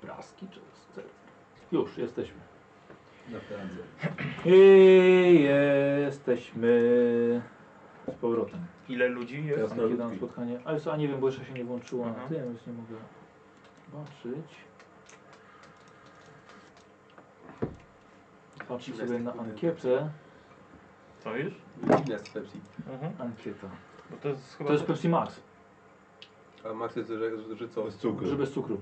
Praski czy z cyrk? Już, jesteśmy. Naprawdę. I jesteśmy z powrotem. Ile ludzi jest? Teraz- Kiedy Krasnoludki. mam spotkanie? Ale co, a nie wiem, bo jeszcze się nie włączyło na Aha. tym, więc nie mogę zobaczyć. Patrzę Dziwne sobie jest na tak budynek. ankietę. Co już? Dziwne jest Pepsi. Mhm. Ankieta. Bo to jest chyba... tak. To jest Pepsi Max, A Max jest, że, że, że co? Bez cukru. że bez cukru.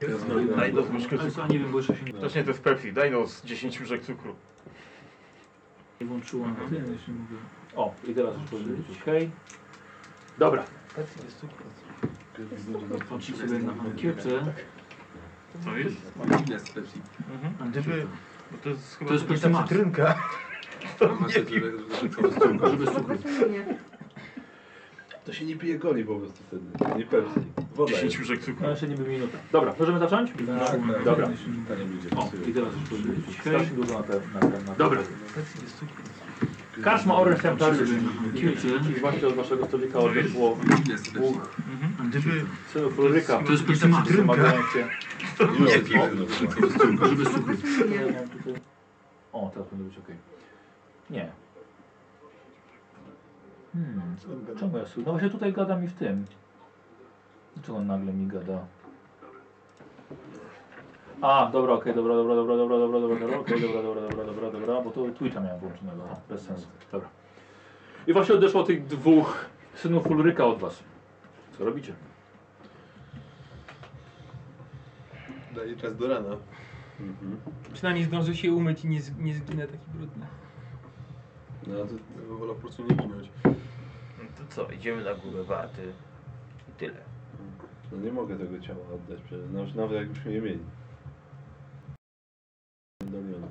Krasnoludki. Daj nos łyżkę Ale cukru. co, a nie wiem, bo jeszcze się nie Właśnie to jest Pepsi, daj nos 10 łyżek cukru. Nie włączyło na Mhm. tym, więc nie mogę. O, i teraz już powiedzieć. Hej. Dobra, Pepsi bez cukru. patrzę sobie na ankietę. Tak. Co jest? Dziwne jest Pepsi. Mhm. Gdyby... Bo to jest chyba To jest nie Pepsi ta Max. cytrynka. A Max jest, że, że, że co? Że bez cukru. To się nie pije goli po prostu wtedy. Nie Pepsi. Woda 10 jest. łyżek cukru. No jeszcze niby minuta. Dobra, możemy zacząć? tak. Dobra. Pytanie będzie. O, i teraz już powiedzieć. Hej. Strasznie dużo na ten, na ten, na ten. Dobra. Karczma Orange Temptation. I właśnie od waszego stolika odeszło Dziwne jest Pepsi. dwóch Mhm. Gdyby... synów króryka To jest Pepsi Max. pomagając cię. Już jest woda. Że bez cukru. Ja mam tutaj- O, teraz powinno być okej. Nie. Hmm, czemu ja słyszę? No właśnie tutaj gada mi w tym. Dlaczego on nagle mi gada? A, dobra, okej, dobra, dobra, dobra, dobra, dobra, dobra, dobra, okej, dobra, dobra, dobra, dobra, dobra, bo to Twitcha miałem włączonego, bez sensu, dobra. I właśnie odeszło tych dwóch synów Ulryka od was. Co robicie? Daje czas do rana. Przynajmniej zdążę się umyć i nie, z- nie zginę taki brudny. No to ja bym wolał po prostu nie ginąć. No to co, idziemy na górę warty i tyle. No nie mogę tego ciała oddać, przecież nawet, nawet jakbyśmy je mieli. Doliona.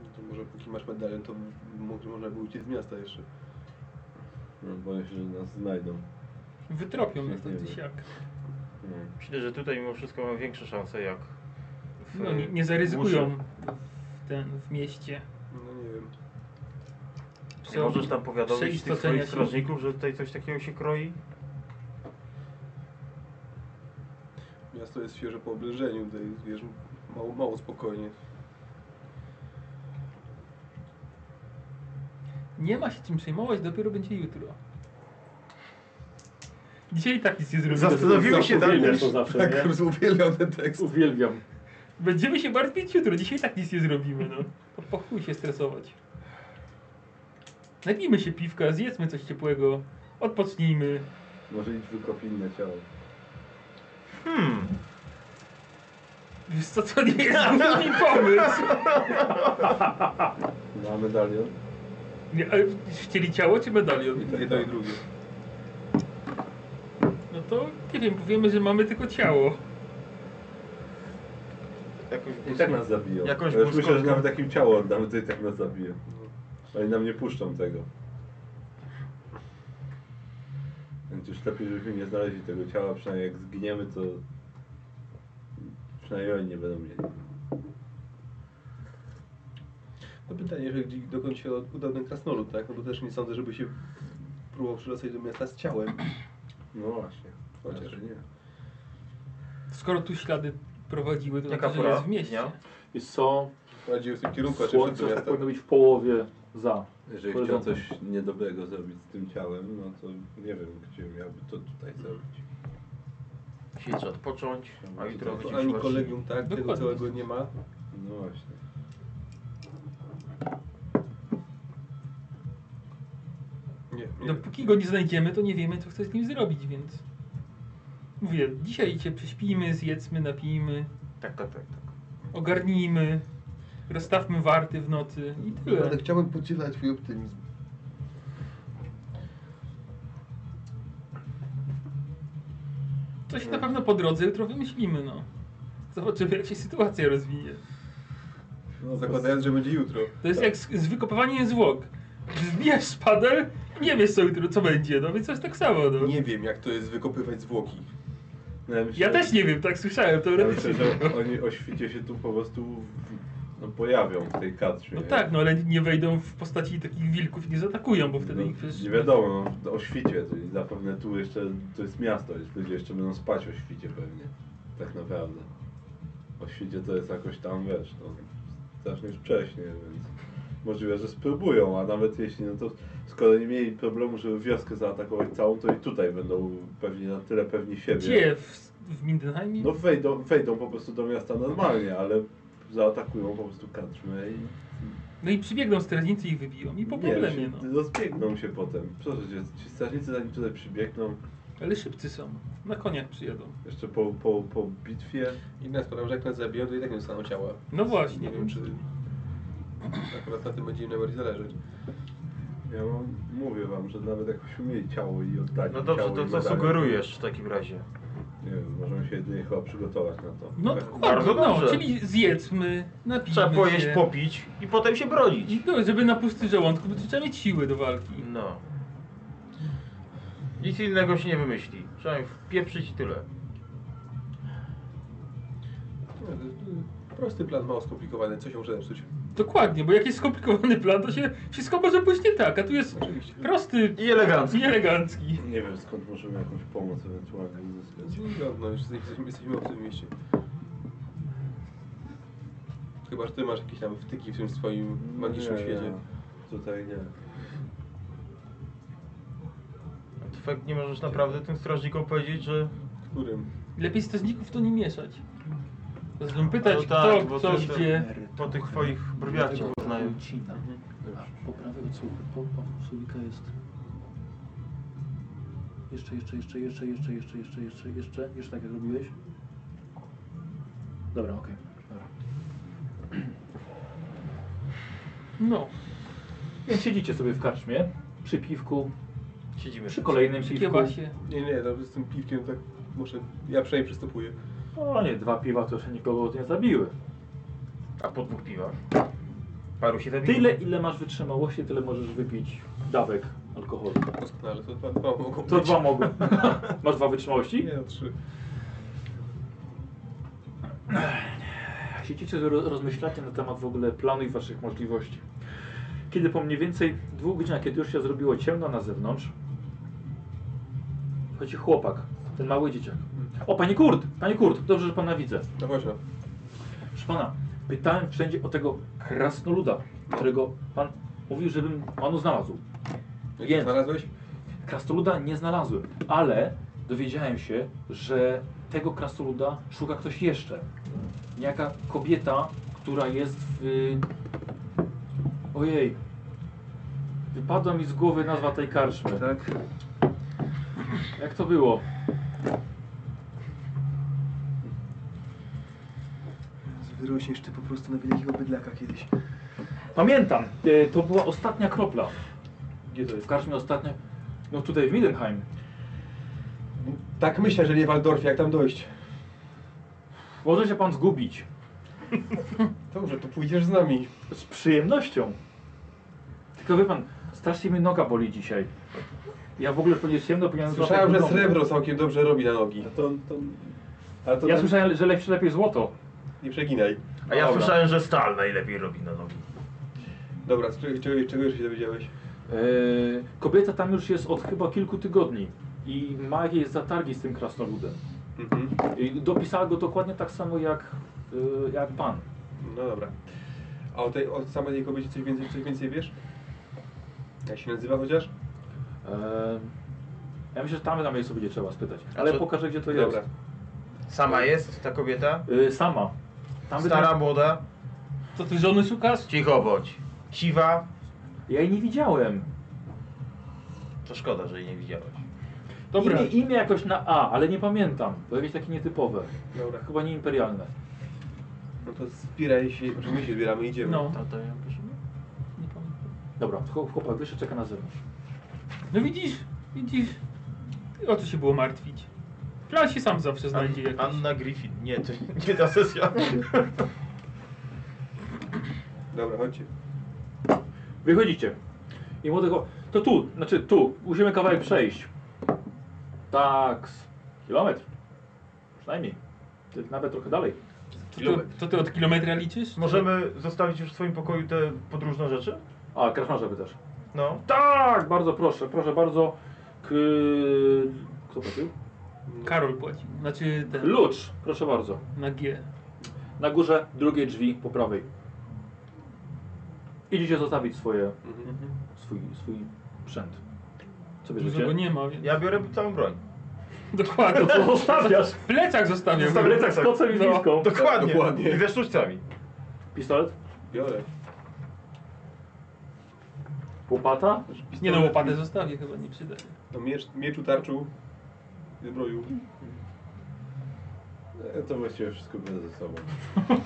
No To może póki masz medalion, to może można by uciec z miasta jeszcze. No, boję się, że nas znajdą. Wytropią mnie to Nie wiem. jak. No. Myślę, że tutaj mimo wszystko mam większe szanse jak w No nie, nie zaryzykują w, ten, w mieście. No nie wiem. Nie możesz tam powiadomić tych przeistocenia swoich się- strażników, że tutaj coś takiego się kroi? Miasto jest świeże po oblężeniu, tutaj wiesz, mało, mało spokojnie. Nie ma się czym przejmować, dopiero będzie jutro. Dzisiaj i tak nic nie zrobimy. Zastanowiłem się nad Uwielbiam to zawsze, tak nie? uwielbiam ten tekst. Uwielbiam. Będziemy się martwić jutro, dzisiaj i tak nic nie zrobimy, no. To po chuj się stresować. Napijmy się piwka, zjedzmy coś ciepłego, odpocznijmy. Może idź wykop inne ciało. Hmm, Wiesz co, to nie jest mój pomysł. Na medalion? tak Nie, ale chcieli ciało czy medalion? Jedno i drugie. No to nie wiem, powiemy, że mamy tylko ciało. jakoś I tak nas zabiją. Jakąś Jakąś ja już muszką- myślę, że nawet takim ciało oddamy, to i tak nas zabiją. Oni nam nie puszczą tego. Więc już lepiej, żebyśmy nie znaleźli tego ciała, przynajmniej jak zginiemy, to przynajmniej oni nie będą mieli. No pytanie, że gdzie, dokąd się udał ten krasnolud, tak? No bo też nie sądzę, żeby się próbował przylosać do miasta z ciałem. No właśnie. Znaczy, Chociaż nie. Skoro tu ślady prowadziły, to Jaka znaczy, że pora jest w mieście. dnia? I co? Radził w tym kierunku, a czy wszedł Słońce do już tak miasta. powinno być w połowie za. Jeżeli chciał coś niedobrego zrobić z tym ciałem, no to nie wiem, gdzie miałby to tutaj zrobić. Dzisiaj trzeba odpocząć, a jutro To będziemy ani się kolegium, tak? Tego Dokładnie. całego nie ma. No właśnie. Nie, nie. Dopóki go nie znajdziemy, to nie wiemy, co chce z nim zrobić, więc... Mówię, dzisiaj cię prześpijmy, zjedzmy, napijmy, właśnie- Tak, tak, tak. tak. ogarnijmy, rozstawmy warty w nocy i tyle. Naprawdę chciałbym podzielać twój optymizm. Coś na pewno po drodze jutro wymyślimy, no. Zobaczymy, jak się sytuacja rozwinie. No, Zakładając, że będzie jutro. To jest jak z, z wykopowaniem zwłok. Zbijasz szpadel i nie wiesz, co jutro, co będzie, no więc to jest tak samo, no. Nie wiem, jak to jest wykopywać zwłoki. no, myślę, Ja też nie wiem, tak słyszałem, Ja myślę, teoretycznie. że oni o świcie się tu po prostu w, no, pojawią w tej katrze. No nie? tak, no ale nie wejdą w postaci takich wilków i nie zaatakują, bo wtedy No, ich przecież... nie wiadomo, no, o świcie, czyli zapewne tu jeszcze, to jest miasto, więc ludzie jeszcze będą spać o świcie pewnie. tak naprawdę. O świcie to jest jakoś tam, wiesz, no, strasznie już wcześnie, więc możliwe, że spróbują, a nawet jeśli, no to skoro nie mieli problemu, żeby wioskę zaatakować całą, to i tutaj będą pewnie na tyle pewni siebie. Gdzie? W, w Mindenheimie? No wejdą, wejdą po prostu do miasta normalnie, ale zaatakują po prostu karczmę i No i przybiegną strażnicy i ich wybiją. I po Nie, problemie, się- no. Rozbiegną się potem. Proszę cię, ci strażnicy zanim tutaj przybiegną, Ale szybcy są. Na koniach przyjadą. jeszcze po, po, po bitwie. Inna sprawa, że jak nas zabiją, to i tak nie dostaną ciała. No właśnie. Nie wiem, czy akurat na tym będzie im najbardziej zależeć. Ja wam mówię wam, że nawet jakbyśmy mieli ciało i oddali No dobrze, ciało to i co medale, sugerujesz w takim razie? Nie wiem, możemy się jedynie chyba przygotować na to. No tak, dokładnie, no, dobrze. czyli zjedzmy, napijmy Trzeba pojeść, się. popić i potem się bronić. I to, żeby na pusty żołądku, bo to trzeba mieć siły do walki. No. Nic innego się nie wymyśli. Trzeba im wpieprzyć i tyle. No, Prosty plan, mało skomplikowany, co się może zepsuć. Dokładnie, bo jak jest skomplikowany plan, to się wszystko może pójść nie tak, a tu jest Oczywiście. prosty I elegancko. i elegancki. Nie wiem skąd możemy jakąś pomoc ewentualnie uzyskać. No, już jesteśmy, jesteśmy w tym mieście. Chyba, że ty masz jakieś tam wtyki w tym swoim magicznym Nie, świecie. nie, Tutaj nie. Fakt, nie możesz naprawdę tym strażnikom powiedzieć, że... Którym? Lepiej strażników to nie mieszać. Zaczną pytać No tak, kto, bo co, to- to- gdzie. Po tych twoich brwiach cię poznają. Ucina. Mhm. A po prawej od słuchu, po, po słowika jest. Jeszcze, jeszcze, jeszcze, jeszcze, jeszcze, jeszcze, jeszcze, jeszcze, jeszcze, jeszcze tak jak robiłeś. Dobra, okej. Dobra. No, Więc siedzicie sobie w karczmie, przy piwku, Siedzimy. przy kolejnym przy piwku. kiebasie. Nie, nie, no, z tym piwkiem tak może... Ja przynajmniej przystępuję. O nie, dwa piwa to jeszcze nikogo nie zabiły. A po dwóch piwach? Paru się zabiło. Tyle, ile masz wytrzymałości, tyle możesz wypić dawek alkoholu. Doskonale, to dwa, dwa mogą To być. dwa mogą. masz dwa wytrzymałości? Nie, no trzy. Siedzicie, ro- rozmyślacie na temat w ogóle planu i waszych możliwości. Kiedy po mniej więcej dwóch godzinach, kiedy już się zrobiło ciemno na zewnątrz, chodzi chłopak, ten mały dzieciak. O, panie Kurt, panie Kurt, dobrze, że pana widzę. No właśnie. Proszę pana, pytałem wszędzie o tego krasnoluda, którego pan mówił, żebym panu znalazł. Jak Więc- znalazłeś? Krasnoluda nie znalazłem, ale dowiedziałem się, że tego krasnoluda szuka ktoś jeszcze. Jaka kobieta, która jest w. Ojej. Wypadła mi z głowy nazwa tej karczmy. Tak? Jak to było? Wyrośniesz ty po prostu na wielkiego bydlaka kiedyś. Pamiętam, e, to była ostatnia kropla. Gdzie to W jest? karczmie ostatnia. No tutaj w Midenheim. Tak myślę, że nie w Waldorfie, jak tam dojść. Może się pan zgubić. Dobrze, to pójdziesz z nami. Z przyjemnością. Tylko wie pan, strasznie mi noga boli dzisiaj. Ja w ogóle, że będzie ciemno, powinienem Słyszałem, że złapać do domu. srebro całkiem dobrze robi na nogi. A to, to, a to Ja tam- słyszałem, że lepsze lepiej złoto. Nie przeginaj. A ja Dobra. słyszałem, że stal najlepiej robi na nogi. Dobra, z czego, czego, czego jeszcze się dowiedziałeś? Eee, kobieta tam już jest od chyba kilku tygodni i ma jakieś zatargi z tym krasnoludem. Mhm. I dopisała go dokładnie tak samo jak, y, jak pan. No dobra. A o tej o samej tej kobiecie coś więcej, coś więcej wiesz? Jak się nazywa chociaż? Eee, ja myślę, że tam na mnie sobie będzie trzeba spytać. Ale co- pokażę, gdzie to Dobra. jest. Sama jest ta kobieta? Eee, sama. Tam Stara, wydaje- młoda? Co ty żony szukasz? Cicho bądź. Siwa? Ja jej nie widziałem. To szkoda, że jej nie widziałeś. Dobra. Imię, imię jakoś na A, ale nie pamiętam. To jakieś takie nietypowe. Dobra. Chyba nie imperialne. No to zbieraj się, znaczy my się zbieramy i idziemy. No, To, to ją bierzemy? nie pamiętam. Dobra, chłop- chłopak wyszedł, czeka na zewnątrz. No widzisz, widzisz. O co się było martwić? Plan się sam zawsze znajdzie An- jakiś. Anna Griffin. Nie, to nie ta sesja. Dobra, chodźcie. Wychodzicie. I młody chłop- To tu, znaczy tu, musimy kawałek przejść. Tak, z kilometr. Przynajmniej. Ty- Nawet trochę dalej. To, to, to ty od kilometra liczysz? Możemy zostawić już w swoim pokoju te podróżne rzeczy? A, kraszmarza pytasz. No. Tak, bardzo proszę, proszę bardzo. K... Kto płacił? Karol płacił. Znaczy ten Lucz, proszę bardzo. na G. Na górze drugie drzwi po prawej. Idziecie zostawić swoje, Mhm. swój, swój sprzęt. Co Dużo go bierzecie? nie ma, więc... Ja biorę całą broń. Dokładnie. To zostawiasz. Plecak zostawiam. Zostawiam Plecak z kocem i No. miską. Tak, Dokładnie. Dokładnie. I ze sztućcami. Pistolet? Biorę. Łopata? Nie no, łopatę zostawię chyba, nie przyda się. No, miecz, mieczu, tarczu, zbroju. E, To właściwie wszystko biorę ze sobą.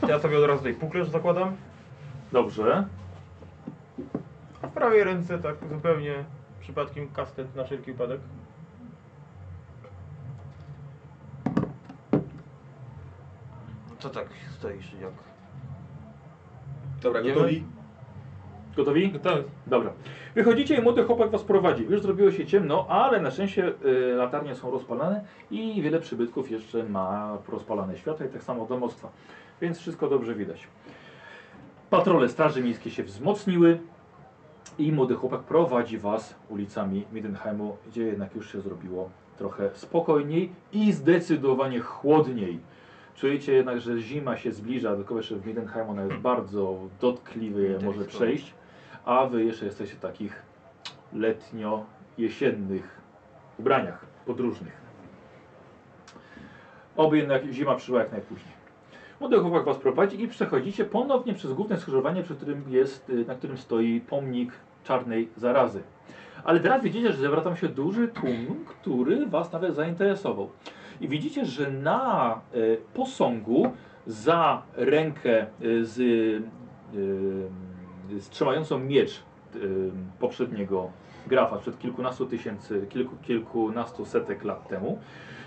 To Ja sobie od razu tutaj puklerz zakładam. Dobrze. W prawej ręce tak zupełnie przypadkiem kastet na wszelki upadek. Co tak stoisz jak... Dobra, Idziemy? gotowi? Gotowi? Gotowy. Dobra. Wychodzicie i młody chłopak was prowadzi. Już zrobiło się ciemno, ale na szczęście y, latarnie są rozpalane i wiele przybytków jeszcze ma rozpalane światła i tak samo domostwa. Więc wszystko dobrze widać. Patrole Straży Miejskiej się wzmocniły i młody chłopak prowadzi was ulicami Midenheimu, gdzie jednak już się zrobiło trochę spokojniej i zdecydowanie chłodniej. Czujecie jednak, że zima się zbliża, tylko jeszcze w Midenheim ona jest bardzo dotkliwy, Intensyjna. może przejść a wy jeszcze jesteście w takich letnio-jesiennych ubraniach podróżnych. Oby jednak zima przyszła jak najpóźniej. Młody chłopak was prowadzi i przechodzicie ponownie przez główne skrzyżowanie, przy którym jest, y, na którym stoi pomnik czarnej zarazy. Ale teraz widzicie, że zebrał tam się duży tłum, który was nawet zainteresował. I widzicie, że na y, posągu za rękę y, z, y, y, z trzymającą miecz y, poprzedniego grafa przed kilkunastu tysięcy, kilku, kilkunastu setek lat temu,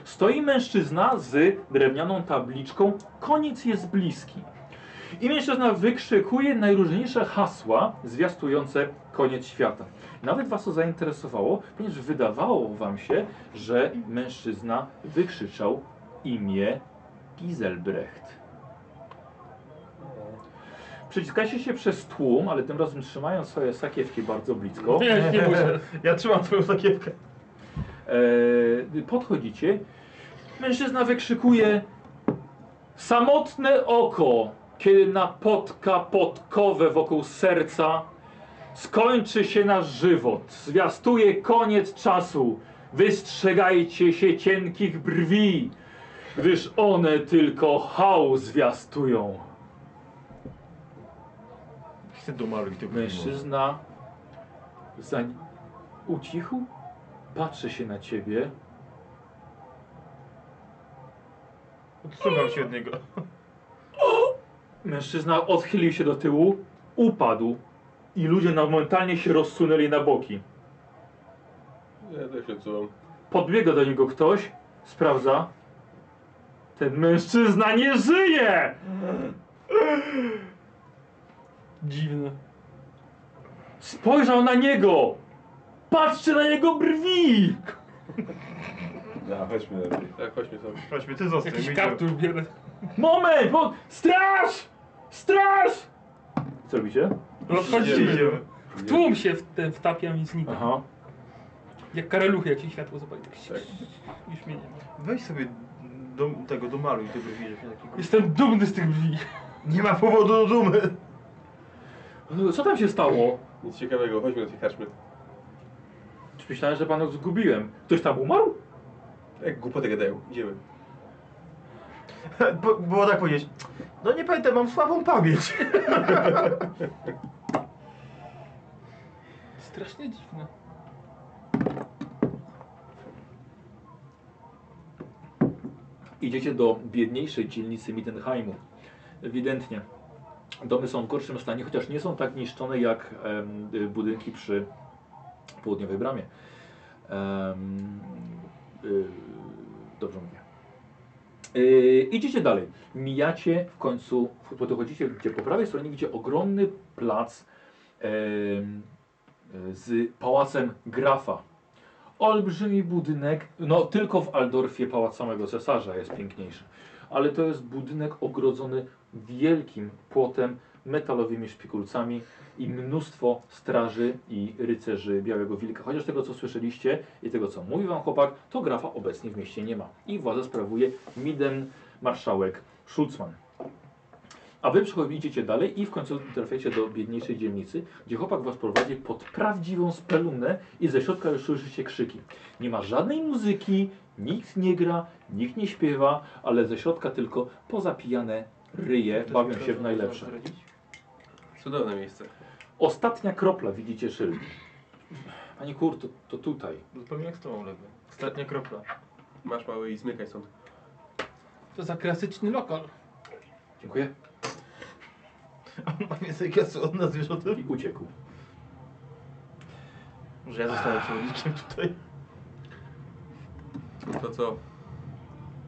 stoi mężczyzna z drewnianą tabliczką Koniec jest bliski. I mężczyzna wykrzykuje najróżniejsze hasła zwiastujące koniec świata. Nawet was to zainteresowało, ponieważ wydawało wam się, że mężczyzna wykrzyczał imię Giselbrecht. Przeciskacie się przez tłum, ale tym razem trzymając swoje sakiewki bardzo blisko. Nie, nie bój się. Ja trzymam twoją sakiewkę. E, podchodzicie. Mężczyzna wykrzykuje samotne oko, kiedy napotka podkowę wokół serca, skończy się nasz żywot, zwiastuje koniec czasu. Wystrzegajcie się cienkich brwi, gdyż one tylko hał zwiastują. Chcę domaruj tego Mężczyzna zań ucichł, patrzy się na ciebie. Odsuwam się od niego. Mężczyzna odchylił się do tyłu, upadł i ludzie na- momentalnie się rozsunęli na boki. Ja też się odsuwam. Podbiega do niego ktoś, sprawdza. Ten mężczyzna nie żyje! Dziwne. Spojrzał na niego! Patrzcie na jego brwi! No, chodźmy lepiej. Tak, chodźmy sobie. Chodźmy, ty zostań. Jakiś my kaptur biorę. Moment! Bo... Straż! Straż! Co robicie? idziemy. Rozchodzimy. Idziemy. W tłum się w ten wtapiam i znikam. Aha. Jak karaluchy, jak się światło zapali. Tak. Już mnie nie ma. Weź sobie do, tego domaruj tego brwi, żeby się takiego... Jestem dumny z tych brwi. Nie ma powodu do dumy. No, Co tam się stało? Nic ciekawego, chodźmy do tej karczmy. Czy myślałem, że panu zgubiłem? Ktoś tam umarł? Jak głupoty gadają, idziemy. Bo- Było tak powiedzieć. No nie pamiętam, mam słabą pamięć. Strasznie dziwne. Idziecie do biedniejszej dzielnicy Mittenheimu. Ewidentnie. Domy są w gorszym stanie, chociaż nie są tak niszczone jak em, y, budynki przy południowej bramie. Em, y, dobrze mówię. Y, idziecie dalej. Mijacie w końcu, podchodzicie gdzie po prawej stronie, gdzie ogromny plac em, y, z pałacem grafa olbrzymi budynek. No, tylko w Aldorfie pałac samego cesarza jest piękniejszy. Ale to jest budynek ogrodzony wielkim płotem metalowymi szpikulcami i mnóstwo straży i rycerzy Białego Wilka. Chociaż tego, co słyszeliście i tego, co mówi wam chłopak, to grafa obecnie w mieście nie ma. I władzę sprawuje Miden marszałek Schulzman. A wy przechodzicie dalej i w końcu trafiacie do biedniejszej dzielnicy, gdzie chłopak was prowadzi pod prawdziwą spelunę i ze środka już słyszycie krzyki. Nie ma żadnej muzyki, nikt nie gra, nikt nie śpiewa, ale ze środka tylko pozapijane ryje bawią się w najlepsze. Cudowne miejsce. Ostatnia kropla, widzicie szyld. Panie Kur, to, to tutaj. Zupełnie jak z tobą lewy. Ostatnia kropla. Masz mały i zmykaj stąd. To za klasyczny lokal. Dziękuję. Ma więcej kasu od nas, wiesz o tym? I uciekł. Może ja zostanę przewodnikiem tutaj. To co?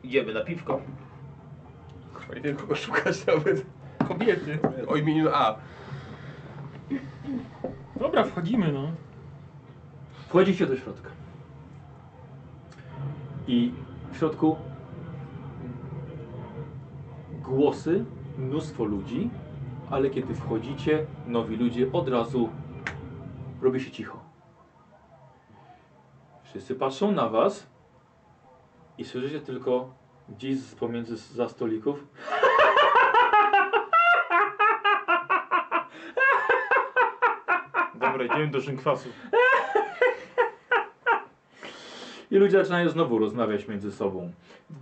Idziemy na piwko. Fajnie kogo szukać nawet. Kobiety. O imieniu A. Dobra, wchodzimy no. Wchodzicie do środka. I w środku głosy, mnóstwo ludzi, ale kiedy wchodzicie, nowi ludzie od razu robi się cicho. Wszyscy patrzą na was i słyszycie tylko gdzieś z- pomiędzy s- za stolików. Dobra, idziemy do szynkwasu. I ludzie zaczynają znowu rozmawiać między sobą.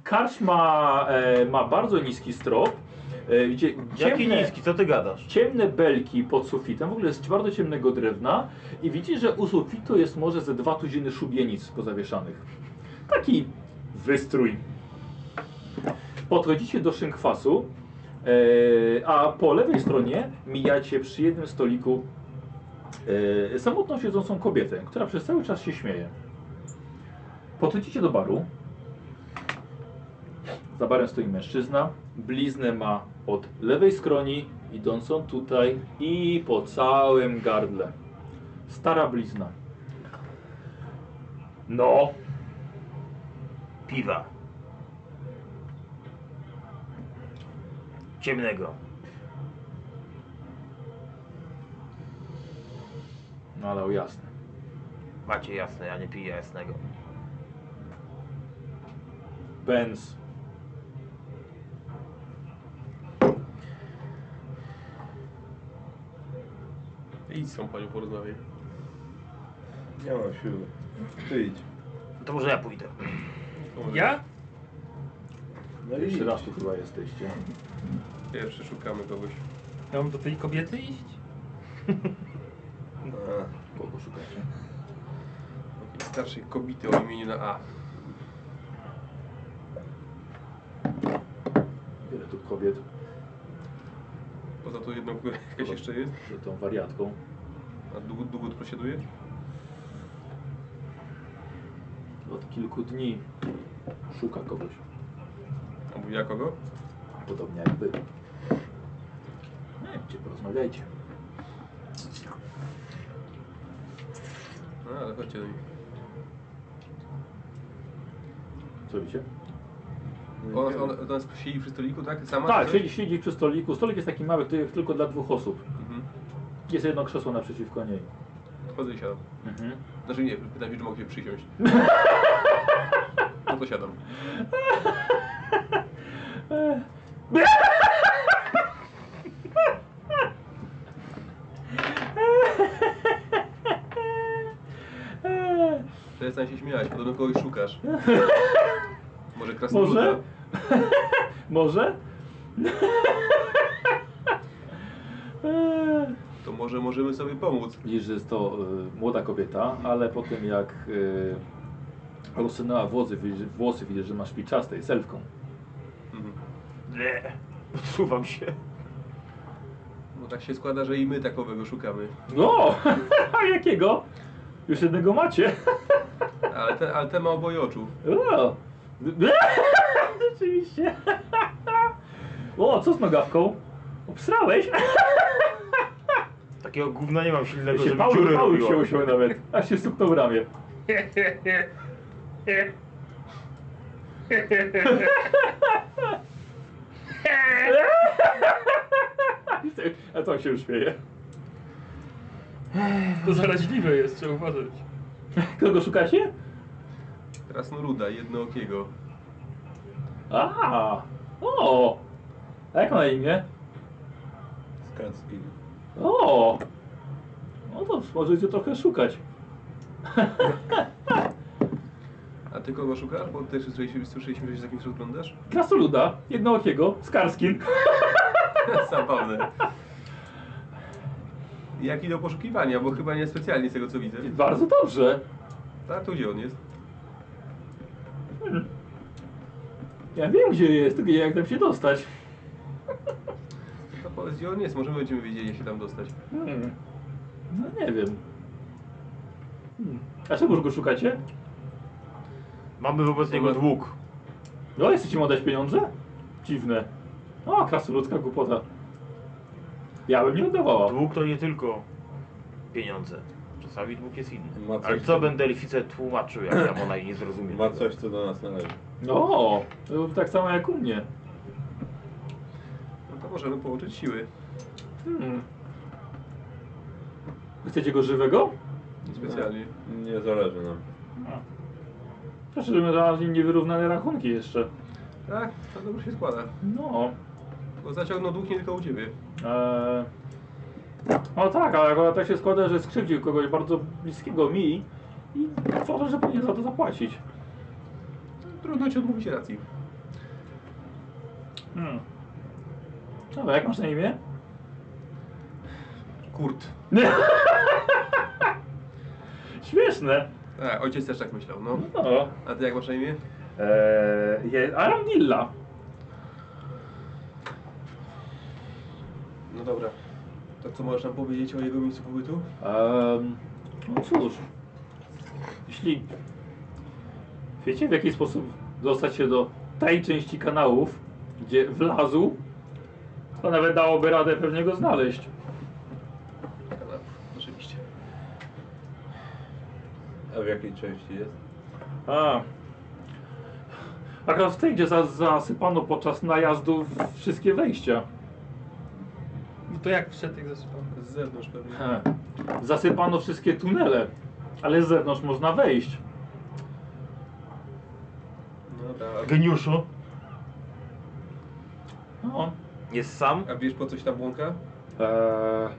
Karcz ma, e, ma bardzo niski strop. E, gdzie, Jaki ciemne- niski, co ty gadasz? ciemne belki pod sufitem, w ogóle jest bardzo ciemnego drewna i widzicie, że u sufitu jest może ze dwa tuziny szubienic pozawieszanych. Taki wystrój. Podchodzicie do szynkwasu, e, a po lewej stronie mijacie przy jednym stoliku e, samotną siedzącą kobietę, która przez cały czas się śmieje. Podchodzicie do baru. Za barem stoi mężczyzna. Bliznę ma od lewej skroni, idącą tutaj i po całym gardle. Stara blizna. No, Piwa. Ciemnego. nalał No, jasne. Macie jasne, ja nie piję jasnego. Benz. Idź z tą panią porozmawiaj. Nie mam siły. Ty idź. No to może ja pójdę. Ja? No idź. Jeszcze raz tu chyba jesteście. Pierwszy szukamy kogoś. Ja mam do tej kobiety iść? A. Kogo szukacie? Jakiejś starszej kobiety o imieniu na A. Wiele tu kobiet Poza tą jedną, która jakaś jeszcze jest. z tą wariatką. A długo, długo tu posiaduje? Od kilku dni szuka kogoś. A mówiła kogo? Podobnie jak wy. Nie wiem, gdzie porozmawiajcie. No ale chodźcie do niej. Co robicie? Ona, ona, ona jest siedzi przy stoliku, tak? Sama? Tak, czy coś? siedzi, siedzi przy stoliku. Stolik jest taki mały, który jest tylko dla dwóch osób. Mhm. Jest jedno krzesło naprzeciwko niej. Chodzę i siadam. Mhm. Znaczy nie, pytam się, czy mogę się przysiąść. No to siadam. Przestań się śmiać, podobno kogoś szukasz. Może krasnoluda? Może? Może? Eee. To może możemy sobie pomóc. Widzisz, że jest to y, młoda kobieta, ale po tym jak y, rozsunęła włosy, widzisz, włosy, widzisz, że ma szpiczaste, jest elfką. Mhm. Nie. Odsuwam się. Bo tak się składa, że i my takowego szukamy. No! A jakiego? Już jednego macie. Ale ten, ale ten ma oboje oczu. O! Rzeczywiście. O, co z nogawką? Obsrałeś? Takiego gówna nie mam silnego, Się żeby Paul, dziury Paul robiło. się usiął nawet, aż się stuknął w ramię. tak, a tam się już śmieje. To zaraźliwe jest, trzeba uważać. Kogo szukacie? Krasnoruda, jednookiego. A, o, a jak ma na imię? Skacki. O, no to możecie trochę szukać. A ty kogo szukasz? Bo też słyszeliśmy, słyszeliśmy że się z jakimś rozglądasz? Krasnoluda, jednookiego, z Karskim. Zabawne. Jak idą poszukiwania, bo chyba nie specjalnie z tego co widzę. Bardzo dobrze. Tak, to gdzie on jest? Ja wiem gdzie jest, tylko jak tam się dostać. To powiedz gdzie on jest, może my będziemy wiedzieli jak się tam dostać. Hmm. No nie wiem. Hmm. A czegoż go szukacie? Mamy wobec niego dług. No, jesteście mu dać pieniądze? Dziwne. O, krasnoludzka głupota. Ja bym nie oddawała. Dług to nie tylko pieniądze. Czasami dług jest inny. Ma coś Ale co tam. będę lificę tłumaczył, jak ja ona jej nie zrozumie. Ma coś, co do nas należy. No, to tak samo jak u mnie. No to możemy połączyć siły. Hmm. Chcecie go żywego? Niespecjalnie. Nie zależy nam. Proszę, że na nim niewyrównane rachunki jeszcze. Tak, to dobrze się składa. No. Bo zaciągnął dług nie tylko u ciebie. Eee. No tak, ale akurat tak się składa, że skrzywdził kogoś bardzo bliskiego mi i uważam, że powinien za to zapłacić. Trudno ci odmówić racji. Hmm. Dobra, jak masz na imię? Kurt. Śmieszne. Tak, ojciec też tak myślał, no. No. A ty jak masz na imię? Eee, je- Aramdilla. No dobra. To co możesz nam powiedzieć o jego miejscu pobytu? Em, no cóż, jeśli wiecie w jaki sposób dostać się do tej części kanałów, gdzie wlazł, to nawet dałoby radę pewnie go znaleźć. Kanał, oczywiście. A w jakiej części jest? A. Akurat w tej, gdzie za- zasypano podczas najazdów wszystkie wejścia. No to jak wszedł, jak zasypał? Z zewnątrz pewnie. He. Zasypano wszystkie tunele, ale z zewnątrz można wejść. No dobra. a- Geniuszu. No. Jest sam? A wiesz po coś tam błąka? Eee,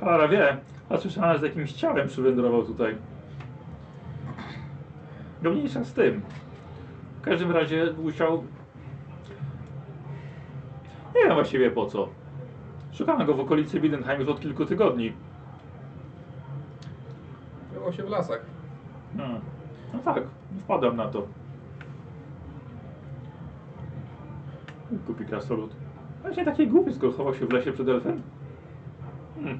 cholera wie, a słyszałem, że z jakimś ciałem przywędrował tutaj. No mniejsza z tym. W każdym razie musiał... Nie wiem właściwie po co. Szukamy go w okolicy Bidenheim już od kilku tygodni. Było się w lasach. Hmm. No tak, wpadam na to. Kupi krasnolud. Właśnie taki głupi, skoro chował się w lesie przed elfem. Hmm.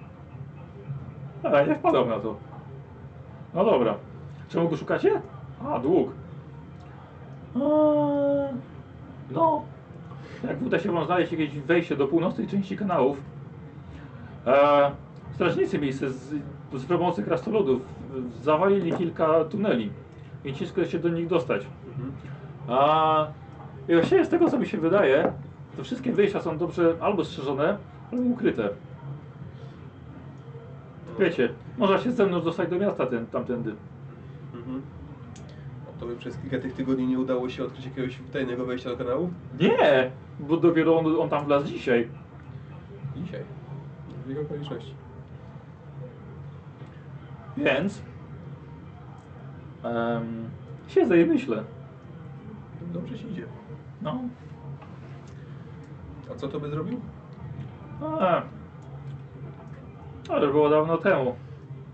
Ale nie wpadam na to. No dobra. Czemu go szukacie? A, dług. Eee, no. Jak uda się wam znaleźć jakieś wejście do północnej części kanałów, E, strażnicy miejsce z, z pomocy krasnoludów zawalili kilka tuneli i ciężko się do nich dostać. Mhm. A i właściwie z tego co mi się wydaje, to wszystkie wyjścia są dobrze albo strzeżone, albo ukryte. Wiecie, można się ze mną dostać do miasta ten, tamtędy. Mhm. A to by przez kilka tych tygodni nie udało się odkryć jakiegoś tajnego wejścia do kanału? Nie! Bo dopiero on, on tam wlazł dzisiaj. Dzisiaj. W jego okoliczności. Więc... Um, siedzę i myślę. Dobrze się idzie. No, A co to by zrobił? No, A, ale było dawno temu.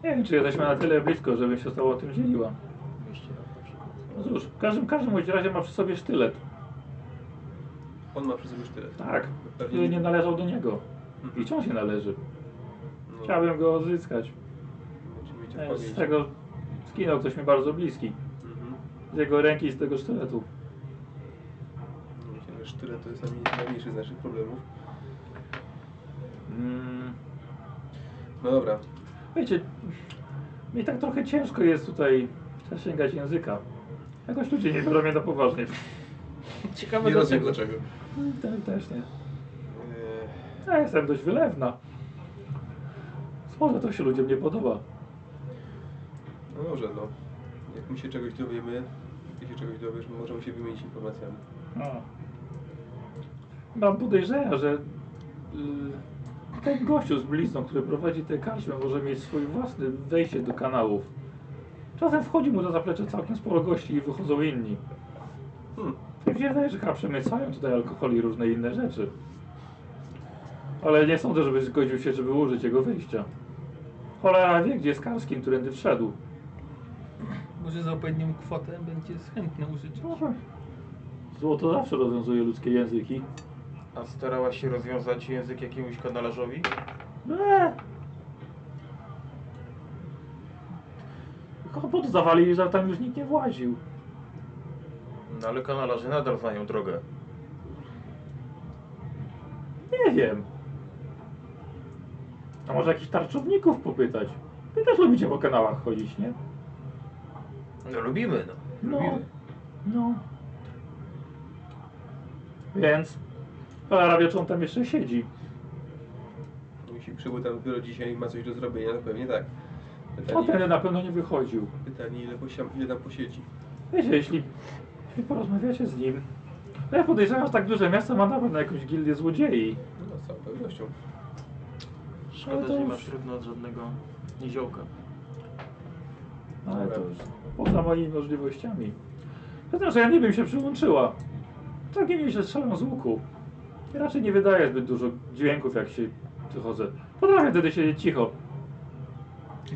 Nie wiem, czy jesteśmy na tyle blisko, żebym się z tobą o tym dzieliła. No cóż, w każdym, w każdym bądź razie ma przy sobie sztylet. On ma przy sobie sztylet. Tak, Pewnie który nie należał do niego. I Mhm. czemu się należy? No. Chciałbym go odzyskać. Będziemy mieć E, Z odpowiedź. tego skinął ktoś mi bardzo bliski. Mhm. Z jego ręki i z tego sztyletu. Myślę, że sztylet to jest najmniej- najmniejszy z naszych problemów. Mm, No dobra. wiecie, mi tak trochę ciężko jest tutaj zasięgać języka. Jakoś ludzie nie biorą mnie na poważnie. Ciekawe No Nie rozumiem dlaczego. Te- Też nie. Eee, Ja jestem dość wylewna. Może to się ludziom nie podoba. No dobrze, no. Jak my się czegoś dowiemy, ty się czegoś dowiesz, możemy się wymienić informacjami. A. Mam podejrzenia, że y, ten gościu z blizną, który prowadzi tę karczmę, może mieć swój własny wejście do kanałów. Czasem wchodzi mu na zaplecze całkiem sporo gości i wychodzą inni. Hmm. Mi się wydaje, że chyba przemycają tutaj alkohol i różne inne rzeczy. Ale nie sądzę, żeby zgodził się, żeby użyć jego wyjścia. Cholera wie, gdzie jest Karskin, którędy wszedł. Może za odpowiednią kwotę będzie chętny użyć. Złoto zawsze rozwiązuje ludzkie języki. A starałaś się rozwiązać język jakiemuś kanalarzowi? Eee. Kopot zawalili, że tam już nikt nie właził. No ale kanalarze nadal znają drogę. Nie wiem. A może jakichś tarczowników popytać? Wy też lubicie po kanałach chodzić, nie? No lubimy, no. No. No. Więc... Cholera wie, czy on tam jeszcze siedzi. No, Jeśli przybył tam dopiero dzisiaj i ma coś do zrobienia, to pewnie tak. O, Pytanie, ten na pewno nie wychodził. pytanie ile, posiam, ile tam posiedzi. Wiecie, jeśli, jeśli porozmawiacie z nim... No ja podejrzewam, że tak duże miasto ma na pewno jakąś gildię złodziei. No z całą pewnością. Ale Szkoda, to że nie już- masz trudno od żadnego niziołka. No, Ale Dobra. to już poza moimi możliwościami. Zatem, że ja nie bym się przyłączyła. Tak Całkiem nieźle strzelam z łuku. I raczej nie wydaje zbyt dużo dźwięków, jak się wychodzę. Potrafię wtedy siedzieć cicho.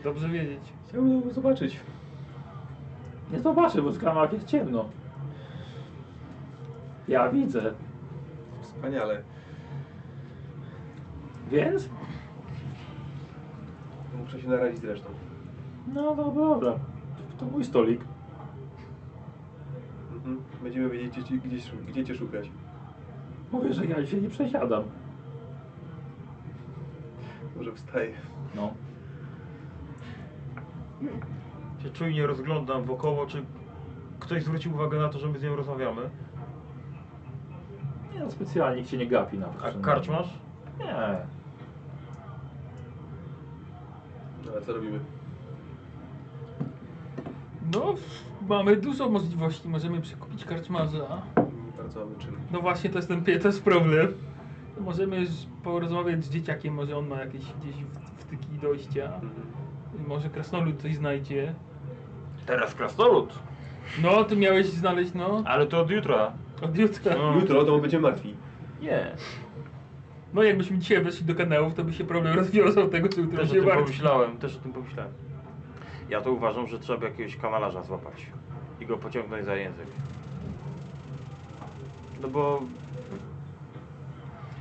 Dobrze wiedzieć. Chciałbym zobaczyć. Nie zobaczę, bo w klamach jest ciemno. Ja widzę. Wspaniale. Więc? Muszę się narazić zresztą. No dobra, dobra. To mój stolik. Mhm. Będziemy wiedzieć, gdzie, ci- gdzie, szu- gdzie cię szukać. Mówię, że ja się nie przesiadam. Może wstaję. No. Się czujnie rozglądam wokoło, czy ktoś zwrócił uwagę na to, że my z nią rozmawiamy. Nie no, specjalnie nikt się nie gapi na no. A karczmasz? Nie. No, ale co robimy? No, mamy dużo możliwości. Możemy przekupić karczmarza. Nie bardzo mamy czym. No właśnie, to jest ten pie- to jest problem. Możemy z- porozmawiać z dzieciakiem, może on ma jakieś gdzieś w- wtyki dojścia. Mhm. Może krasnolud coś znajdzie. Teraz krasnolud. No, ty miałeś znaleźć, no, Ale to od jutra. od jutra. No. Jutro to będziemy martwi. Nie. No, jakbyśmy dzisiaj weszli do kanałów, to by się problem rozwiązał tego, czy jutro Też o tym się martwi. pomyślałem, też o tym pomyślałem. Ja to uważam, że trzeba by jakiegoś kanalarza złapać i go pociągnąć za język. No bo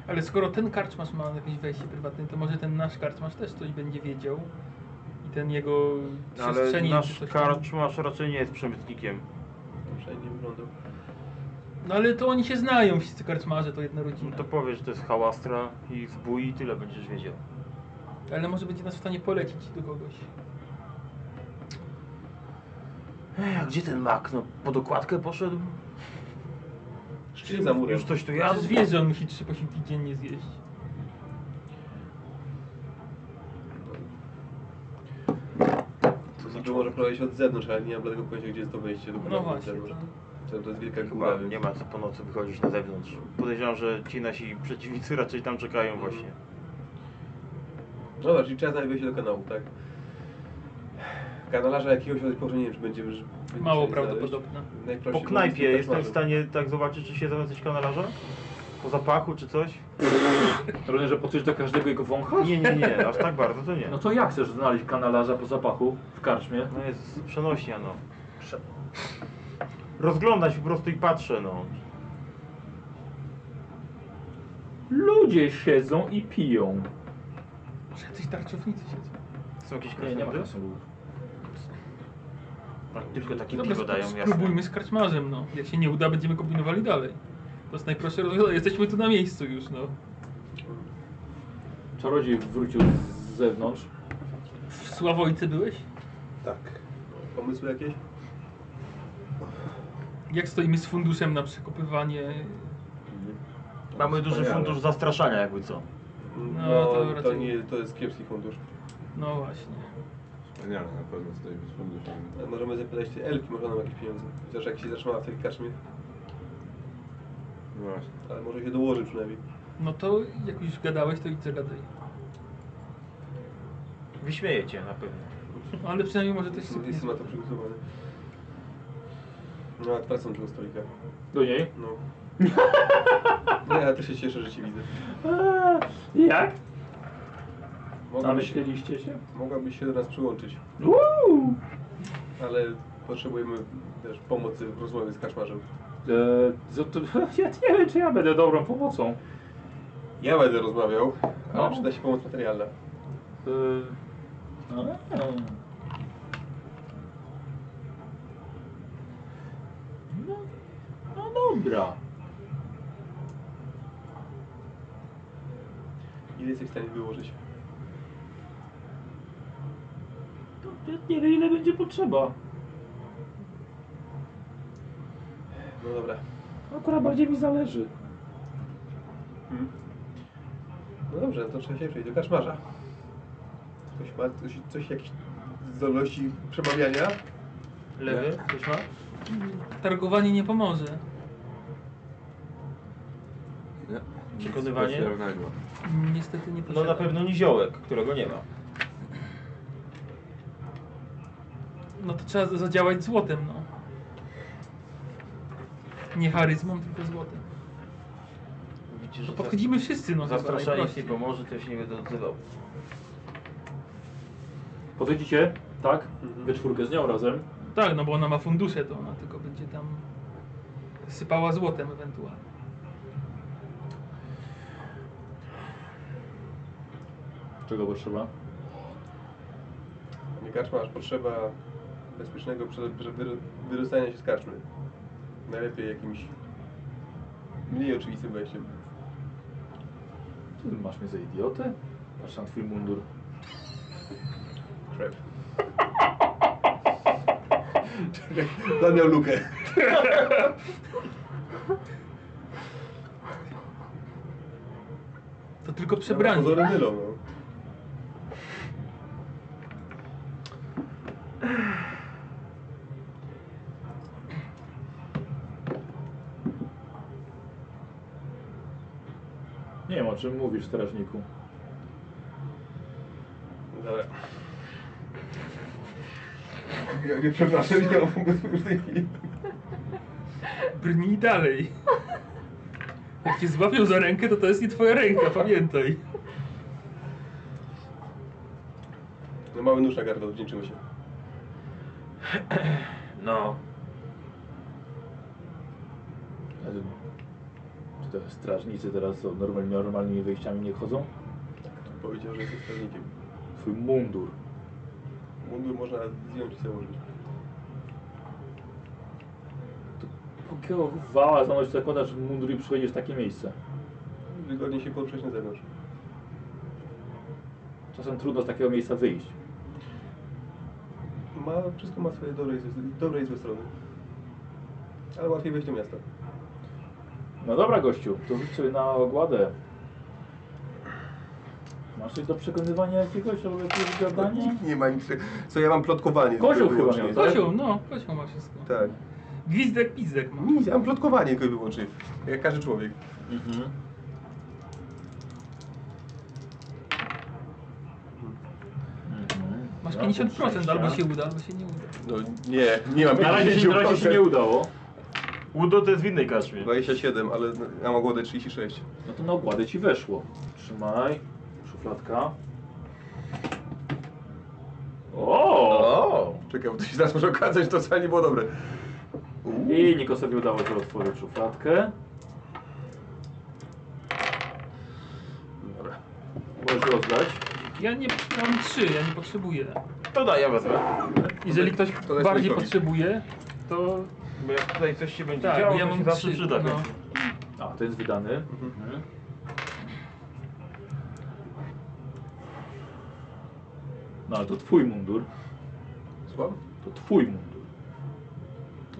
Ale skoro ten karczmasz ma jakieś wejście prywatne, to może ten nasz karczmasz też coś będzie wiedział. I ten jego ale przestrzeni... nasz czy coś tam. karczmasz raczej nie jest przemytnikiem. Dobrze, nie wyglądał. No ale to oni się znają, wszyscy karczmarze, to jedna rodzina. No to powiesz, że to jest hałastra i zbój i tyle będziesz wiedział. Ale może będzie nas w stanie polecić do kogoś. Ej, a gdzie ten mak? No po dokładkę poszedł? Czyli za murem. Już coś tu Ja jadł? wiesz, że on musi trzy posiłki dziennie zjeść. To znaczy, może prowadzić od zewnątrz, ale nie mam dlatego pojęcia, gdzie jest to wejście do No kanału od właśnie. zewnątrz. To... To, to jest wielka Chyba góra, więc... nie ma co po nocy wychodzić na zewnątrz. Podejrzewam, że ci nasi przeciwnicy raczej tam czekają Mhm. właśnie. No dobra, czyli trzeba znaleźć wejście do kanału, tak? Kanalarza jakiegoś odpoczynku, nie wiem, czy będziemy... że- będziemy Mało znaleźć. prawdopodobne. Po Najprościej mówiąc, knajpie to tak jestem w marzę. stanie tak zobaczyć, czy siedzą jacyś kanalarze? Po zapachu czy coś? Rozumiem, że poczujesz do każdego jego wącha? Nie, nie, nie, aż tak bardzo to nie. No to jak chcesz znaleźć kanalarza po zapachu w karczmie? No jest przenośnia, no. Rozglądam się po prostu i patrzę, no. Ludzie siedzą i piją. Może jacyś tarczownicy siedzą. Są jakieś Nie, nie ma kresendy? czasu. Tak, tylko No, takie Dobra, piwo dają, sp- jasne. spróbujmy z karczmarzem, no. Jak się nie uda, będziemy kombinowali dalej. To jest najprostsze rozwiązanie. Jesteśmy tu na miejscu już, no. Czarodziej wrócił z zewnątrz. W Sławojce byłeś? Tak. Pomysły jakieś? Jak stoimy z funduszem na przekopywanie? Mamy duży Wspaniale. fundusz zastraszania, jakby co. No, to raczej- nie, to jest kiepski fundusz. No właśnie. Wspaniale, no, na pewno stoi bez funduszy. A Możemy zapytać tej Elki, może ona ma jakieś pieniądze. Chociaż jak się zatrzymała w tej karczmie, No właśnie. ale może się dołoży przynajmniej. No to jak już gadałeś, to idź zagadaj. Wyśmieje cię na pewno. No, ale przynajmniej może coś sobie Jestem na to przygotowany. No, a wracam do tego stolika. Do niej? No. No ja też się cieszę, że cię widzę. Eee, jak? Mogłabyś, Namyśliliście się? mogłabyś się do nas przyłączyć, Uuu! ale potrzebujemy też pomocy w rozmowie z kaczmarzem. Eee, za to, ja nie wiem, czy ja będę dobrą pomocą. Ja będę rozmawiał, ale No. przyda się pomoc materialna. Eee, ale- no, no dobra. Ile jesteś w stanie wyłożyć? To ja nie wiem, ile będzie potrzeba. No dobra. Akurat bardziej mi zależy. No dobrze, no to trzeba się przejść do kaczmarza. Ktoś ma coś, coś jakieś zdolności przemawiania? Lewy, coś ma? Targowanie nie pomoże. Nie. Przekonywanie? Specjalnego. Niestety nie No posiada. na pewno niziołek, którego nie ma. No to trzeba za- zadziałać złotem, no. Nie charyzmą, tylko złotem. Widzisz, No że podchodzimy wszyscy, no chyba Zastraszanie jeśli najprościej. pomoże, to ja się nie będę odzywał. Podejdziecie, tak? Mhm. We czwórkę z nią razem. Tak, no bo ona ma fundusze, to ona tylko będzie tam sypała złotem ewentualnie. Czego potrzeba? Nie kaczmarz, potrzeba bezpiecznego prze- prze- wyro- wyrzucania się z karczmy. Najlepiej jakimś mniej oczywistym wejściem. Ty masz mnie za idiotę? Patrz na twój mundur. Krep. Daniel lukę. To tylko przebranie. Pozory mylą, no. Nie wiem, o czym mówisz, strażniku. Dobra. Ja nie przepraszam, nie mam pomysłu już w tej chwili. Brnij dalej. Jak cię złapią za rękę, to to jest nie twoja ręka, pamiętaj. No mały nóż na gardło, wdzięczymy się. No, Ale Czy te strażnicy teraz są normal, normalnymi wyjściami nie chodzą? Tak, Powiedział, że jesteś strażnikiem. Twój mundur. Mundur można zdjąć i założyć. Jakiego wała zanoś zakładasz mundur i przychodzisz w takie miejsce? Wygodnie się poprzeć na zewnątrz. Czasem trudno z takiego miejsca wyjść. Ma, wszystko ma swoje dobre i, złe, dobre i złe strony. Ale łatwiej wejść do miasta. No dobra, gościu, to rzuć sobie na ogładę. Masz coś do przekonywania jakiegoś albo jakieś gadanie? Nie ma nic. Co ja mam plotkowanie. Kozioł tylko chyba wyłącznie. miał, tak? Kosioł, no, kosioł ma wszystko. Tak. Gwizdek, pizdek ma. Nic, ja mam plotkowanie tylko i wyłącznie. Jak każdy człowiek. Mhm. Masz 50%, albo się uda, albo się nie uda. No nie, nie mam Na razie, się- na razie się nie udało. Udo to jest w innej karczmie. 27, ale ja mam głodę 36. No to na ogładę ci weszło. Trzymaj. Szufladka. O! O! Czekaj, bo to się zaraz może okazać, to wcale nie było dobre. Uuu. I Nikosowi udało się otworzyć szufladkę. Dobra. Możesz rozdać. Ja nie mam trzy, ja nie potrzebuję. To da, ja wezmę. Jeżeli ktoś to daj bardziej Słowikowi. potrzebuje, To... Bo jak tutaj coś się będzie tak, działo, bo ja to mam się zawsze trzy. przyda. no. A, to jest wydany. Mhm. No ale to twój mundur. Słucham? To twój mundur.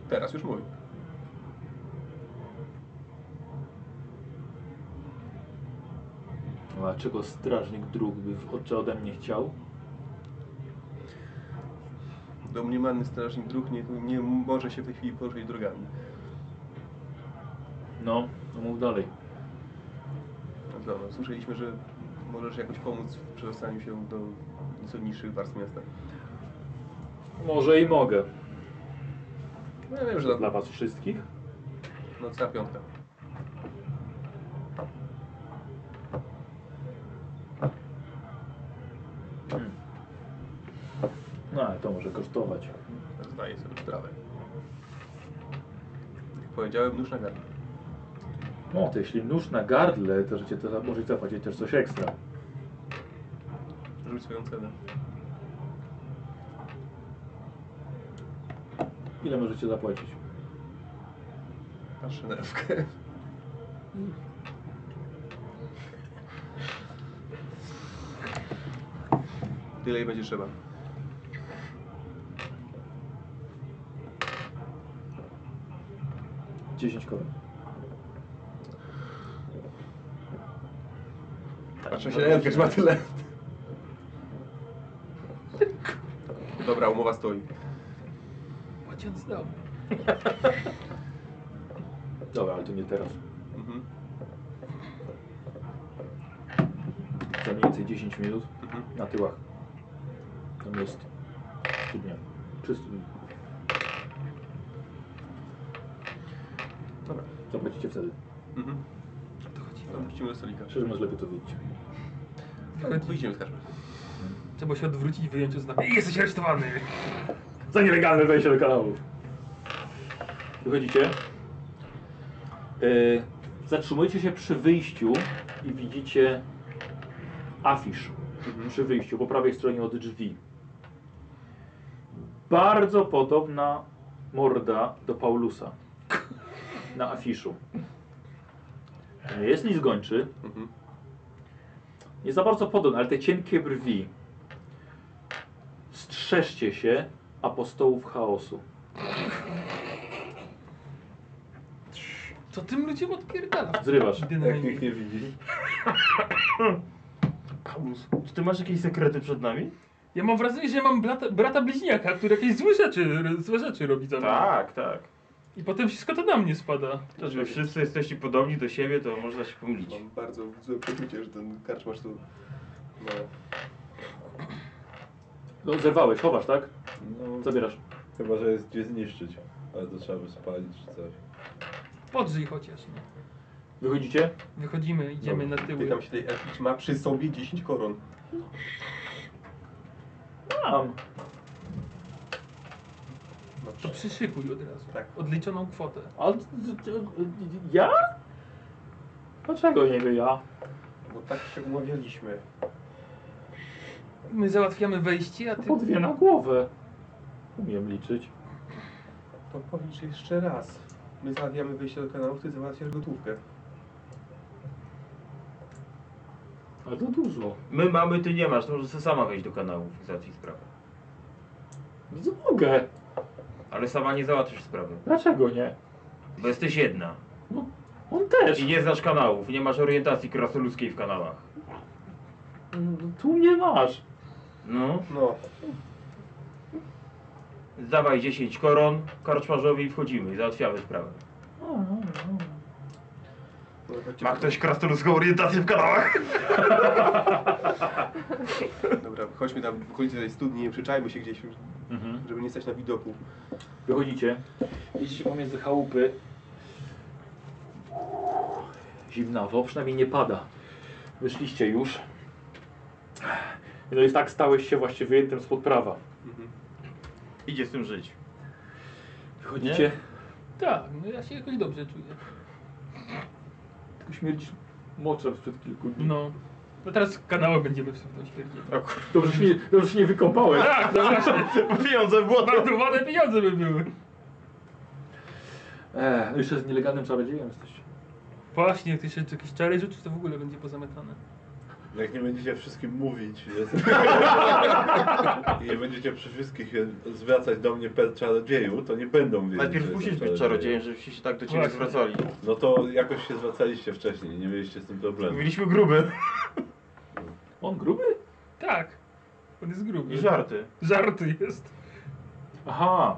Teraz już mój. No, A czego strażnik dróg by w oczy ode mnie chciał? domniemany strażnik dróg nie, nie może się w tej chwili poruszać drogami. No, to mów dalej. No Dobra, słyszeliśmy, że możesz jakoś pomóc w przedostaniu się do nieco niższych warstw miasta. Może i mogę. No ja wiem, że Dla to was wszystkich? nocna piątka. No, ale to może kosztować. Zdaję sobie sprawę. Jak powiedziałem, nóż na gardle. No, to jeśli nóż na gardle, to że cię to może zapłacić też coś ekstra. Rzuć swoją cenę. Ile możecie zapłacić? Patrzę na Ewkę. Tyle i będzie trzeba. Dziesięć koron. Patrzę się na Ewkę, czy ma tyle. Dobra, umowa stoi. Płaciąc dał. Dobra, ale to nie teraz. Mhm. Za mniej więcej 10 minut Mhm. na tyłach. Tam jest studnia. Przy studni. Dobra. Zapłacicie wtedy. Mhm. To chodzi. No, Wrócimy do stolika. Szczerze mówiąc, lepiej to widzicie. Ale wyjdziemy z karczmy. Trzeba się odwrócić, wyjąć oznamienie. Jesteś aresztowany! Za nielegalne wejście do kanału. Wychodzicie. Yy, zatrzymujecie się przy wyjściu i widzicie afisz przy wyjściu po prawej stronie od drzwi. Bardzo podobna morda do Paulusa na afiszu. Jest list gończy, Mhm. nie za bardzo podobny, ale te cienkie brwi. Strzeżcie się apostołów chaosu. Co tym ludziom odpierdala? Zrywasz. Jak Dynamik. nikt nie widzi. Paulus, czy ty masz jakieś sekrety przed nami? Ja mam wrażenie, że mam brata, brata bliźniaka, który jakieś złe rzeczy, złe rzeczy robi za mnie. Tak, tak. I potem wszystko to na mnie spada. To, że wszyscy jesteście podobni do siebie, to można się pomylić. Mam bardzo złe poczucie, że ten karczmarz tu... No, No, zerwałeś, chowasz, tak? No, Zabierasz. chyba, że jest gdzie zniszczyć. Ale to trzeba by spalić czy coś. Podrzyj chociaż. Nie? Wychodzicie? Wychodzimy, idziemy na tyły. pytam się tej Ewki, czy ma przy sobie 10 koron. Mam. No, To przyszykuj od razu. Tak. Odliczoną kwotę. A d- d- ja? Dlaczego niby ja? Bo tak się umawialiśmy. My załatwiamy wejście, a ty... Po dwie na głowę. Umiem liczyć. To powiedz jeszcze raz. My zamawiamy wyjście do kanału, ty załatwiasz gotówkę. Ale to dużo. My mamy, ty nie masz, to możesz sama wejść do kanału i załatwić sprawę. No to mogę. Ale sama nie załatwisz sprawy, Dlaczego nie? bo jesteś jedna. On też. I nie znasz kanałów, nie masz orientacji krasoludzkiej w kanałach. Mm, Tu mnie masz. No, No, dawaj 10 koron, karczmarzowi i wchodzimy i załatwiamy sprawę. A, a, a. no chodźcie. Ma ktoś krasnoludzką orientację w kanałach? Dobra, chodźmy tam w okolicy tej studni, nie przyczajmy się gdzieś, Mhm. żeby nie stać na widoku. Wychodzicie. Idziecie pomiędzy chałupy. Zimnawo, przynajmniej nie pada. Wyszliście już. No i tak stałeś się właśnie wyjętym spod prawa. Mhm. Idzie z tym żyć. Wychodzicie. Tak, no ja się jakoś dobrze czuję. Tylko śmierdzisz moczem sprzed kilku dni. Tak, No. No teraz kanały będziemy w sumie śmierdzić. Dobrze, że się nie, dobrze, że się nie wykąpałeś. Tak, no właśnie. Pieniądze w No. błoto! Bardzo ładne pieniądze by były. Eee, no jeszcze z nielegalnym czarodziejem jesteście. Właśnie, jak ty jeszcze jakieś czary rzucisz, to w ogóle będzie pozametane. Jak nie będziecie wszystkim mówić jest... i nie będziecie przy wszystkich zwracać do mnie per czarodzieju, to nie będą wiedzieć. Najpierw że musisz jestem być czarodziejem, żebyście się tak do ciebie Właśnie. zwracali. No to jakoś się zwracaliście wcześniej, nie mieliście z tym problemu. Mieliśmy gruby. On gruby? Tak. On jest gruby. I żarty. Żarty jest. Aha.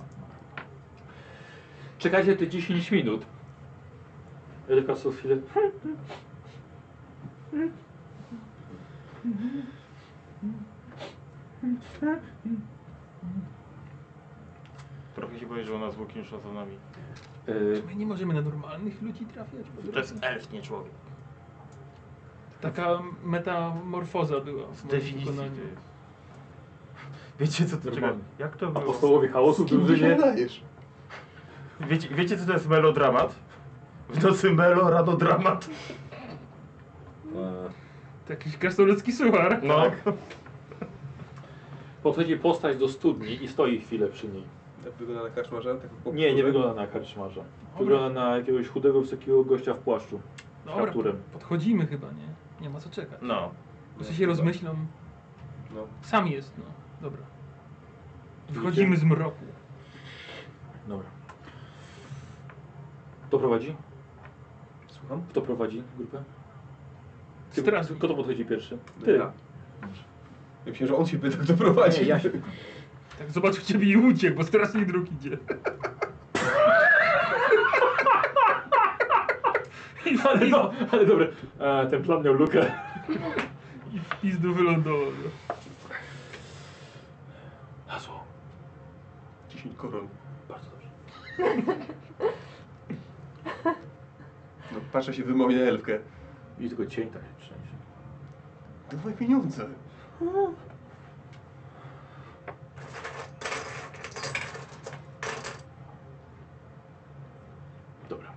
Czekajcie te 10 minut. Elka co chwilę. Trochę się boję, że ona z Łukinsza za nami. Y, My nie możemy na normalnych ludzi trafiać. po To drodze. jest elf, nie człowiek. Taka metamorfoza była w Z moim definicji to wykonaniu. jest. Wiecie co to Normalnie. czego? Jak to było? Apostołowie chaosu w drużynie. dajesz? Wiecie, wiecie co to jest melodramat? W nocy melo, rano dramat. E, To jakiś krasnoludzki suchar. No. Podchodzi postać do studni i stoi chwilę przy niej. Tak wygląda na karczmarza? Tak po Nie, nie kulturze? wygląda na karczmarza. Wygląda na jakiegoś chudego, wysokiego gościa w płaszczu. Z Dobra, kapturem. podchodzimy chyba, nie? Nie ma co czekać. No. Muszę się rozmyślą. No. Sam jest, no. Dobra. Wychodzimy z mroku. Dobra. Kto prowadzi? Słucham? Kto prowadzi grupę? Ty- Strażnik. Kto to podchodzi pierwszy? Ja. Ty. Ja myślę, że on się pyta, kto prowadzi. Nie, ja się- Tak zobaczył ciebie i uciekł, bo strasznie druk idzie. Ale, no, ale dobra, e, ten plan miał lukę. I w pizdu wylądował. no. Hasło. 10 koron. Bardzo dobrze. No, patrzę się wymownie na elfkę. I tylko cień tak się trzęsie. Dawaj pieniądze. Dobra.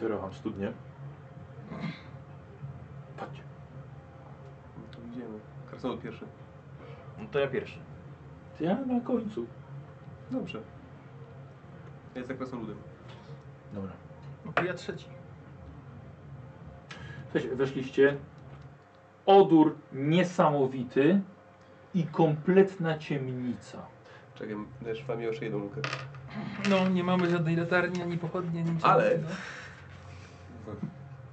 Teraz mam studnię. Patrzcie. No to idziemy. Krasnolud pierwszy. No to ja pierwszy. Ja na końcu. Dobrze. Ja jestem krasnoludem. Dobra. No to ja trzeci. Słuchajcie, weszliście. Odór niesamowity i kompletna ciemnica. Czekaj, dajesz wam jeszcze jedną lukę. No, nie mamy żadnej latarni, ani pochodni, ani niczego. Ale- no.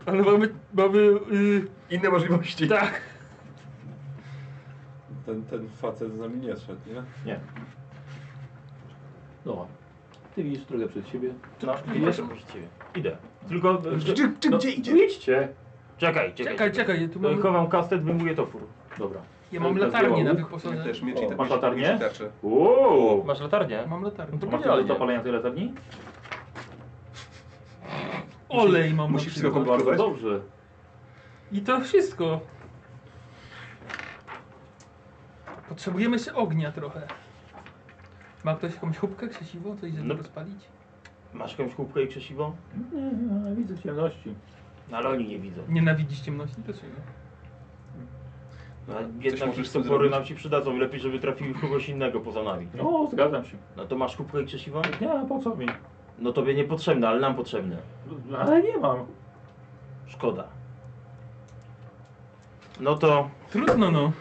Ale mamy... mamy yy, Inne możliwości. tak. Ten, ten facet z nami nie szedł, nie? Nie. Dobra. No. Ty widzisz drogę przed siebie. No, idziesz? proszę, proszę ciebie. Idę. Tylko... Czy, czy, czy No, gdzie idzie? Idźcie. Czekaj, czekaj. Czekaj, czekaj, ja tu No mam... Chowam kastet, wyjmuję topór. Dobra. Ja mam Elka latarnię zdjęła na łuk. Ja wyposażenie. też mieczy, O, masz mieczy- latarnię? mieczy tarczę. Wow. Masz latarnię? Mam latarnię. Masz genialnie. do zapalenia tej latarni? Olej mam musisz na przykład. wszystko Bardzo Próbować? dobrze. I to wszystko. Potrzebujemy się ognia trochę. Ma ktoś jakąś chubkę, krzesiwo, coś żeby No. rozpalić? Masz jakąś chłupkę i krzesiwą? Nie, widzę ciemności. No, ale oni nie widzą. Nienawidzisz ciemności? Dlaczego? No, Coś jednak możesz te sobie topory zrobić. nam się przydadzą. Lepiej, żeby trafiły w kogoś innego poza nami. No, zgadzam się. No to masz chłupkę i krzesiwą? Nie, po co mi? No tobie niepotrzebne, ale nam potrzebne. Ale nie mam. Szkoda. No to... Trudno no.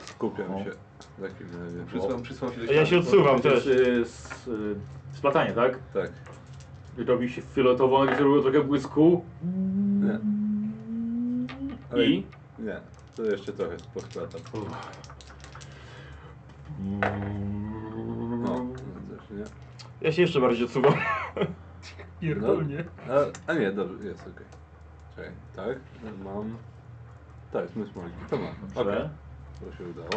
Skupiam tak No. się. W takim razie. Przysłam, przysłam się do Ja się ściany. odsuwam To jest też. y, s- y, splatanie, tak? Tak. Robi się fioletowo, gdzie robiło trochę błysku. Nie. Ale I? Nie. To jeszcze trochę pochwatam. No, też nie. Ja się jeszcze bardziej odsuwam. No. Pierdolnie. A, a nie, dobrze, jest okej. Czekaj, tak, mam... Tak, zmysł magii, to mam. Okej, Dobrze. to się udało.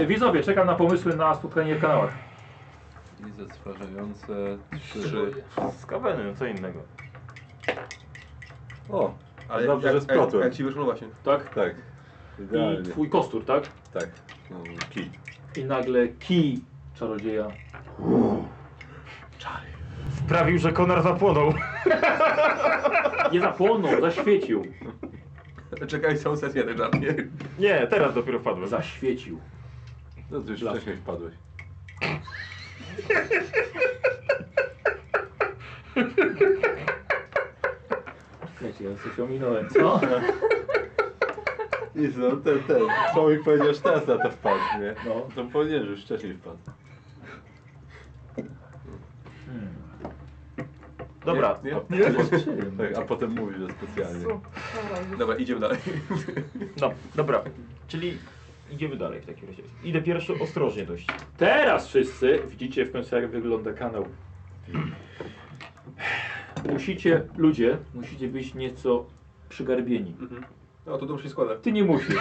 Y, Widzowie, czekam na pomysły na spotkanie w kanałach. I zatrważające trzy... Trzy. Z kawenem, co innego. O, Ale Dobrze, jak, że splotłem. Jak, jak ci wyszło, no właśnie. Tak? tak, I idealnie. twój kostur, tak? Tak, no, kij. I nagle kij czarodzieja. Sprawił, że konar zapłonął. Nie zapłonął, zaświecił. Czekaj, całą sesję ten żart, nie? Nie, teraz dopiero wpadłem. Zaświecił. No ty już Blask. wcześniej wpadłeś. Wiecie, ja coś ominąłem, co? Nic, no ten, ten, człowiek powiedział, że teraz na to wpadł, nie? No. No, to powinien, że już wcześniej wpadł. Hmm. Dobra. Nie? A, Nie? Tak, a potem mówi, że specjalnie. Dobra, idziemy dalej. No, dobra. Czyli Idziemy dalej w takim razie. Idę pierwszy ostrożnie dość. Teraz wszyscy widzicie w końcu jak wygląda kanał. Musicie, ludzie, musicie być nieco przygarbieni. No to dobrze się składa. Ty nie musisz.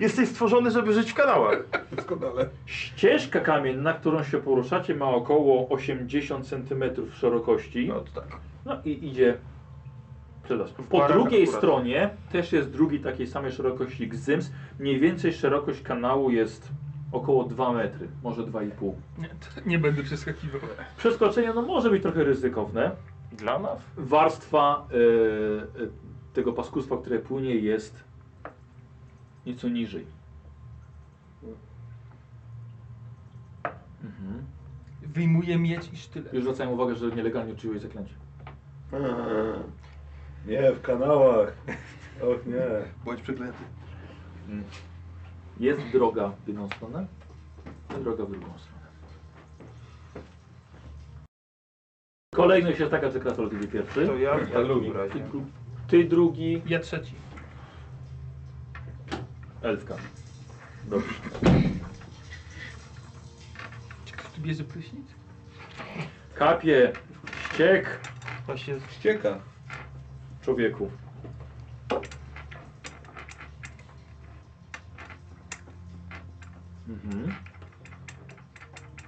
Jesteś stworzony, żeby żyć w kanałach. Doskonale. Ścieżka kamienna, którą się poruszacie ma około 80 cm szerokości. No to tak. No i idzie. Przepraszam. Po parach drugiej akurat. stronie też jest drugi takiej samej szerokości Gzyms. Mniej więcej szerokość kanału jest około 2 metry, może 2,5. Nie, to nie będę przeskakiwał. Przeskoczenie no, może być trochę ryzykowne. Dla nas? Warstwa e, e, tego paskustwa, które płynie, jest nieco niżej. Mhm. Wyjmuję miecz i sztylet. Już zwracają uwagę, że nielegalnie uczyłeś zaklęcie. Nie, w kanałach. Och nie. Bądź przeklęty. Jest droga w jedną stronę, i droga w drugą stronę. Kolejność jest taka, że Krasol idzie pierwszy. To ja, ja drugi. drugi. Ty, dru- ty drugi, Ja trzeci. elfka. Dobrze. Czy ktoś tu bierze prysznic? Kapie, ściek, Właśnie Ścieka. człowieku. Mhm.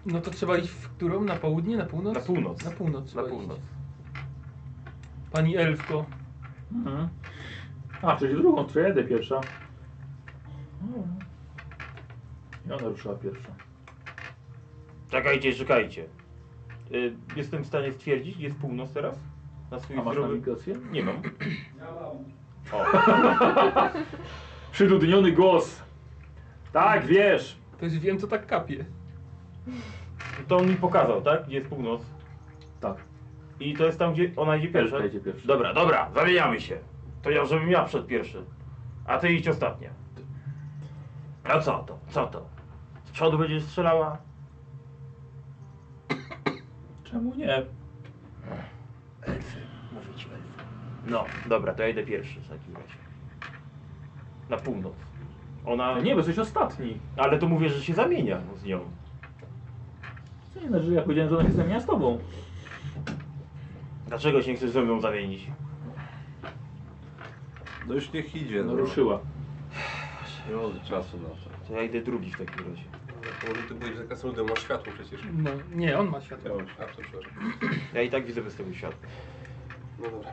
No to trzeba iść w którą? Na południe? Na północ? Na północ. Na północ. Na trzeba północ. Iść. Pani Elfko. Mhm. A, czyli drugą, trojadę pierwsza. I ona ruszyła pierwsza. Czekajcie, czekajcie. Y, jestem w stanie stwierdzić, gdzie jest północ teraz? Na swój A masz zdrowy... nawigację? Nie mam. Przyludniony głos. Tak, wiesz. To już wiem, co tak kapie. To on mi pokazał, tak? Gdzie jest północ. Tak, I to jest tam, gdzie ona idzie pierwsza? Elfka idzie pierwsza. Dobra, dobra, zamieniamy się. To ja, żebym ja przed pierwszy. A ty idź ostatnia. A co to? Co to? Z przodu będziesz strzelała? Czemu nie? Elfy. Mówić elfy. No, dobra, to ja idę pierwszy w takim razie. Na północ. Ona... A nie, bo jesteś ostatni. Ale to mówię, że się zamienia z nią. Co nie znaczy, że ja powiedziałem, że ona się zamienia z tobą. Dlaczego się nie chcesz ze mną zamienić? No już niech idzie. No, ruszyła. Nie mamy czasu na to. To ja idę drugi w takim razie. Może ty powiesz, że Kasnudem masz światło przecież. No, nie, on ma światło. A, to przepraszam. Ja i tak widzę bez tego świata. No dobra.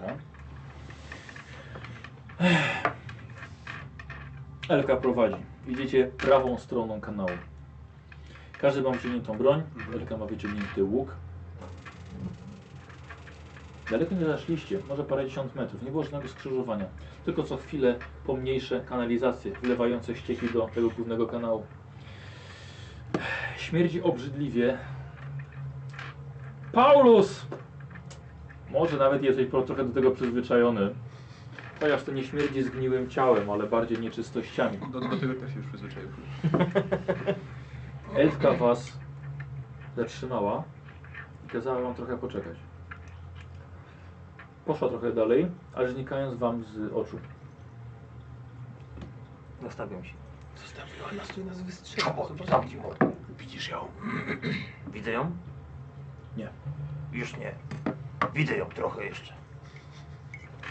Tak. Elka prowadzi. Idziecie prawą stroną kanału. Każdy ma wyciągniętą broń, Elka ma wyciągnięty łuk. Daleko nie zaszliście, może parędziesiąt metrów. Nie było żadnego skrzyżowania. Tylko co chwilę pomniejsze kanalizacje wlewające ścieki do tego głównego kanału. Śmierdzi obrzydliwie. Paulus! Może nawet jesteś pro- trochę do tego przyzwyczajony. Chociaż to nie śmierdzi zgniłym ciałem, ale bardziej nieczystościami. Do, do tego też się już przyzwyczaiłem. Elfka was zatrzymała i kazała wam trochę poczekać. Poszła trochę dalej, ale znikając wam z oczu. Nastawiam się. Zostawiła nas tu i nas wystrzeliła. Tam Zobaczcie. ci Widzisz ją? Widzę ją? Nie. Już nie. Widzę ją trochę jeszcze.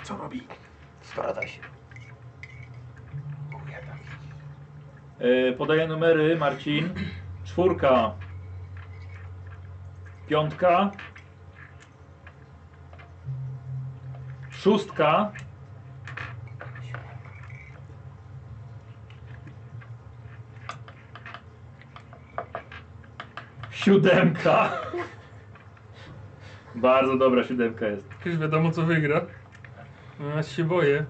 Co robi? Sparada się. E, podaję numery, Marcin. Czwórka. Piątka. Szóstka. Siódemka. Bardzo dobra siódemka jest. Już wiadomo, co wygra. No, Ja się boję.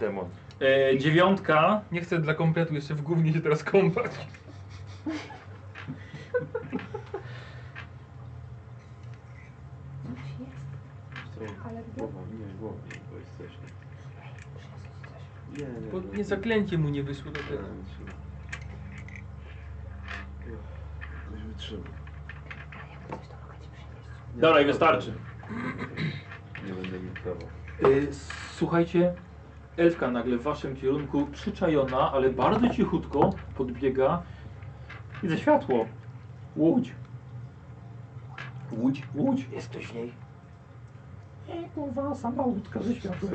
Demon. E, dziewiątka. Nie chcę dla kompletu jeszcze w gównie się teraz kąpać. Ale głowa, nie, głowa, bo jesteśmy. Nie, nie. Bo no, nie zaklęcie mu nie wyszło do Nie, tego. wytrzyma. Ktoś wytrzyma. Dobra, i wystarczy. Nie będę mikrował. Y, Słuchajcie, elfka nagle w waszym kierunku, przyczajona, ale bardzo cichutko podbiega. Widzę światło. Łódź, Łódź? łódź. Jest ktoś w niej? Nie, kurwa, sama łódka ze światłem.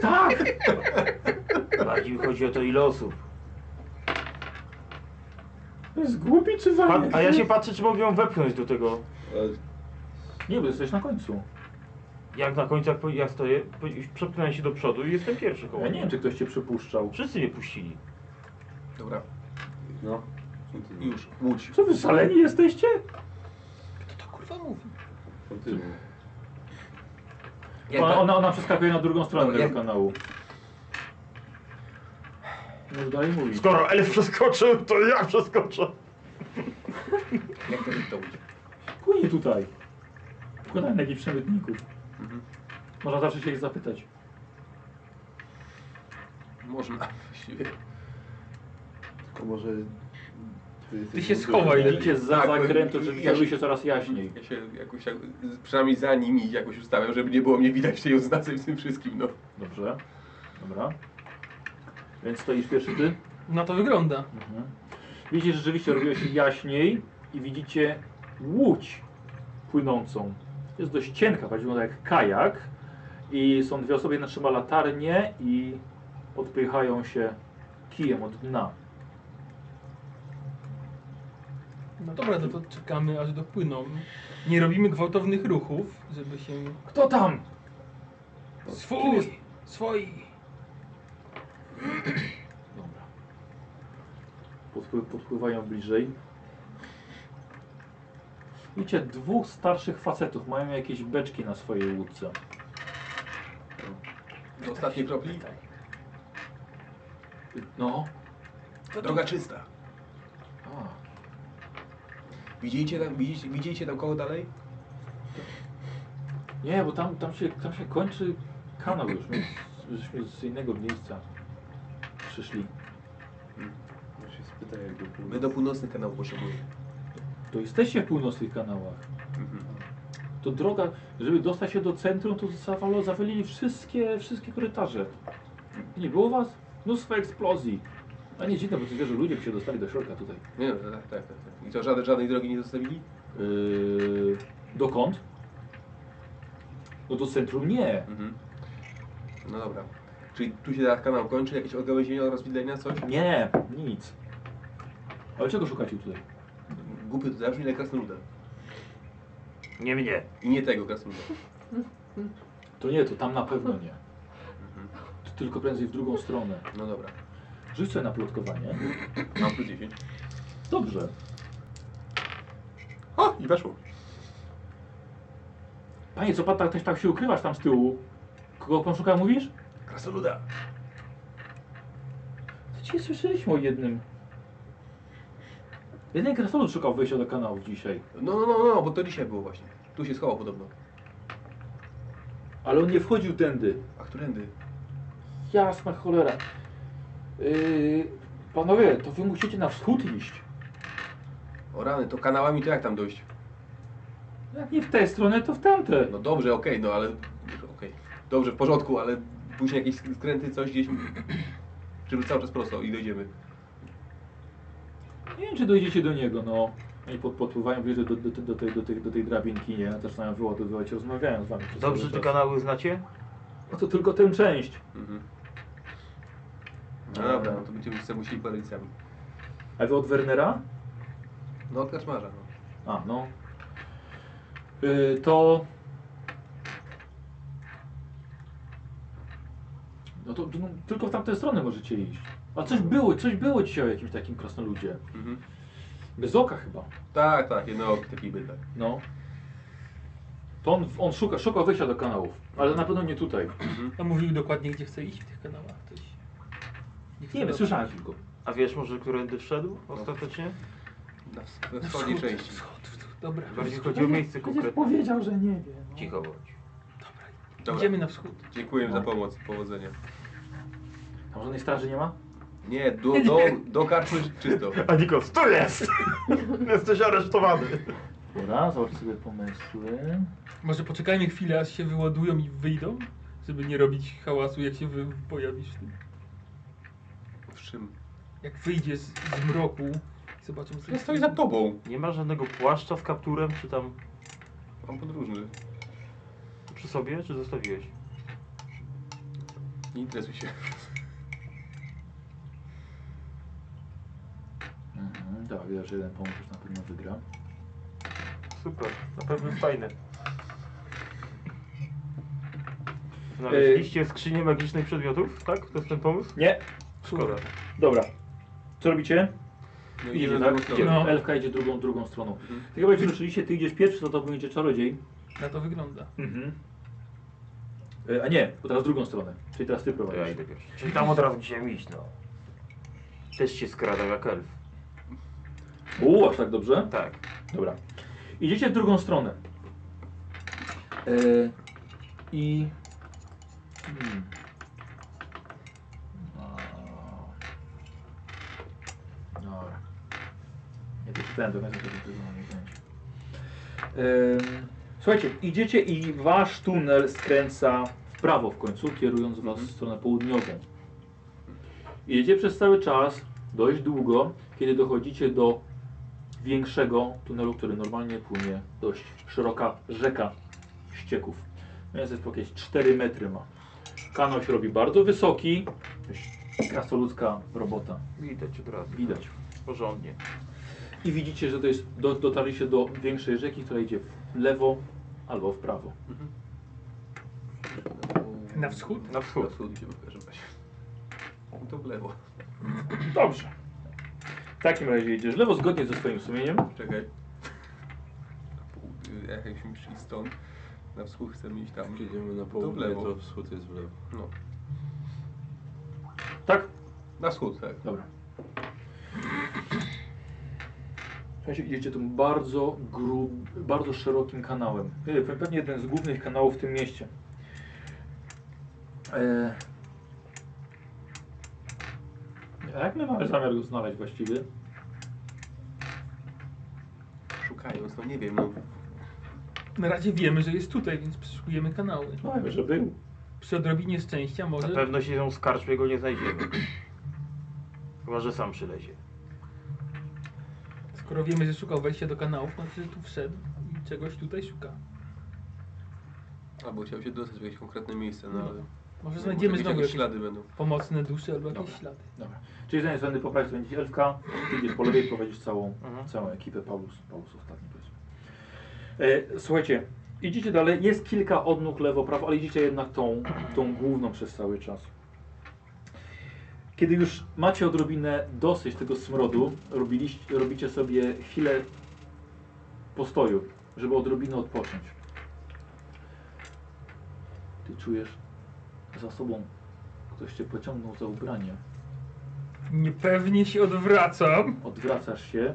tak! Bardziej mi chodzi o to, ile osób. To jest głupi czy Pa- wariat? a ja się patrzę, czy mogę ją wepchnąć do tego. Ale Nie, bo jesteś na końcu. Jak na końcu, jak, po- jak stoję, po- przepchnąłem się do przodu i jestem pierwszy koło. Ja nie wiem, czy ktoś cię przypuszczał. Wszyscy mnie puścili. Dobra, No. już, Łódź. Co wy szaleni jesteście? Kto to kurwa mówi? Kontynuuj. Jak tak. ona, ta- ona, ona przeskakuje na drugą stronę Dobra, tego jak- kanału. No dalej mówisz. Skoro elf przeskoczył, to ja przeskoczę. Jak to jest to Łódź? Płynie tutaj. Wkładaj na jakichś przemytników. Mhm. Można zawsze się ich zapytać. Można, właściwie. Tylko może... Ty się schowaj, Idzie za Tak, zakrętu, żeby ja się- robi się coraz jaśniej. Ja się jakoś, tak- przynajmniej za nimi jakoś ustawiam, żeby nie było mnie widać w tej oznace i w tym wszystkim, no. Dobrze. Dobra. Więc stoisz pierwszy ty. Na No to wygląda. Widzicie, że rzeczywiście robiło się jaśniej i widzicie łódź płynącą. Jest dość cienka, choć wygląda jak kajak. I są dwie osoby, jedna trzyma latarnię i odpychają się kijem od dna. No dobra, no to czekamy aż dopłyną. Nie robimy gwałtownych ruchów, żeby się... Kto tam? Swój! Swoi! Dobra. Podpły, podpływają bliżej. Widzicie, dwóch starszych facetów mają jakieś beczki na swojej łódce. Do ostatniej Tak, kropli. No. tak. Droga czysta. A, Widzieliście tam, widzicie, widzicie tam koło dalej? nie, bo tam, tam, się, tam się kończy kanał już. My żeśmy z innego miejsca przyszli. Ja się spytaj, jak go My do północnych kanałów potrzebujemy. To jesteście w północnych kanałach. To droga, żeby dostać się do centrum, to zawalo, zawalili wszystkie, wszystkie korytarze. Nie było was? Mnóstwo eksplozji. A nie dziwne, bo to wiesz, że ludzie by się dostali do środka tutaj. Nie no, tak, tak, tak. tak. I co, żadnej, żadnej drogi nie zostawili? Yy, dokąd? No do centrum nie. Mhm. No dobra. Czyli tu się teraz kanał kończy, jakieś odgałęzienia, rozwidlenia, coś? Nie, nic. Ale czego szukacie tutaj? Głupio to zabrzmi, ale krasnoluda. Nie mnie. I nie tego krasnoluda. To nie, to tam na pewno nie. To tylko prędzej w drugą stronę. No dobra. Rzuć sobie na plotkowanie. Mam plus 10. Dobrze. O, i weszło. Panie, co pan tak, też tak się ukrywasz tam z tyłu? Kogo pan szuka, mówisz? Krasnoluda. To dzisiaj słyszeliśmy o jednym. Jeden krasnolud szukał wyjścia do kanałów dzisiaj. No, no, no, no, bo to dzisiaj było właśnie. Tu się schował podobno. Ale on nie wchodził tędy. A którędy? Jasna cholera. Yy, panowie, to wy musicie na wschód iść. O rany, to kanałami to jak tam dojść? Jak nie w tę stronę, to w tamte. No dobrze, okej, no ale... Okej. Dobrze, w porządku, ale później jakieś sk- skręty, coś gdzieś... Czy cały czas prosto i dojdziemy. Nie wiem, czy dojdziecie do niego, no. Oni pod, podpływają bliżej do, do, do, tej, do, tej, do tej drabinki, nie? Zaczynają wyładowywać, rozmawiają z wami. przez Dobrze, cały te czas. kanały znacie? No to tylko tę część. Mhm. No dobra, no to będziemy sobie musieli poradzić sami. A wy od Wernera? No od kaczmarza, no. A, no. Yy, to... No to, to no, tylko w tamtą stronę możecie iść. A coś było, coś było dzisiaj o jakimś takim krasnoludzie. Mhm. Bez oka chyba. Tak, tak, jedno taki bydlak. No. To on, on szuka, szuka wyjścia do kanałów, ale na pewno nie tutaj. A mówił dokładnie, gdzie chce iść w tych kanałach ktoś. chce Nie wiem, do- słyszałem tylko. A wiesz może, którędy wszedł ostatecznie? Na, ws- we Na wschodniej wschód, części. wschód, wschód, Dobra, Bardziej chodzi o miejsce konkretne. powiedział, że nie wie. no. Cicho bądź. dobra. Dobra, Idziemy na wschód. dziękuję za pomoc, powodzenia. Tam żadnej straży nie ma? Nie, do, do, do karczmy czysto. A Niko, tu jest! Jesteś aresztowany. Dobra, zobacz sobie pomysły. Może poczekajmy chwilę, aż się wyładują i wyjdą żeby nie robić hałasu, jak się wy pojawisz w tym. W czym? Jak wyjdzie z, z mroku i zobaczymy, co Ja stoi za tobą. Nie ma żadnego płaszcza z kapturem, czy tam Mam podróżny. przy sobie, czy zostawiłeś? Nie interesuj się. Mhm, tak, widać, że jeden pomysł na pewno wygra. Super, na pewno jest fajne. Znaleźliście skrzynię magicznych przedmiotów, tak? To jest ten pomysł? Nie, Szkoda. dobra. Co robicie? No i Idziecie, idziemy tak? tak? Idziemy. No. Elfka idzie drugą, drugą stroną. Tak chyba jak się ruszyliście, ty idziesz pierwszy, to to będzie czarodziej. na to wygląda. Mhm. E, a nie, bo teraz drugą stronę. Czyli teraz ty To ja prowadzisz. idę pierwszy. Czyli tam od razu chciałem iść, no. Też się skradał jak elf. U, aż tak dobrze? Tak. Dobra. Idziecie w drugą stronę. E, I. Hmm. A. Dobra. Ja to czytałem do końca, to tylko na pamięć. Em, Słuchajcie, idziecie i wasz tunel skręca w prawo w końcu, kierując was w stronę południową. Idziecie przez cały czas, dość długo, kiedy dochodzicie do większego tunelu, który normalnie płynie dość szeroka rzeka ścieków. Więc jest to jakieś 4 metry ma. Kanał się robi bardzo wysoki. Jakaś Krasnoludzka robota. Widać od razu. Widać. Porządnie. I widzicie, że to jest, do, dotarliście do większej rzeki, która idzie w lewo albo w prawo. Na wschód? Na Na wschód. wschód idziemy, proszę Państwa. To w lewo. Dobrze. W takim razie idziesz w lewo zgodnie ze swoim sumieniem. Czekaj. Południe- Jak jakśmy szli stąd, na wschód chcemy iść tam. Jak Idziemy na w południe, lewo. to wschód jest w lewo. No. Tak? Na wschód, tak. Dobra. Słuchajcie, idziecie tym bardzo grub, bardzo szerokim kanałem. Nie, pe- Pewnie jeden z głównych kanałów w tym mieście. E... A jak my mamy zamiar go znaleźć właściwie? Szukając, no nie wiem, no. Na razie wiemy, że jest tutaj, więc przeszukujemy kanały. No wiem, że był. Przy odrobinie szczęścia Na może... pewno się ją skarczmy, jego nie znajdziemy. Chyba, że sam przylezie. Skoro wiemy, że szukał wejścia do kanałów, no to tu wszedł i czegoś tutaj szuka. Albo chciał się dostać w jakieś konkretne miejsce, no ale... Może No, znajdziemy może znowu jakieś jakieś ślady będą. pomocne dusze albo jakieś Dobra. ślady. Dobra. Czyli z jednej strony po prawej będzie Elfka, ty idziesz po lewej prowadzisz całą, Mhm. całą ekipę. Paulus, Paulus ostatni powiedzmy. E, słuchajcie, idziecie dalej, jest kilka odnóg lewo, prawo, ale idziecie jednak tą, tą główną przez cały czas. Kiedy już macie odrobinę dosyć tego smrodu, robiliście, robicie sobie chwilę postoju, żeby odrobinę odpocząć. Ty czujesz za sobą, ktoś cię pociągnął za ubranie. Niepewnie się odwracam. Odwracasz się.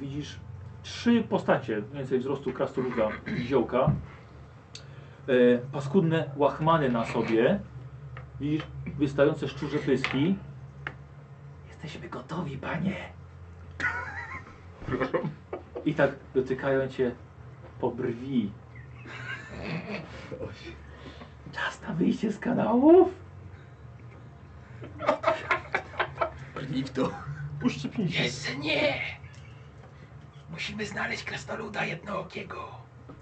Widzisz trzy postacie, mniej więcej wzrostu krasnoluda i ziołka. E, paskudne łachmany na sobie. Widzisz wystające szczurze pyski. Jesteśmy gotowi, panie. I tak dotykają cię po brwi. Czas na wyjście z kanałów? Brnij w to. Uszczypnijcie. Jeszcze nie! Musimy znaleźć krasnoluda jednookiego. No,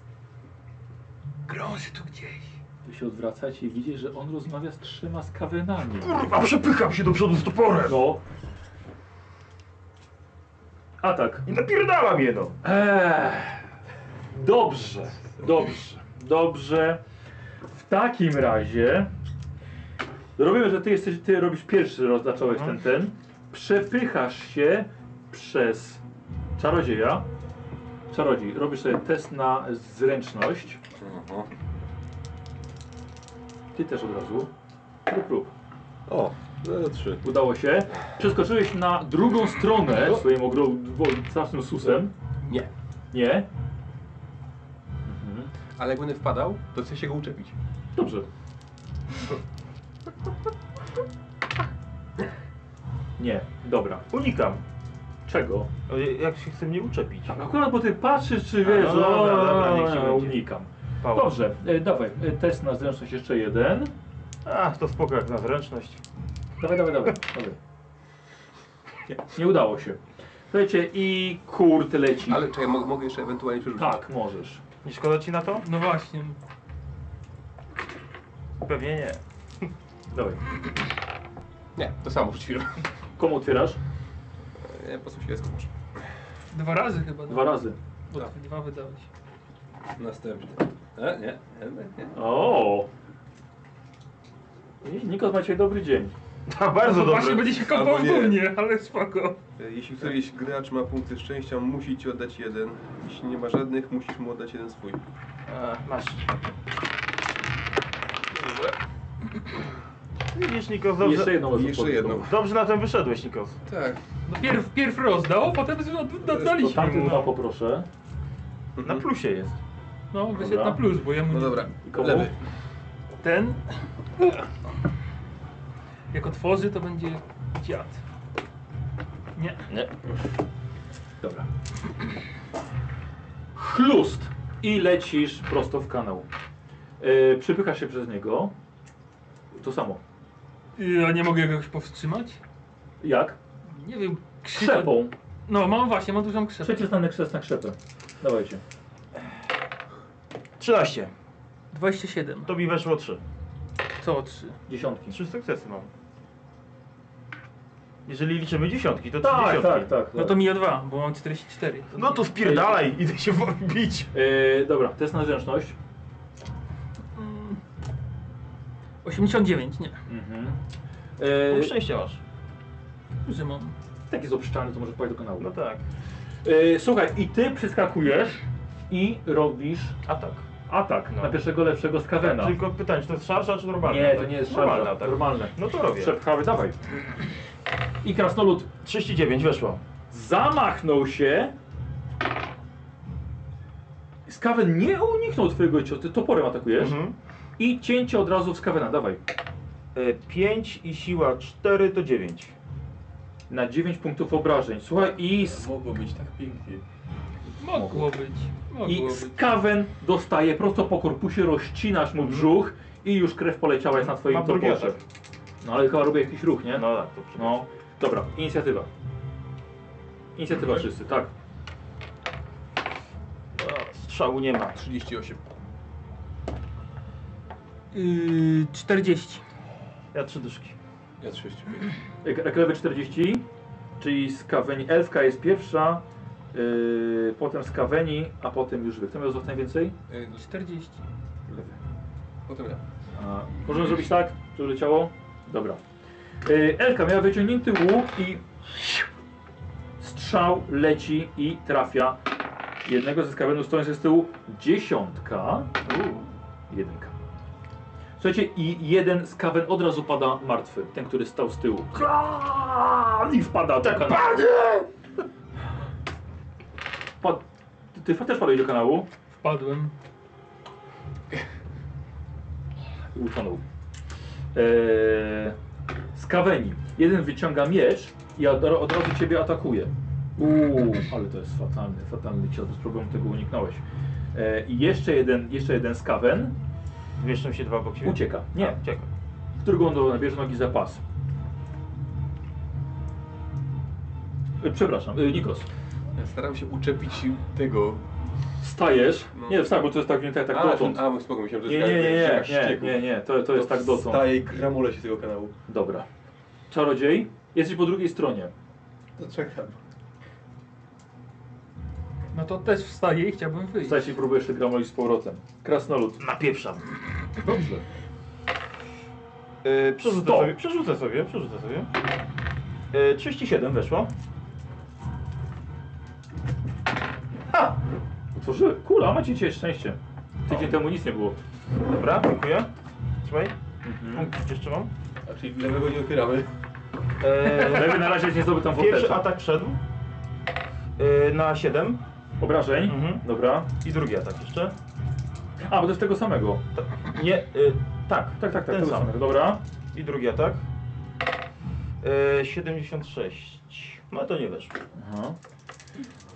Grąży tu gdzieś. Wy się odwracacie i widzisz, że on rozmawia z trzema skawenami. Kurwa, przepycham się do przodu z toporem! No. A tak. I napierdalam je, no! Eee, dobrze, dobrze, dobrze. W takim razie robimy, że ty jesteś, ty robisz pierwszy raz, zacząłeś ten, ten. Przepychasz się przez czarodzieja. Czarodziej, robisz sobie test na zręczność. Aha. Ty też od razu. Prób, prób. O, 03. Udało się. Przeskoczyłeś na drugą stronę swoim ogrom, strasznym susem. Nie. No. Nie? Ale jak będę wpadał, to chcę się go uczepić. Dobrze. Nie, dobra. Unikam. Czego? Ale Jak się chce mnie uczepić? Tak, Akurat bo ty patrzysz, czy A, wiesz, no dobra, o, dobra, niech ci będzie. unikam. Paweł. Dobrze, e, dawaj, e, test na zręczność jeszcze jeden. Ach, to spoko jak na zręczność. Dawaj, dawaj, dawaj. dawaj. Nie, nie udało się. Słuchajcie, i kurt leci. Ale czekaj, mo- mogę jeszcze ewentualnie przerzucić. Tak, możesz. Nie szkoda ci na to? No właśnie. Pewnie nie. Dawaj. Nie, to samo przed chwilą. Komu otwierasz? Nie, po prostu się skupisz. Dwa razy chyba. no. Dwa razy. Bo dwa wydałeś. Następny. E, nie, nie, nie. O. I- Nikos ma dzisiaj dobry dzień. No, A bardzo Właśnie dobry. będzie się kopał Albo nie. w mnie, ale spoko. Jeśli któryś gracz ma punkty szczęścia, musi ci oddać jeden. Jeśli nie ma żadnych, musisz mu oddać jeden swój. E, masz. Widzisz, Nikos, I dobrze. Jeszcze jedną I możesz jeszcze podnieść. jedną. Dobrze na tym wyszedłeś, Nikos. Tak. No pierw, pierw rozdał, potem z- od- To oddaliśmy tamty mu. dwa poproszę. Na plusie jest. No, wyszedł Dobra. na plus, bo jemu No dobra. I komu? Lewy. ten... e, Jak otworzy, to będzie dziad. Nie. Dobra. Chlust! I lecisz prosto w kanał. E, przypychasz się przez niego. To samo. Y, A nie mogę go jakoś powstrzymać? Jak? Nie wiem, krzyczę. Krzepą. No, mam właśnie, mam dużą krzepę. Przecisnany krzes na krzepę. Dawajcie. 13. 27. To mi weszło 3. Co No 3? Dziesiątki. 3 sukcesy mam. Jeżeli liczymy dziesiątki, to trzy Tak, dziesiątki. tak, tak. No to mi o 2, bo mam 44. No to spierdalaj, idę się bić. E, dobra, test na zręczność. Mm. 89, nie. Mhm. Punkt E, szczęścia masz. Że mam. taki jest obszczalny, to może pójść do kanału. No tak. E, słuchaj, i ty przeskakujesz i robisz Atak. atak No. na pierwszego lepszego skawena. Tylko pytanie, czy to jest szarża, czy normalna? No. Tak, Nie, to nie jest Normalna, szarża. tak. Normalne. No to robię. Przepchawy, dawaj. I krasnolud 39 weszło. zamachnął się. Skawen nie uniknął twojego ciosu, ty toporem atakujesz. Mhm. I cięcie od razu w skawena, dawaj. E, 5 i siła 4 to 9. Na 9 punktów obrażeń. Słuchaj, i, s- Mogło być tak pięknie. Mogło być. Mogło i być. skawen dostaje prosto po korpusie, rozcinasz mu brzuch i już krew poleciała jest na twoim Mam drugi toporze. atak. No ale chyba robię jakiś ruch, nie? No tak, to przepraszam. No, dobra, inicjatywa. Mhm. Inicjatywa wszyscy, tak. A, Strzału nie ma. 38. Yy, 40. Ja trzy dyszki. Ja 35. Ek- Eklewy 40, czyli skaweni. Elfka jest pierwsza, yy, potem skaweni, a potem już wy. Kto miał zostać najwięcej? Y, 40. Potem ja. A, możemy zrobić tak, że leciało? Dobra. Yy, Elka miała wyciągnięty łuk i strzał leci i trafia jednego ze skawenów stojących z tyłu. Dziesiątka. Jedynka. Słuchajcie, i jeden skawen od razu pada martwy, ten, który stał z tyłu. I wpada do kanału. Pad... Ty, ty też padłeś do kanału? Wpadłem. i utonął. Eee, skaweni. Jeden wyciąga miecz i od, od razu ciebie atakuje. Uuu, ale to jest fatalny, fatalny cios, bez problemu tego uniknąłeś. Eee, I jeszcze jeden, jeszcze jeden skawen Wieszczą się dwa obok siebie. ucieka. Nie, Ucieka. w drugą nogę bierze nogi za pas. E, Przepraszam, e, Nikos. Ja staram się uczepić tego. Wstajesz. No. Nie, wstaj, bo to jest tak, nie, tak, tak dotąd. a, a spoko, myślałem, że Nie, nie, nie, nie, nie, nie, nie, to, to jest tak dotąd. Staje i gramule się z tego kanału. Dobra. Czarodziej, jesteś po drugiej stronie. To czekam. No to też wstaję i chciałbym wyjść. Wstajesz i próbujesz się gramolić z powrotem. Krasnolud. Napieprzam. Dobrze. E, przerzucę, Sto. sobie, przerzucę sobie, przerzucę sobie. E, 37 weszło. Otworzyły. Kula, macie dzisiaj szczęście. Tydzień temu nic nie było. Dobra, dziękuję. Trzymaj. Mhm. Punkt jeszcze mam. A czyli lewego nie otwieramy. E, Lewy na razie jest niezdobył tam pierwszy woteczek. atak wszedł. E, na 7. Obrażeń. Mhm. Dobra. I drugi atak jeszcze. A, bo to jest tego samego. Nie, e, tak. Tak, tak, tak. Ten Tego sam. samego. Dobra. I drugi atak. Y, E, 76. No to nie weszło. Aha.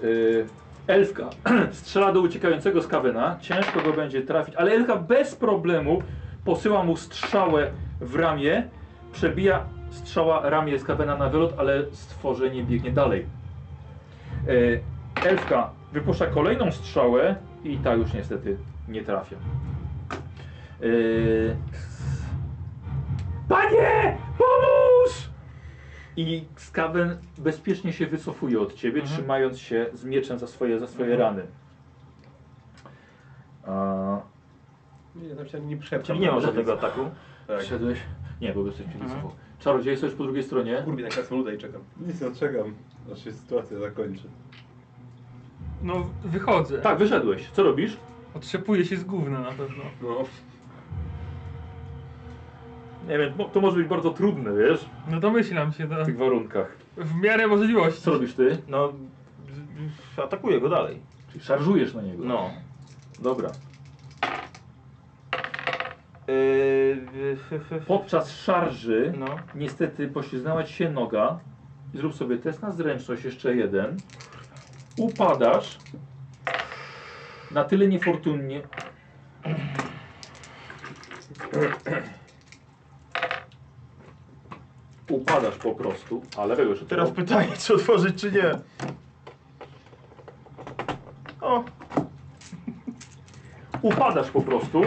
Y, Elfka strzela do uciekającego z kawena, ciężko go będzie trafić, ale Elfka bez problemu posyła mu strzałę w ramię, przebija strzała ramię z kawena na wylot, ale stworzenie biegnie dalej. E, Elfka wypuszcza kolejną strzałę i ta już niestety nie trafia. E, Panie! Pomóż! I Skaven bezpiecznie się wycofuje od ciebie, trzymając się z mieczem za swoje, za swoje rany. A, Nie, tam się nie przepcham. Czyli nie ma żadnego ataku. Tak. Wszedłeś? Nie, bo jesteś mhm. Czarodziej, jesteś po drugiej stronie. Kurwie, tak krasnoluda i czekam. Nic, no czekam, aż się sytuacja zakończy. No, wychodzę. Tak, wyszedłeś. Co robisz? Otrzepuję się z gówna na pewno. No, Nie wiem, mo- to może być bardzo trudne, wiesz, No domyślam się, to w tych warunkach. w miarę możliwości. Co robisz ty? No, z- z- atakuję go dalej. Czyli szarżujesz na niego. No. Dobra. Yy, f, f, f, Podczas szarży no. niestety pośliznęła ci się noga. I Zrób sobie test na zręczność, jeszcze jeden. Upadasz. Na tyle niefortunnie. Upadasz po prostu, ale lewego jeszcze Teraz tylko. pytanie, czy otworzyć, czy nie. O, Upadasz po prostu.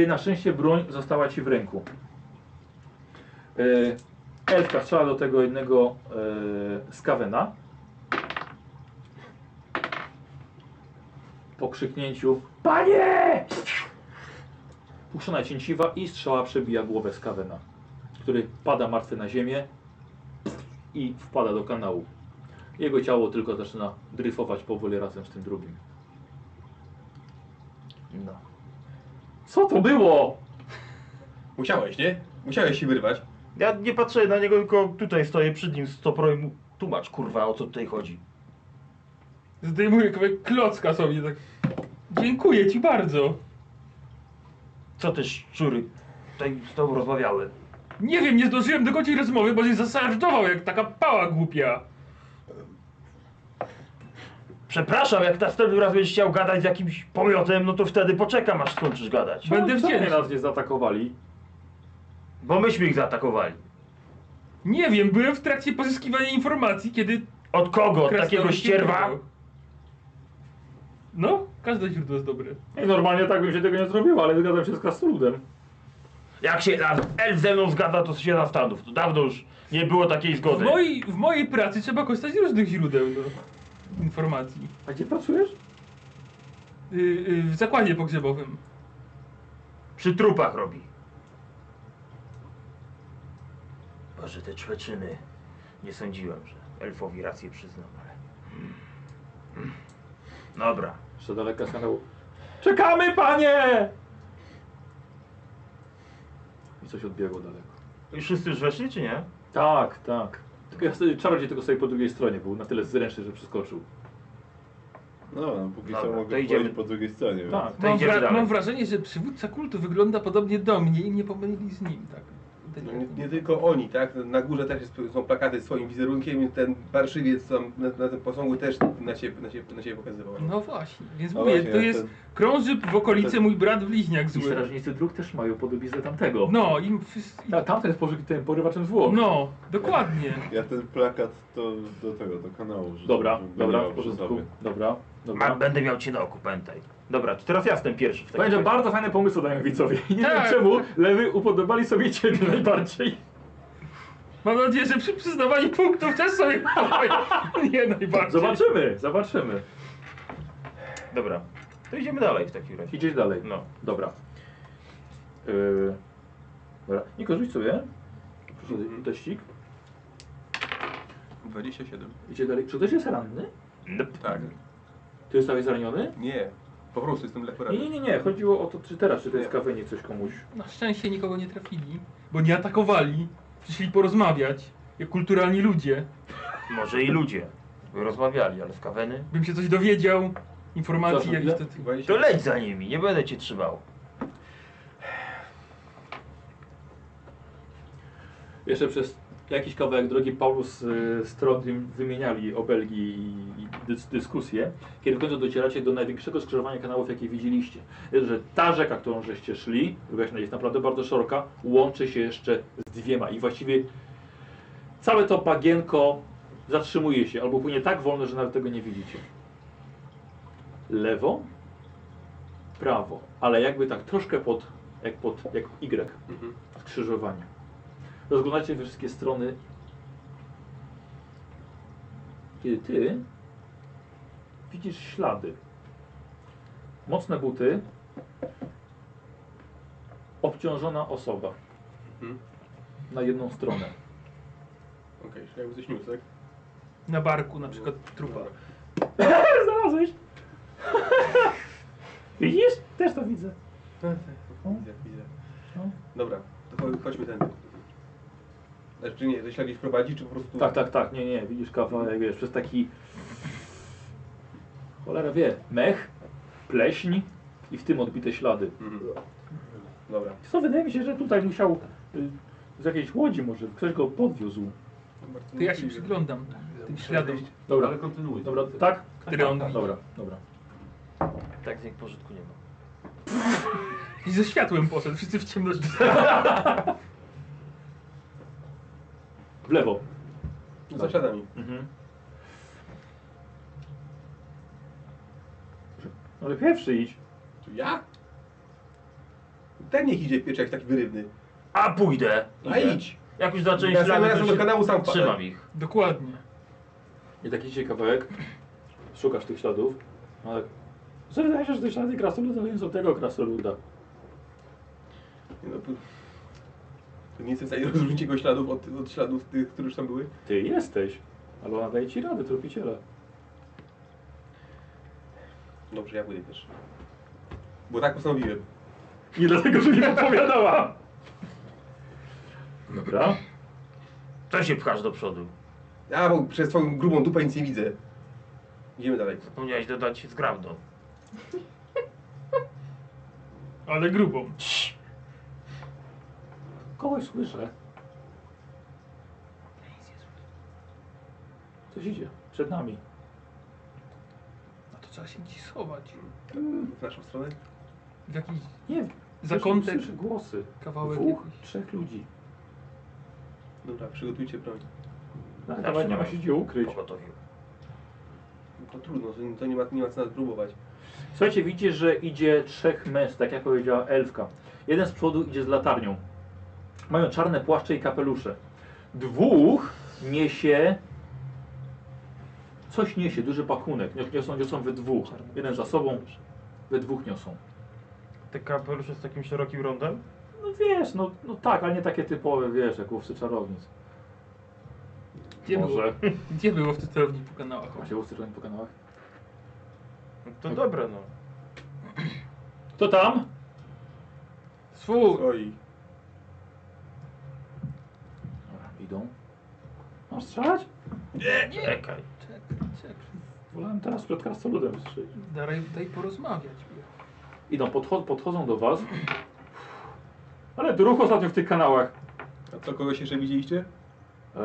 E, Na szczęście broń została ci w ręku. E, Elfka strzela do tego jednego e, skawena. Po krzyknięciu Panie! Puszczona cięciwa i strzała przebija głowę skawena, który pada martwy na ziemię i wpada do kanału. Jego ciało tylko zaczyna dryfować powoli razem z tym drugim. no. Co to było? musiałeś, nie? Musiałeś się wyrwać. Ja nie patrzę na niego, tylko tutaj stoję przed nim z toporem. i mu Tłumacz, kurwa, o co tutaj chodzi. Zdejmuję kawałek klocka sobie tak. Dziękuję ci bardzo. Co te szczury tutaj z tobą rozmawiały? Nie wiem, nie zdążyłem dokończyć rozmowy, bo się zasarżował jak taka pała głupia. Przepraszam, jak następnym razem będziesz chciał gadać z jakimś pomiotem, no to wtedy poczekam, aż skończysz gadać. Będę Czemu wdzięczny. nas nie zaatakowali. Bo myśmy ich zaatakowali. Nie wiem, byłem w trakcie pozyskiwania informacji, kiedy Od kogo? Od takiego Krasnolud ścierwa? się No, każde źródło jest dobre. I normalnie tak bym się tego nie zrobiło, ale zgadzam się z Kastrudem. Jak się na elf ze mną zgadza, to się zastanów. To dawno już nie było takiej W zgody. mojej, w mojej pracy trzeba korzystać z różnych źródeł no, informacji. A gdzie pracujesz? Y, y, w zakładzie pogrzebowym. Przy trupach robi. Boże, te czweczyny. Nie sądziłem, że elfowi rację przyznam, ale... Mm. Mm. Dobra. Jeszcze daleka z kanału. Czekamy, panie! I coś odbiegło daleko. I Wszyscy już weszli, czy nie? Tak, tak. Tylko ja sobie, czarodziej tylko sobie po drugiej stronie był, na tyle zręczny, że przeskoczył. No, no póki Dobra, co to mogę idziemy. pójść po drugiej stronie, więc... Tak. To Mam, idziemy wra- dalej. mam wrażenie, że przywódca kultu wygląda podobnie do mnie i mnie pomylili z nim, tak. No, nie, nie tylko oni, tak? Na górze też jest, są plakaty z swoim wizerunkiem i ten parszywiec tam na, na tym posągu też na siebie, na siebie, na siebie pokazywał. No właśnie, więc No mówię, właśnie, to ten- jest krąży w okolicy mój brat bliźniak I zły. strażnicy dróg też mają podobiznę tamtego. No, im wszyscy... Ta, tamten jest pożyk- tym porywaczem zwłok. No, dokładnie. Ja ten plakat to do tego, do kanału rzucę, Dobra, żebym go dobra, miał w przy porządku. sobie. Dobra, Ma, dobra. będę miał cię na oku, pamiętaj. Dobra, to teraz ja jestem pierwszy w takim Będzie razie. bardzo fajne pomysły dają widzowie. I Nie Tak. wiem czemu, lewy upodobali sobie ciebie najbardziej. Mam nadzieję, że przy przyznawaniu punktów też sobie nie najbardziej. Zobaczymy, zobaczymy. Dobra, to idziemy dalej w takim razie. Idziesz dalej. No. Dobra. Yy, dobra. Niko, rzuć sobie. Proszę, teścik. 27. Idzie dalej. Czy ktoś jest ranny? Nope. Tak. Ty zostałeś zraniony? Nie. Po prostu jestem lekko Tak. Nie, ranny. nie, nie, nie. Chodziło o to, czy teraz, czy to jest kawenie coś komuś. Na szczęście nikogo nie trafili, bo nie atakowali. Przyszli porozmawiać, jak kulturalni ludzie. Może i ludzie by rozmawiali, ale z kaweny. Bym się coś dowiedział, informacji Zaraz, jakieś ile? do tych... To 27. leć za nimi, nie będę cię trzymał. Jeszcze przez jakiś kawałek drogi Paulus z Trodrim wymieniali obelgi i, i dys, dyskusję, kiedy w końcu docieracie do największego skrzyżowania kanałów, jakie widzieliście. Jest, że ta rzeka, którą żeście szli, druga jest naprawdę bardzo szeroka, łączy się jeszcze z dwiema i właściwie całe to bagienko zatrzymuje się albo płynie tak wolno, że nawet tego nie widzicie. Lewo, prawo, ale jakby tak troszkę pod, jak pod, jak Y, Mhm. skrzyżowanie. Rozglądacie we wszystkie strony. Kiedy ty widzisz ślady. Mocne buty. Obciążona osoba. Mhm. Na jedną stronę. Okej, okay, jakby coś niósł, tak? Na barku na przykład trupa. Dobra. Znalazłeś? Widzisz? Też to widzę. Widzę, widzę. No. Dobra, to cho- chodźmy tędy. Znaczy nie, to ślad gdzieś prowadzi, czy po prostu... Tak, tak, tak. Nie, nie. Widzisz kawałek, wiesz, przez taki... Cholera wie. Mech, pleśń i w tym odbite ślady. Mhm. Dobra, Co, wydaje mi się, że tutaj musiał y, z jakiejś łodzi może, ktoś go podwiózł. To bardzo To ja się możliwe. przyglądam tym śladom, Dobra, Ale kontynuuj. dobra, tak? które on widzi. Dobra, dobra. Tak z nich pożytku nie ma. I ze światłem poszedł, wszyscy w ciemności. W lewo. Za śladami. Mhm. Ale pierwszy idź. Tu ja? Ten niech idzie pieczek taki wyrywny. A pójdę! A Idę. idź! Jak już zacząłeś Ja sam ślady, to razem do się- kanału sam wpadłem. Trzymam ich. Dokładnie. I taki idzie kawałek. Szukasz tych śladów. Ale... Co wydaje się, że te ślady krasnoluda to nie są tego krasnoluda. Nie No, pu- to nie jestem w stanie rozróżnić jego śladów od, od śladów tych, które już tam były. Ty jesteś. Ale ona daje ci radę, tropiciele. Dobrze, ja pójdę też. Bo tak postanowiłem. Nie dlatego, że nie odpowiadała. Dobra. To się pchasz do przodu. A, bo przez twoją grubą dupę nic nie widzę. Idziemy dalej. Zapomniałeś dodać z grawdą. Ale grubą. Kogoś słyszę. Coś idzie. Przed nami. No to trzeba się gdzieś schować. W naszą stronę? W jakiś Nie, zakątek, Słyszę głosy. kawałek Dwóch, jakiś. trzech ludzi. Dobra, przygotujcie broń. Nawet Zawsze nie ma mają. się gdzie ukryć. Pogotowił. No To trudno, to, to nie, ma, nie ma co nawet próbować. Słuchajcie, widzicie, że idzie trzech mężczyzn, tak jak powiedziała elfka. Jeden z przodu idzie z latarnią. Mają czarne płaszcze i kapelusze. Dwóch niesie... Coś niesie, duży pakunek. Nios- Niosą, niosą we dwóch. Jeden za sobą, we dwóch niosą. Te kapelusze z takim szerokim rondem? No wiesz, no, no tak, ale nie takie typowe, wiesz, jak łowcy czarownic. Gdzie było, Może. gdzie było w tej celowni po kanałach? Macie łowcy czarownic po kanałach? No To dobre no. Kto tam? Swój! Oj, Dobra, idą. Masz strzelać? Czekaj. Czekaj, czekaj. Wolałem teraz przed krasnoludem strzelić. Daj, daj porozmawiać. Idą, podcho podchodzą do was. Ale ruch ostatnio w tych kanałach. a co, kogoś jeszcze widzieliście? Eee...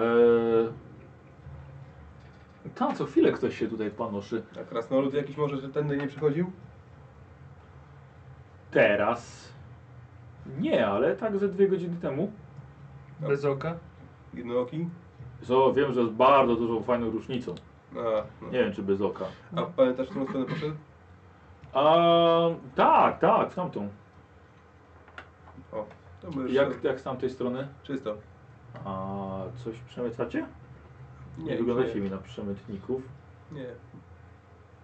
Tam co chwilę ktoś się tutaj panoszy. A krasnolud jakiś może, że tędy nie przychodził? Teraz. Nie, ale tak ze dwie godziny temu. Bez oka. Jednooki? Co wiem, że z bardzo dużą fajną różnicą. A, no. Nie wiem, czy bez oka. a pamiętasz, w którą stronę poszedł? A, tak, tak, w tamtą. O, to było już Jak, jak z tamtej strony? czysto. A coś przemycacie? Nie, już wyglądacie mi na przemytników. Nie.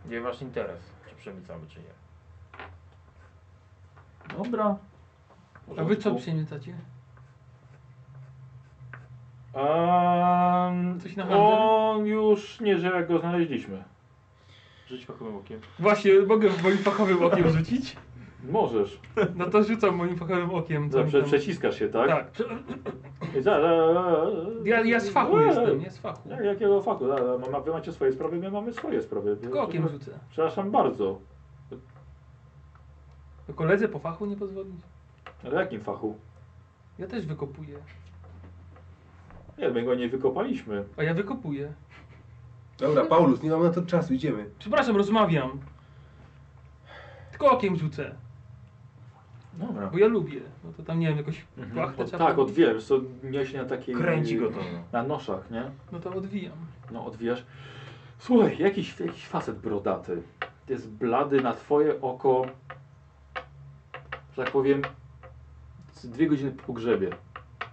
Nie masz interes, czy przemycamy, czy nie. Dobra. A wy co przemycacie? Um, Coś na handel? on już nie, że jak go znaleźliśmy. Rzuć pachowym okiem. Właśnie, mogę moim fachowym okiem rzucić? Możesz. No to rzucam moim fachowym okiem. co mi Zawsze tam- przeciskasz się, tak? Tak. I za, za, za, Ja, ja z fachu Eee, jestem, nie z fachu. Jak, jakiego fachu? Za, za, ma- Wy macie swoje sprawy, my mamy swoje sprawy. Tylko okiem rzucę. Przepraszam bardzo. To koledze po fachu nie pozwolić? Ale jakim fachu? Ja też wykopuję. Nie, my go nie wykopaliśmy. A ja wykopuję. Dobra, Paulus, nie mamy na to czasu, idziemy. Przepraszam, rozmawiam. Tylko okiem rzucę, Dobra. bo ja lubię. No to tam nie wiem, jakoś płachtę Od, trzeba tak, było- odwijasz, co miałeś na takiej... Kręci go to. no. Na noszach, nie? No to odwijam. No, odwijasz. Słuchaj, jakiś, jakiś facet brodaty. Jest blady na twoje oko, że tak powiem, z dwie godziny po pogrzebie.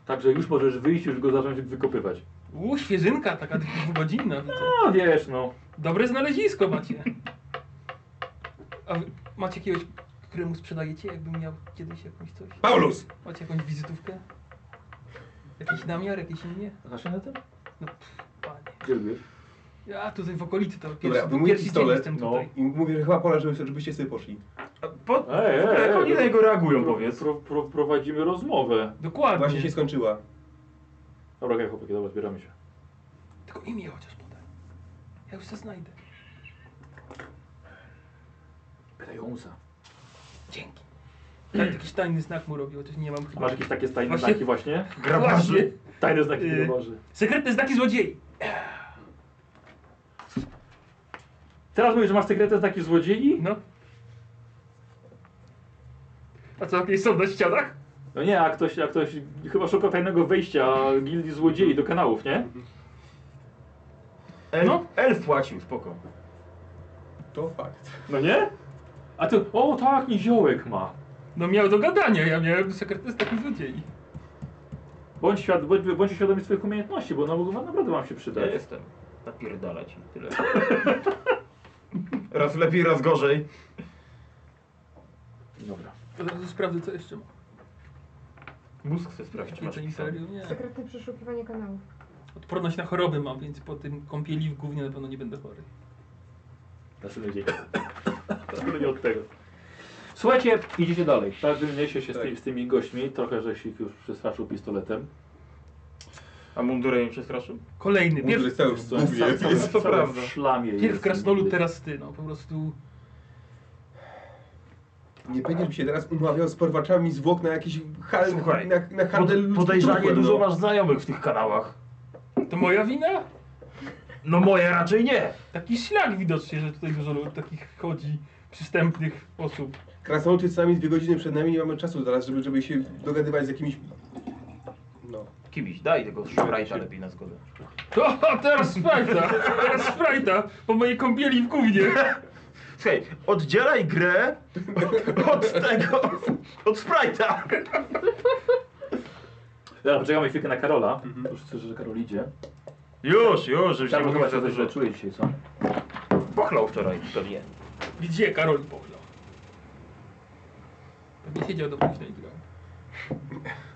Także już możesz wyjść, już go zacząć wykopywać. U, świeżynka taka dwugodzinna widzę. No wiesz, no. Dobre znalezisko macie. A wy macie jakiegoś, któremu sprzedajecie, jakbym miał kiedyś jakąś coś? Paulus! Macie jakąś wizytówkę? Jakiś namiar, jakieś imię? Znasz się na tym? No pff, panie. Gdzie lubisz? Ja tutaj w okolicy to Dobra, pierwszy, wyjmuję pierwszy dzień pistolet, jestem no. tutaj. I mówię, że chyba pora, żeby, żebyście sobie poszli. A Po, Ej, ej, jak ej, oni na niego reagują, pro- powiedz? pro- pro- Prowadzimy rozmowę. Dokładnie. Właśnie się skończyła. Dobra, okej, chłopaki, dobra, zbieramy się. Tylko imię chociaż podaj. Ja już to znajdę. Pytaj Humsa. Dzięki. Tak, jakiś tajny znak mu robił, chociaż nie mam chyba. Masz jakieś takie tajne Właśnie- znaki właśnie? Grabarzy? Właśnie. Tajne znaki Yy. yy. grabarzy. Sekretne znaki złodziei. Teraz mówisz, że masz sekretne znaki złodziei? No. A co, jakieś są na ścianach? No nie, a ktoś, a ktoś chyba szuka tajnego wejścia gildii złodziei do kanałów, nie? El, No. elf płacił, spoko. To fakt. No nie? A ty, o tak, niziołek ma. No miał do gadania, ja miałem sekretne znaki złodziei. Bądź, świad, bądź, bądź świadomy swoich umiejętności, bo one mogą wam- naprawdę wam się Ja przydać. jestem. Napierdala ci. Tyle. Raz lepiej, raz gorzej. Dobra. Od razu sprawdzę, co jeszcze ma. Mózg chcę sprawdzić. czy masz Jedzenie pisane. serio? Nie. Sekretne przeszukiwanie kanałów. Odporność na choroby mam, więc po tym kąpieli w gównie na pewno nie będę chory. Następny dzień. Następny od tego. Słuchajcie, idziecie dalej. Każdy niesie się z, Tak. tymi, z tymi gośćmi. Trochę żeś ich już przestraszył pistoletem. A mundurem im przestraszył? Kolejny, Mądry pierw, jest cały w głowie. Cały- jest to cały prawda. W szlamie pierw jest. krasnolud, teraz ty, no po prostu. Nie będziesz mi się teraz umawiał z porwaczami zwłok na jakiś hal, Słuchaj, na, na handel Pod, ludzkim podejrzanie trupem, dużo no. masz znajomych w tych kanałach. To moja wina? No moje raczej nie. Taki ślak widocznie, że tutaj dużo lu- takich chodzi, przystępnych osób. Krasnolud jest sami dwie godziny przed nami, nie mamy czasu zaraz, żeby, żeby się dogadywać z jakimiś... No. Kibiś, daj tego szprajta lepiej na zgodę. To teraz sprajta, teraz sprajta, po mojej kąpieli w gównie. Słuchaj, oddzielaj grę od tego, od Sprite'a. Dobra, poczekamy chwilkę na Karola. Już słyszę, że Karol idzie. Już, już, żebyś nie Karol mówił chyba się za coś dużo. źle czuje dzisiaj, co? Pochlał wczoraj pewnie. Gdzie Karol pochlał? Pewnie siedział do późna i grał.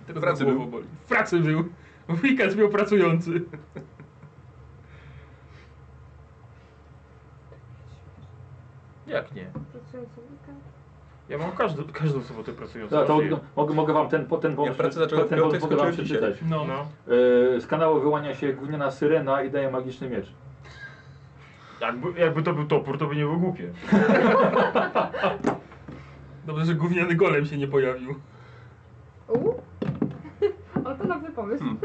Tego pracy za głową boli. W pracy był. W weekend miał pracujący. Jak nie? Pracujący weekend. Ja mam każdy, każdą sobotę pracującą. Dobra, No, to Żyję. mogę, mogę wam ten, po- ten pomysł, pracę zacząłem w ten pomysł piątek, mogę wam skończyłem dzisiaj. przeczytać. No. No. Yy, z kanału wyłania się gówniana syrena i daje magiczny miecz. Jakby, jakby to był topór, to by nie było głupie. Dobrze, że gówniany golem się nie pojawił. Uuu. O, to dobry pomysł. Hmm.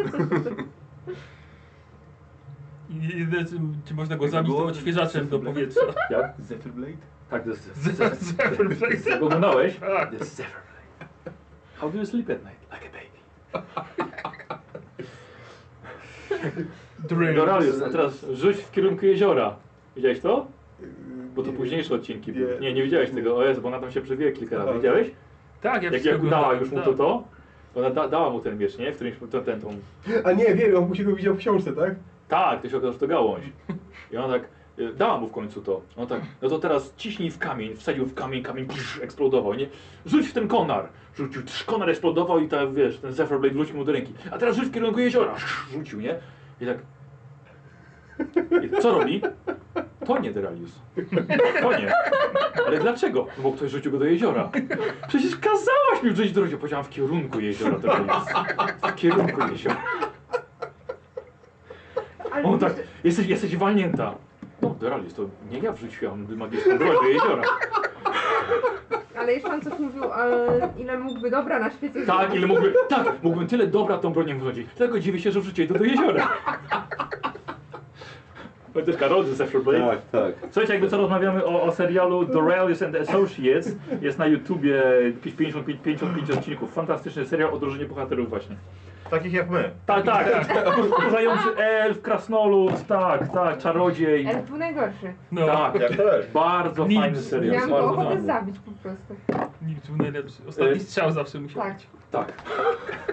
I jedyne, czy, czy można go Jakby zabić, to było- odświeżaczem do powietrza. Jak? Zephyr Blade? Tak, to jest... Z- z Everplace. Go oglądałeś? Tak. The Sever How do you sleep at night? Like a baby. Dream. Doralius, a teraz rzuć w kierunku jeziora. Widziałeś to? Bo to późniejsze odcinki były. Nie, nie widziałeś tego. O Jezu, bo ona tam się przewija kilka razy. Aha. Widziałeś? Tak, ja Jak, wszystko jak udała oglądałem, już mu tak. to to? Ona da, dała mu ten miecz, nie? W którymś ten, ten, tą A nie, wiem, on musi go widział w książce, tak? Tak, to się okazało, że to gałąź. I ona tak, y, dała mu w końcu to. On tak, no to teraz ciśnij w kamień, wsadził w kamień, kamień psz, eksplodował, nie? Rzuć w ten konar. Rzucił, tsz, konar eksplodował i ta, wiesz, ten Zephyr Blade wrócił mu do ręki. A teraz rzuć w kierunku jeziora. Psz, Rzucił, nie? I tak... I tak, co robi? To nie Deralius. To nie. Ale dlaczego? No bo ktoś rzucił go do jeziora. Przecież kazałaś mi rzucić do jeziora. Powiedziałam w kierunku jeziora Deralius. W kierunku jeziora. Ale O tak, jesteś, jesteś walnięta. No, Doralis, to nie ja wrzuciłam magiczną broń do jeziora. Ale jeszcze on coś mówił, e, ile mógłby dobra na świecie Tak, zrobić. ile mógłbym, tak, mógłbym tyle dobra tą bronią wrzucić. Tylko dziwię się, że wrzuciłeś to do jeziora. Chociaż Karol ze Blade. Tak, tak. Słuchajcie, jakby co rozmawiamy o, o serialu The Railways and Associates. Jest na YouTubie 55, 55 odcinków. Fantastyczny serial o drużynie bohaterów właśnie. Takich jak my. Tak, tak. Kurzający elf, krasnolud, tak, tak, czarodziej. Ale E, był najgorszy. No, Tak, Jak też. bardzo Nic. fajny serial. Miałam go bardzo ochotę dobry. zabić po prostu. nikt był najlepszy. Ostatni E, strzał zawsze musiał Tak. być. Tak.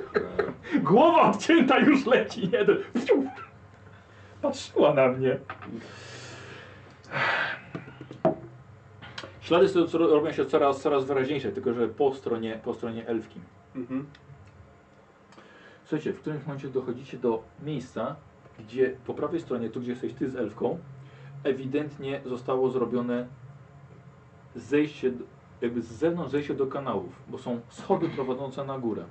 Głowa odcięta już leci. Jeden. Fiu. Patrzyła na mnie. Ślady są- co- robią się coraz, coraz wyraźniejsze, tylko że po stronie, po stronie elfki. Mhm. Słuchajcie, w którymś momencie dochodzicie do miejsca, gdzie po prawej stronie, tu gdzie jesteś ty z elfką, ewidentnie zostało zrobione zejście, d- jakby z zewnątrz zejście do kanałów, bo są schody prowadzące na górę.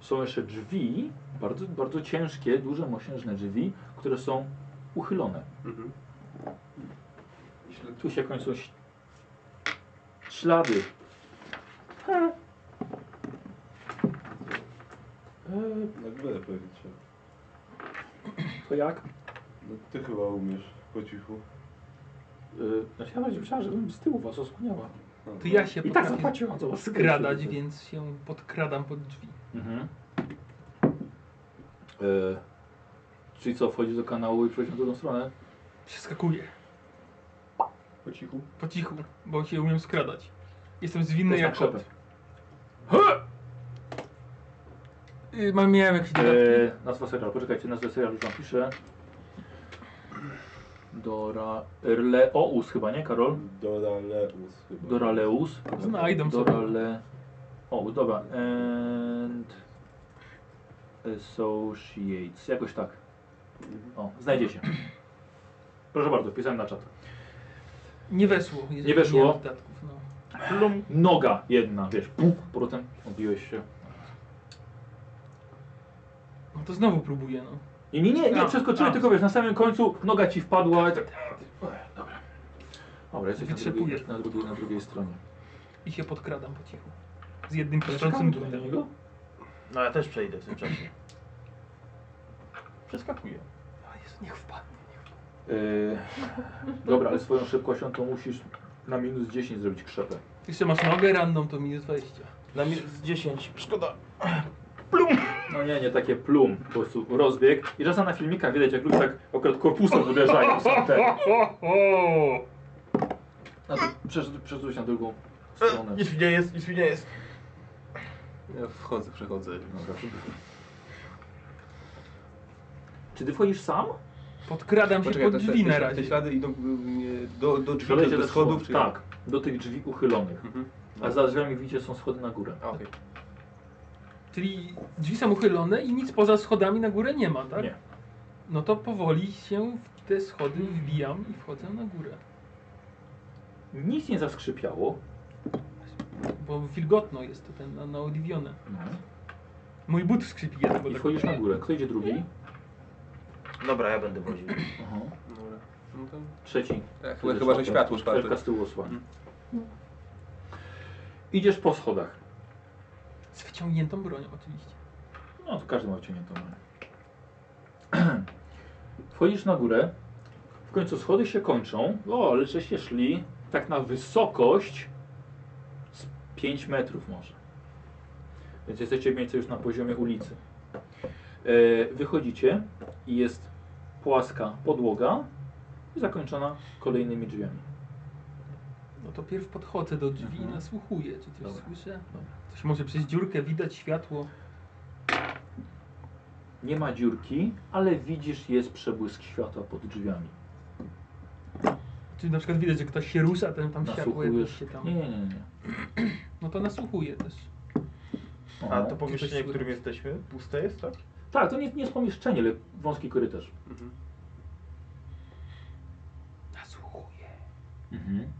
Są jeszcze drzwi, bardzo, bardzo ciężkie, duże, mosiężne drzwi, które są uchylone. Mhm. Śled- Tu się kończą ś- ślady. E, Na górę pewnie trzeba. To jak? No ty chyba umiesz po cichu. Yy, znaczy ja bardziej myślałem, że bym z tyłu was osłaniała. No, To ja się I tak potrafię zapłaciłam za was. skradać, więc się podkradam pod drzwi. Mhm. E, czyli co, wchodzi do kanału i przechodzi na drugą stronę? Przeskakuję. Po cichu. Po cichu, bo się umiem skradać. Jestem zwinny To jest jak na kot. Y, Mam miałem jakieś dodatki. E, nazwa serialu, poczekajcie, nazwę serialu już wam piszę. Dora... Erleous chyba, nie Karol? Doraleus chyba. Doraleus. Znajdę sobie. Dorale... O, dobra. And... Associates. Jakoś tak. O, znajdziecie. Proszę bardzo, wpisałem na czat. Nie weszło. jeżeli Nie weszło? miałem dodatków, no. Noga jedna, wiesz, puf, powrotem odbiłeś się. no to znowu próbuję, no. Nie, nie, nie, nie A, przeskoczyłem, a. tylko wiesz, na samym końcu noga ci wpadła i tak. Dobra. Dobra, jesteś na drugiej, Wytrzepujesz. na, drugiej, na drugiej stronie. I się podkradam po cichu. Z jednym piszczącym drutem. No ja też przejdę w tym czasie. Przeskakuję. A Jezu, niech wpadnie. Yy, dobra, ale swoją szybkością to musisz na minus 10 zrobić krzepę. Jeszcze masz nogę ranną, to minus 20. Na minus 10. Szkoda. No nie, nie, takie plum, po prostu rozbieg. I czasem na filmikach widać, jak ludzie tak akurat korpusem uderzają. Są te. Na to przeszedł- Przeszedłeś na drugą stronę. Nic mi nie jest, nic mi nie jest. Ja wchodzę, przechodzę. Dobra. Czy ty wchodzisz sam? Podkradam się Poczekaj, pod te, te, drzwi na te, te razie. ślady idą y, do, do drzwi, Przelecie do, do schodów? Czy... Tak, do tych drzwi uchylonych. Mhm. A za drzwiami widzicie są schody na górę. A, okej. Czyli drzwi są uchylone i nic poza schodami na górę nie ma, tak? Nie. No to powoli się w te schody wbijam i wchodzę na górę. Nic nie zaskrzypiało. Bo wilgotno jest to ten na, na Oliwione. No. Mój but skrzypi ja I wchodzisz na górę. Kto idzie drugi? Dobra, ja będę woził. Aha. Dobra. No to... Trzeci. Tak, chyba, chyba że światło Mhm. czwarte. Czerka z tyłu osłania. Idziesz po schodach. Z wyciągniętą bronią oczywiście. No to każdy ma wciągniętą broń. Wchodzisz na górę. W końcu schody się kończą. O, ale żeście szli tak na wysokość z 5 metrów może. Więc jesteście mniej więcej już na poziomie ulicy. E, Wychodzicie i jest płaska podłoga i zakończona kolejnymi drzwiami. No to pierw podchodzę do drzwi Mhm. i nasłuchuję, czy coś Dobra. słyszę. No, Dobra. Coś może przez dziurkę widać światło. Nie ma dziurki, ale widzisz jest przebłysk światła pod drzwiami. Czy na przykład widać, że ktoś się rusza, ten tam światło jakoś Nasłuchujesz. się tam. Nie, nie, nie. nie. No to nasłuchuję też. Aha. A to pomieszczenie, w którym jesteśmy, puste jest, tak? Tak, to nie, nie jest pomieszczenie, ale wąski korytarz. Nasłuchuję. Mhm.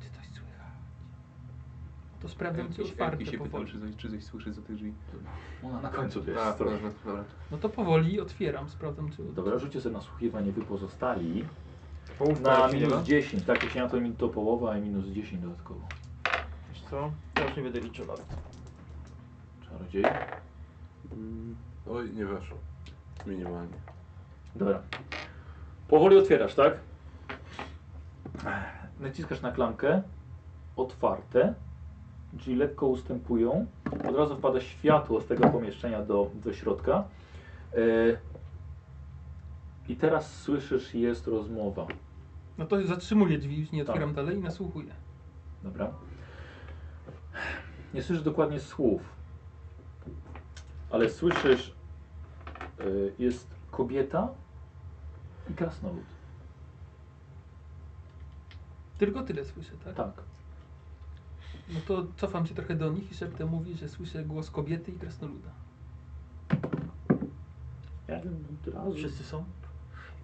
Czy coś słychać? To sprawdzam, czy Jakiś- otwarte jakiś E, się pytał, powoli. czy coś, czy coś słyszy za tych drzwi. Ona na końcu to jest. A, strona. dobra, dobra. No to powoli otwieram, sprawdzam, czy... Dobra, rzućcie sobie nasłuchiwanie wy pozostali. Połówka Na jak się nie minus da. 10, tak jak się na to, mi- to połowa i minus 10 dodatkowo. Wiesz co? Ja już nie będę liczył nawet. Czarodziej. Mm, Oj, nie weszło. Minimalnie. Dobra. Powoli otwierasz, tak? Naciskasz na klamkę. Otwarte. Drzwi lekko ustępują. Od razu wpada światło z tego pomieszczenia do, do środka. E, I teraz słyszysz, jest rozmowa. No to zatrzymuję drzwi, już nie Tak. otwieram dalej i nasłuchuję. Dobra. Nie słyszysz dokładnie słów, ale słyszysz, y, jest kobieta i krasnolud. Tylko tyle słyszę, tak? Tak. No to cofam się trochę do nich i szeptem mówi, że słyszę głos kobiety i krasnoluda. Wszyscy są?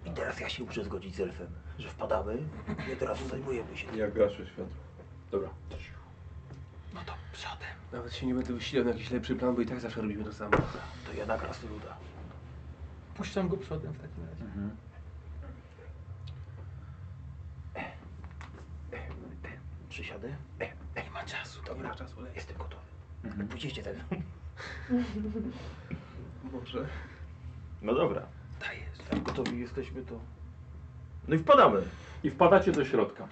I teraz ja się muszę zgodzić z elfem, że wpadamy i od razu zajmujemy się tym. Ja gaszę światło. Dobra. No to przodem. Nawet się nie będę wysilał na jakiś lepszy plan, bo i tak zawsze robimy to samo. To ja na krasnoluda. Puszczam go przodem w takim razie. Przysiadę? e, Nie ma czasu. Dobra, czas uleci. Jestem gotowy. Mhm. Pójdziecie ze mną. Może. No dobra. Dajesz. Jak gotowi jesteśmy, to... No i wpadamy. I wpadacie do środka.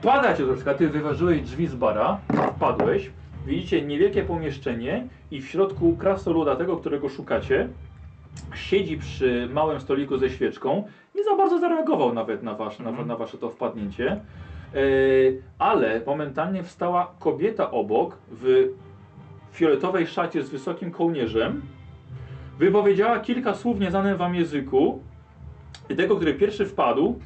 Wpadacie do środka, ty wyważyłeś drzwi z bara, wpadłeś, widzicie niewielkie pomieszczenie i w środku krasnoluda, tego, którego szukacie, siedzi przy małym stoliku ze świeczką. Nie za bardzo zareagował nawet na, wasz, na, na wasze to wpadnięcie. Yy, ale momentalnie wstała kobieta obok w fioletowej szacie z wysokim kołnierzem. Wypowiedziała kilka słów w nieznanym wam języku. I tego, który pierwszy wpadł,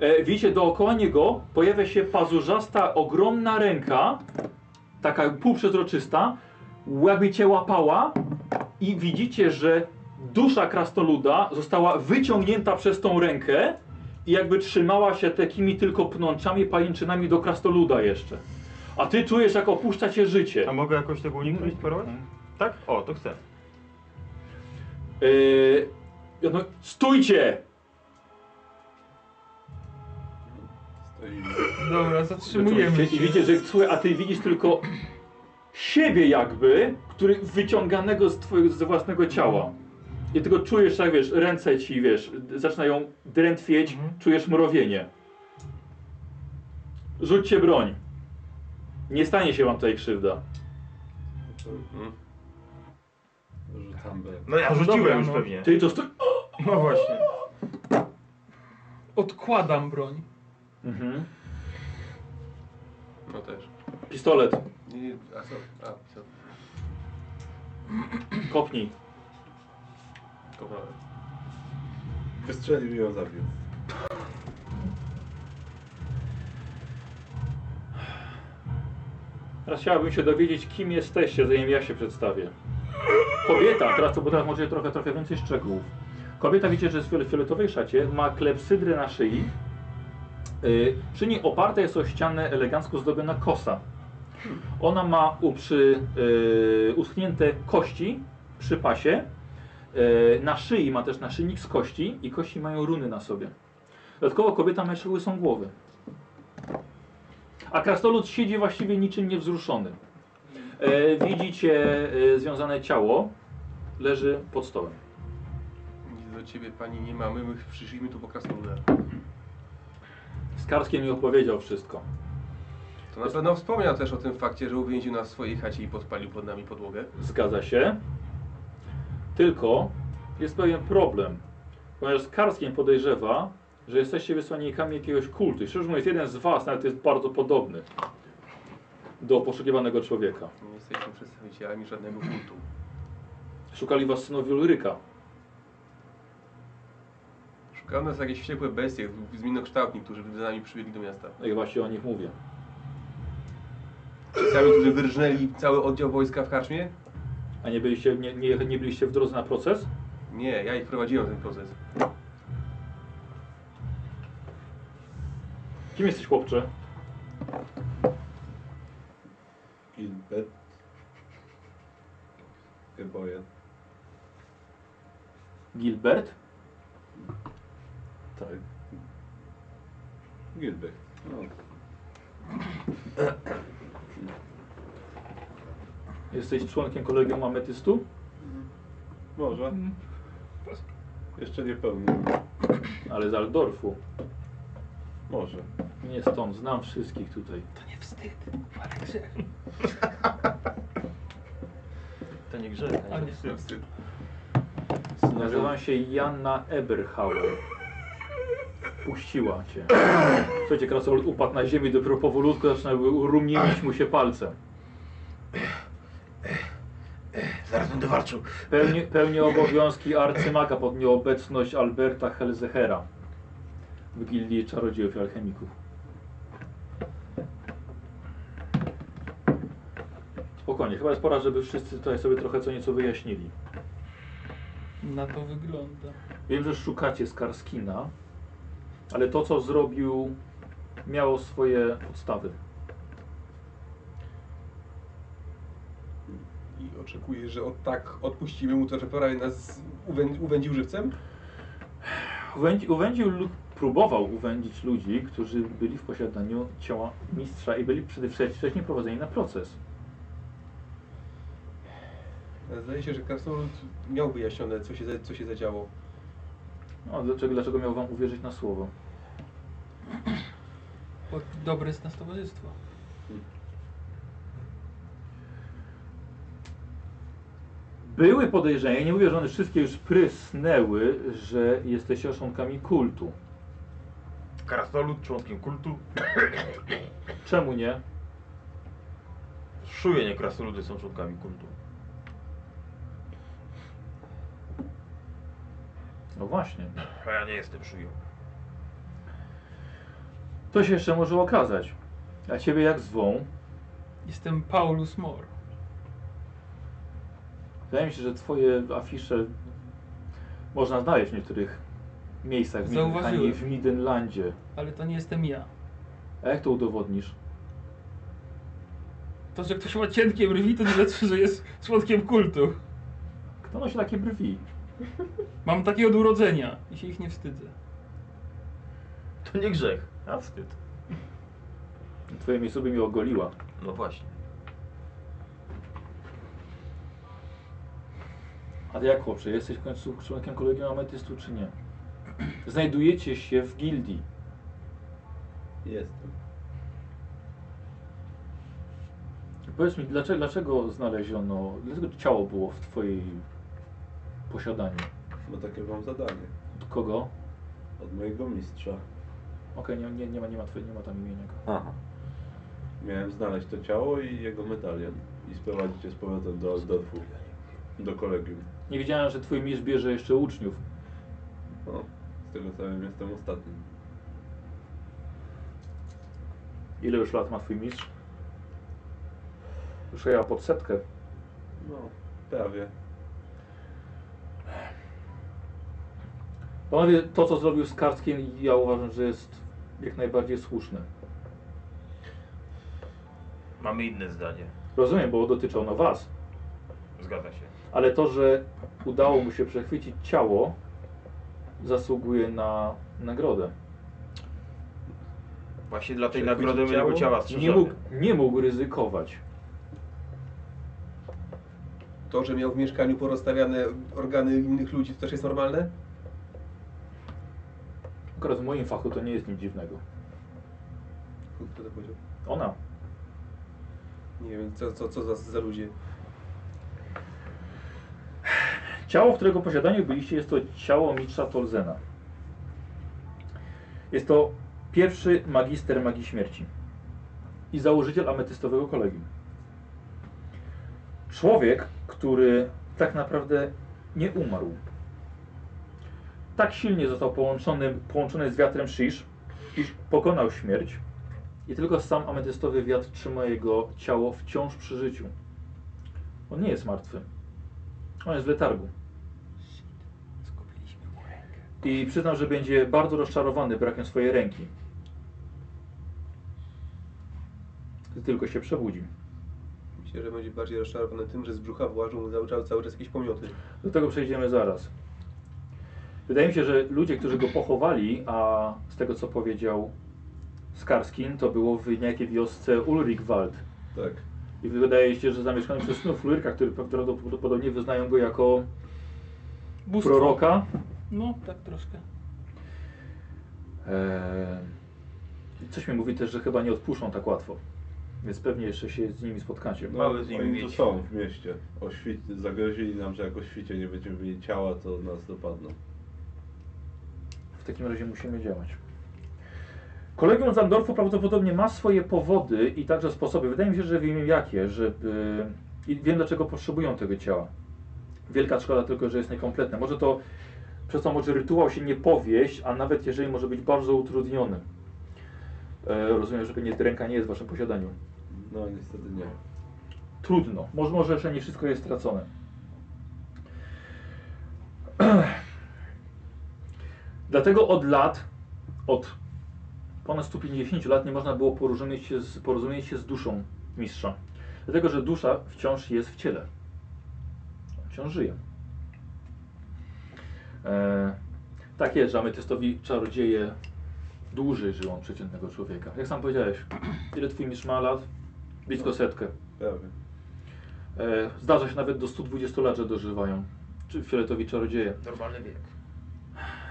e, widzicie, dookoła niego pojawia się pazurzasta, ogromna ręka, taka półprzezroczysta, jakby cię łapała i widzicie, że dusza krastoluda została wyciągnięta przez tą rękę i jakby trzymała się takimi tylko pnączami, pajęczynami do krastoluda jeszcze. A ty czujesz, jak opuszcza cię życie. A mogę jakoś tego uniknąć, parować? Tak? O, to chcę. Yy, no, stójcie! Stoimy. Dobra, zatrzymujemy się. I widzicie, że słuchaj, a ty widzisz tylko siebie jakby, który wyciąganego z, twojego, z własnego ciała. I tylko czujesz, jak wiesz, ręce ci, wiesz, d- zaczynają drętwieć, czujesz mrowienie. Rzućcie broń. Nie stanie się wam tutaj krzywda. Mhm. Rzucam B. No ja rzuciłem Dobra, już no. pewnie. Ty to stoi... No właśnie. Odkładam broń. Mhm. No też. Pistolet. Nie, nie, a co? A, co? Kopnij. Kopnąłem. Wystrzelił i ją zabił. Teraz chciałabym się dowiedzieć, kim jesteście, zanim ja się przedstawię. Kobieta, teraz to bo teraz możecie trochę, trochę więcej szczegółów. Kobieta widzicie, że jest w fiole- fioletowej szacie, ma klepsydrę na szyi. Yy, przy niej oparta jest o ścianę elegancko zdobiona kosa. Ona ma uprzy, yy, uschnięte kości przy pasie. Yy, na szyi ma też naszyjnik z kości i kości mają runy na sobie. Dodatkowo kobieta ma jeszcze łysą głowy. A krasnolud siedzi właściwie niczym niewzruszony. E, widzicie e, związane ciało, leży pod stołem. Nic do ciebie pani nie mamy, my przyszliśmy tu po krasnoluda. Skarski mi opowiedział wszystko. To na pewno wspomniał też o tym fakcie, że uwięził nas w swojej chacie i podpalił pod nami podłogę. Zgadza się. Tylko jest pewien problem, ponieważ Skarskiem podejrzewa, że jesteście wysłannikami jakiegoś kultu. I szczerze mówiąc, jeden z was nawet jest bardzo podobny do poszukiwanego człowieka. Nie jesteśmy przedstawicielami żadnego kultu. Szukali was synowi Ulryka. Szukają nas jakieś wściekłe bestie, zminokształtni, którzy z nami przybiegli do miasta. No i właśnie o nich mówię. Ci sami, którzy wyrżnęli cały oddział wojska w karczmie? A nie byliście, nie, nie, nie byliście w drodze na proces? Nie, ja ich prowadziłem ten proces. Kim jesteś, chłopcze? Gilbert. Gebojen. Gilbert? Tak. Gilbert. No. Jesteś członkiem kolegium ametystu? Może. Jeszcze nie pełnię. Ale z Aldorfu. Może. Nie stąd, znam wszystkich tutaj. To nie wstyd, ale grzech. To nie grzech, A a nie nie wstyd. Nazywam się Janna Eberhauer. Puściła cię. Słuchajcie, krasol upadł na ziemię, dopiero powolutku zaczynały rumienić mu się palce. Zaraz będę walczył. Pełni, pełni obowiązki arcymaga pod nieobecność Alberta Helzehera w gildii czarodziejów i alchemików. Spokojnie, chyba jest pora, żeby wszyscy tutaj sobie trochę co nieco wyjaśnili. Na to wygląda. Wiem, że szukacie Skarskina, ale to, co zrobił, miało swoje podstawy. I oczekujesz, że od tak odpuścimy mu to, że prawie nas uwę- uwędził żywcem? Uwędzi, uwędził lud, próbował uwędzić ludzi, którzy byli w posiadaniu ciała mistrza i byli przede wszystkim prowadzeni na proces. Zdaje się, że krasnolud miał wyjaśnione, co się, za- co się zadziało. No, dlaczego, dlaczego miał wam uwierzyć na słowo? Bo dobre jest nas towarzystwo. Były podejrzenia, nie mówię, że one wszystkie już prysnęły, że jesteście oszonkami kultu. Krasnolud członkiem kultu. Czemu nie? Szuje nie krasnoludy są członkami kultu. No właśnie. A ja nie jestem szują. To się jeszcze może okazać. A ciebie jak zwą? Jestem Paulus Mor. Wydaje mi się, że twoje afisze można znaleźć w niektórych miejscach w Midlandzie, Zauważyłem. w Midenlandzie. Ale to nie jestem ja. A jak to udowodnisz? To, że ktoś ma cienkie brwi, to nie znaczy, że jest członkiem kultu. Kto nosi takie brwi? Mam takie od urodzenia i się ich nie wstydzę. To nie grzech, a wstyd. Twoje miejsce by mi ogoliła. No właśnie. A ty jak chłopcze, jesteś w końcu członkiem kolegium ametystu czy nie? Znajdujecie się w gildii. Jestem. Powiedz mi, dlaczego, dlaczego znaleziono, dlaczego ciało było w twojej posiadaniu? Bo takie mam zadanie. Od kogo? Okej, Od mojego mistrza. nie, nie, nie, ma, nie, ma, twoje- nie ma tam imienia. Aha. Miałem znaleźć to ciało i jego medalion. I sprowadzić je z powrotem do Aldorfu. Do kolegium. Nie wiedziałem, że twój mistrz bierze jeszcze uczniów. No, z tego co wiem jestem ostatnim. Ile już lat ma twój mistrz? Już ja pod setkę. No, prawie. Panowie, to co zrobił z Kartkiem, ja uważam, że jest jak najbardziej słuszne. Mamy inne zdanie. Rozumiem, bo dotyczył na was. Zgadza się. Ale to, że udało mu się przechwycić ciało, zasługuje na nagrodę. Właśnie dla tej Przechwycić nagrody my ciało? jego ciała Nie strzeżemy. mógł, nie mógł ryzykować. To, że miał w mieszkaniu porozstawiane organy innych ludzi, to też jest normalne? Akurat w moim fachu to nie jest nic dziwnego. Kto to powiedział? Ona. Nie wiem, co, co, co za, za ludzie. Ciało, w którego posiadaniu byliście, jest to ciało mistrza Tolzena. Jest to pierwszy magister magii śmierci i założyciel ametystowego kolegium. Człowiek, który tak naprawdę nie umarł. Tak silnie został połączony, połączony z wiatrem Shish, iż pokonał śmierć i tylko sam ametystowy wiatr trzyma jego ciało wciąż przy życiu. On nie jest martwy. On jest w letargu. Skupiliśmy mu rękę. I przyznam, że będzie bardzo rozczarowany brakiem swojej ręki. Gdy tylko się przebudzi. Myślę, że będzie bardziej rozczarowany tym, że z brzucha włażą mu cały czas, cały czas jakieś pomioty. Do tego przejdziemy zaraz. Wydaje mi się, że ludzie, którzy go pochowali, a z tego co powiedział Skarskin, to było w niejakiej wiosce Ulrichwald. Tak. I wydaje się, że zamieszkany przez snów Lyrka, który prawdopodobnie wyznają go jako Bóstwo. proroka, No, tak troszkę. Eee, coś mi mówi też, że chyba nie odpuszczą tak łatwo. Więc pewnie jeszcze się z nimi spotkacie. No, Mamy z nimi oni tu mieć. są w mieście. O świt... Zagrozili nam, że jak o świcie nie będziemy mieli ciała, to nas dopadną. W takim razie musimy działać. Kolegium Zandorfu prawdopodobnie ma swoje powody i także sposoby. Wydaje mi się, że wiem jakie, żeby... I wiem dlaczego potrzebują tego ciała. Wielka szkoda tylko, że jest niekompletne. Może to przez to może rytuał się nie powieść, a nawet jeżeli może być bardzo utrudniony. E, rozumiem, że pewnie ręka nie jest w waszym posiadaniu. No niestety nie. Trudno. Może, może jeszcze nie wszystko jest stracone. Dlatego od lat, od ponad 150 lat nie można było porozumieć się z, porozumieć się z duszą mistrza. Dlatego, że dusza wciąż jest w ciele. Wciąż żyje. E, tak jest, że ametystowi czarodzieje dłużej żyją od przeciętnego człowieka. Jak sam powiedziałeś, ile twój mistrz ma lat? Blisko setkę. Prawie. E, zdarza się nawet do 120 lat, że dożywają. Czy fioletowi czarodzieje. Normalny wiek.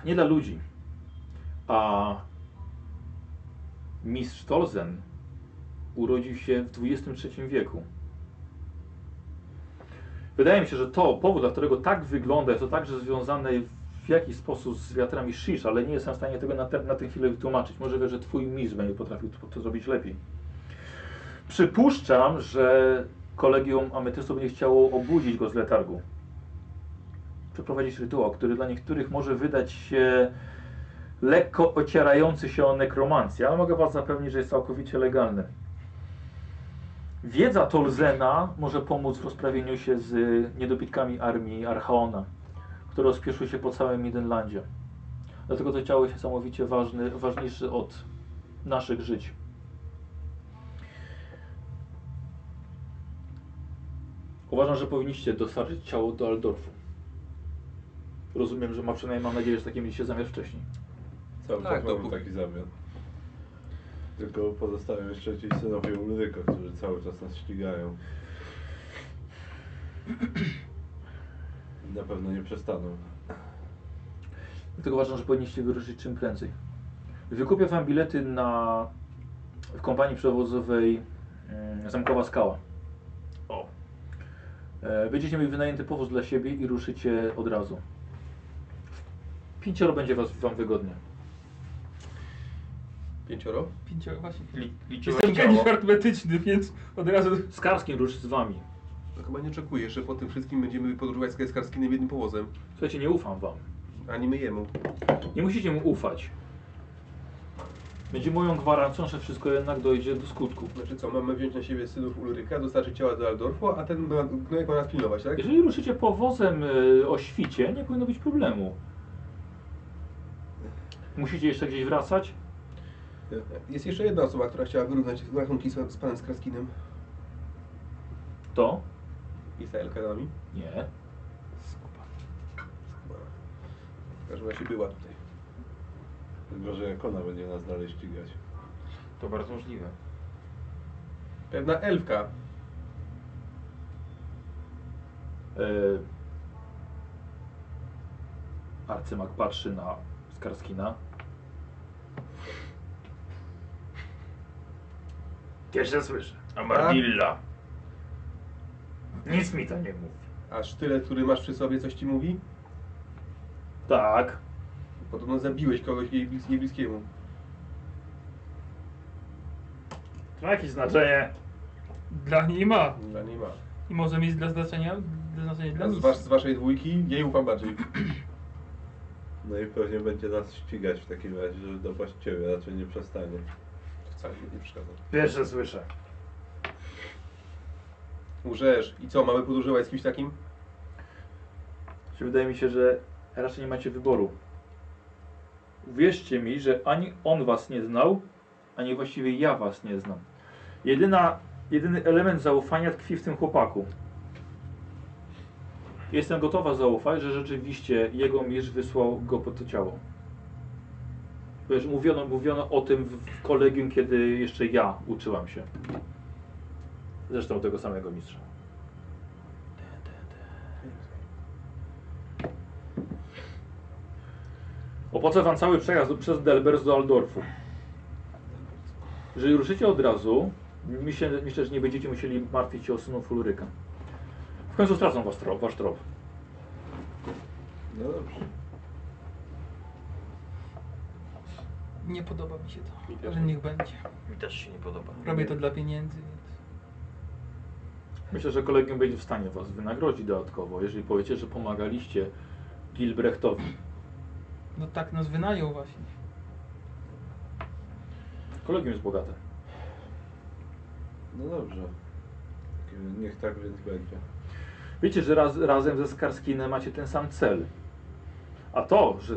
Nie dla ludzi. A mistrz Tolzen urodził się w XXIII wieku. Wydaje mi się, że to powód, dla którego tak wygląda, jest to także związane w jakiś sposób z wiatrami Shish, ale nie jestem w stanie tego na, te, na tę chwilę wytłumaczyć. Może wie, że twój mistrz będzie potrafił to, to zrobić lepiej. Przypuszczam, że kolegium ametystów będzie chciało obudzić go z letargu. Przeprowadzić rytuał, który dla niektórych może wydać się lekko ocierający się o nekromancję, ale mogę Was zapewnić, że jest całkowicie legalny. Wiedza Tolzena może pomóc w rozprawieniu się z niedobitkami armii Archaona, które rozpieszły się po całym Midenlandzie. Dlatego to ciało jest niesamowicie ważny, ważniejsze od naszych żyć. Uważam, że powinniście dostarczyć ciało do Aldorfu. Rozumiem, że ma przynajmniej mam nadzieję, że taki mieliście zamiar wcześniej. Cały Tak, czas mamy dopó- taki zamiar. Tylko pozostają jeszcze ci synowie Ulryka, którzy cały czas nas ścigają. I Na pewno nie przestaną. Dlatego uważam, że powinniście wyruszyć czym prędzej. Wykupię wam bilety na w kompanii przewozowej mm, Zamkowa Skała. O. E, Będziecie mieli wynajęty powóz dla siebie i ruszycie od razu. Pięcioro będzie was, wam wygodnie. Pięcioro? Pięcioro, właśnie. Li, liczyłem Jestem ciało. geniusz artymetyczny, więc od razu... Z Karskim ruszy z wami. To No chyba nie oczekujesz, że po tym wszystkim będziemy podróżować z Skarskinem jednym powozem. Słuchajcie, nie ufam wam. Ani my jemu. Nie musicie mu ufać. Będzie moją gwarancją, że wszystko jednak dojdzie do skutku. Znaczy co, mamy wziąć na siebie synów Ulryka, dostarczyć ciała do Aldorfu, a ten ma- gnojek ma nas pilnować, tak? Jeżeli ruszycie powozem y, o świcie, nie powinno być problemu. Musicie jeszcze gdzieś wracać? Jest jeszcze jedna osoba, która chciała wyrównać rachunki z, z panem Skarskinem. To? I z Elkanami. Nie. Chyba. W każdym razie była tutaj. Tylko, że jak ona będzie nas dalej ścigać. To bardzo możliwe. Pewna elfka. Yy... Arcymak patrzy na Skarskina. Pierwsze słyszę. Amardilla. Nic mi to nie mówi. A sztylet, który masz przy sobie, coś ci mówi? Tak. Podobno zabiłeś kogoś jej blis- jej bliskiemu. To ma jakieś znaczenie. Dla niej ma. Dla niej ma. I może mieć dla znaczenia, dla znaczenia dla A z, nas. was, z waszej dwójki jej ufam bardziej. No i pewnie będzie nas ścigać w takim razie, żeby dopaść ciebie, raczej nie przestanie. Wcale mi nie przeszkadza. Pierwsze słyszę. Łżesz. I co, mamy podróżować z kimś takim? Czy Wydaje mi się, że raczej nie macie wyboru. Wierzcie mi, że ani on was nie znał, ani właściwie ja was nie znam. Jedyna, jedyny element zaufania tkwi w tym chłopaku. Jestem gotowa zaufać, że rzeczywiście jego mistrz wysłał go po to ciało. Wiesz, mówiono, mówiono o tym w w kolegium, kiedy jeszcze ja uczyłam się. Zresztą tego samego mistrza. Opłaca wam cały przejazd przez Delbers do Aldorfu. Jeżeli ruszycie od razu, myślę, myślę że nie będziecie musieli martwić się o synów Ulryka. W końcu stracą was trop, wasz trop. No dobrze. Nie podoba mi się to, Mi też. ale niech będzie. Mi też się nie podoba. Robię to dla pieniędzy, więc... Myślę, że kolegium będzie w stanie was wynagrodzić dodatkowo, jeżeli powiecie, że pomagaliście Gilbrechtowi. No tak nas wynajął właśnie. Kolegium jest bogate. No dobrze. Niech tak więc będzie. Wiecie, że raz, razem ze Skarskinem macie ten sam cel. A to, że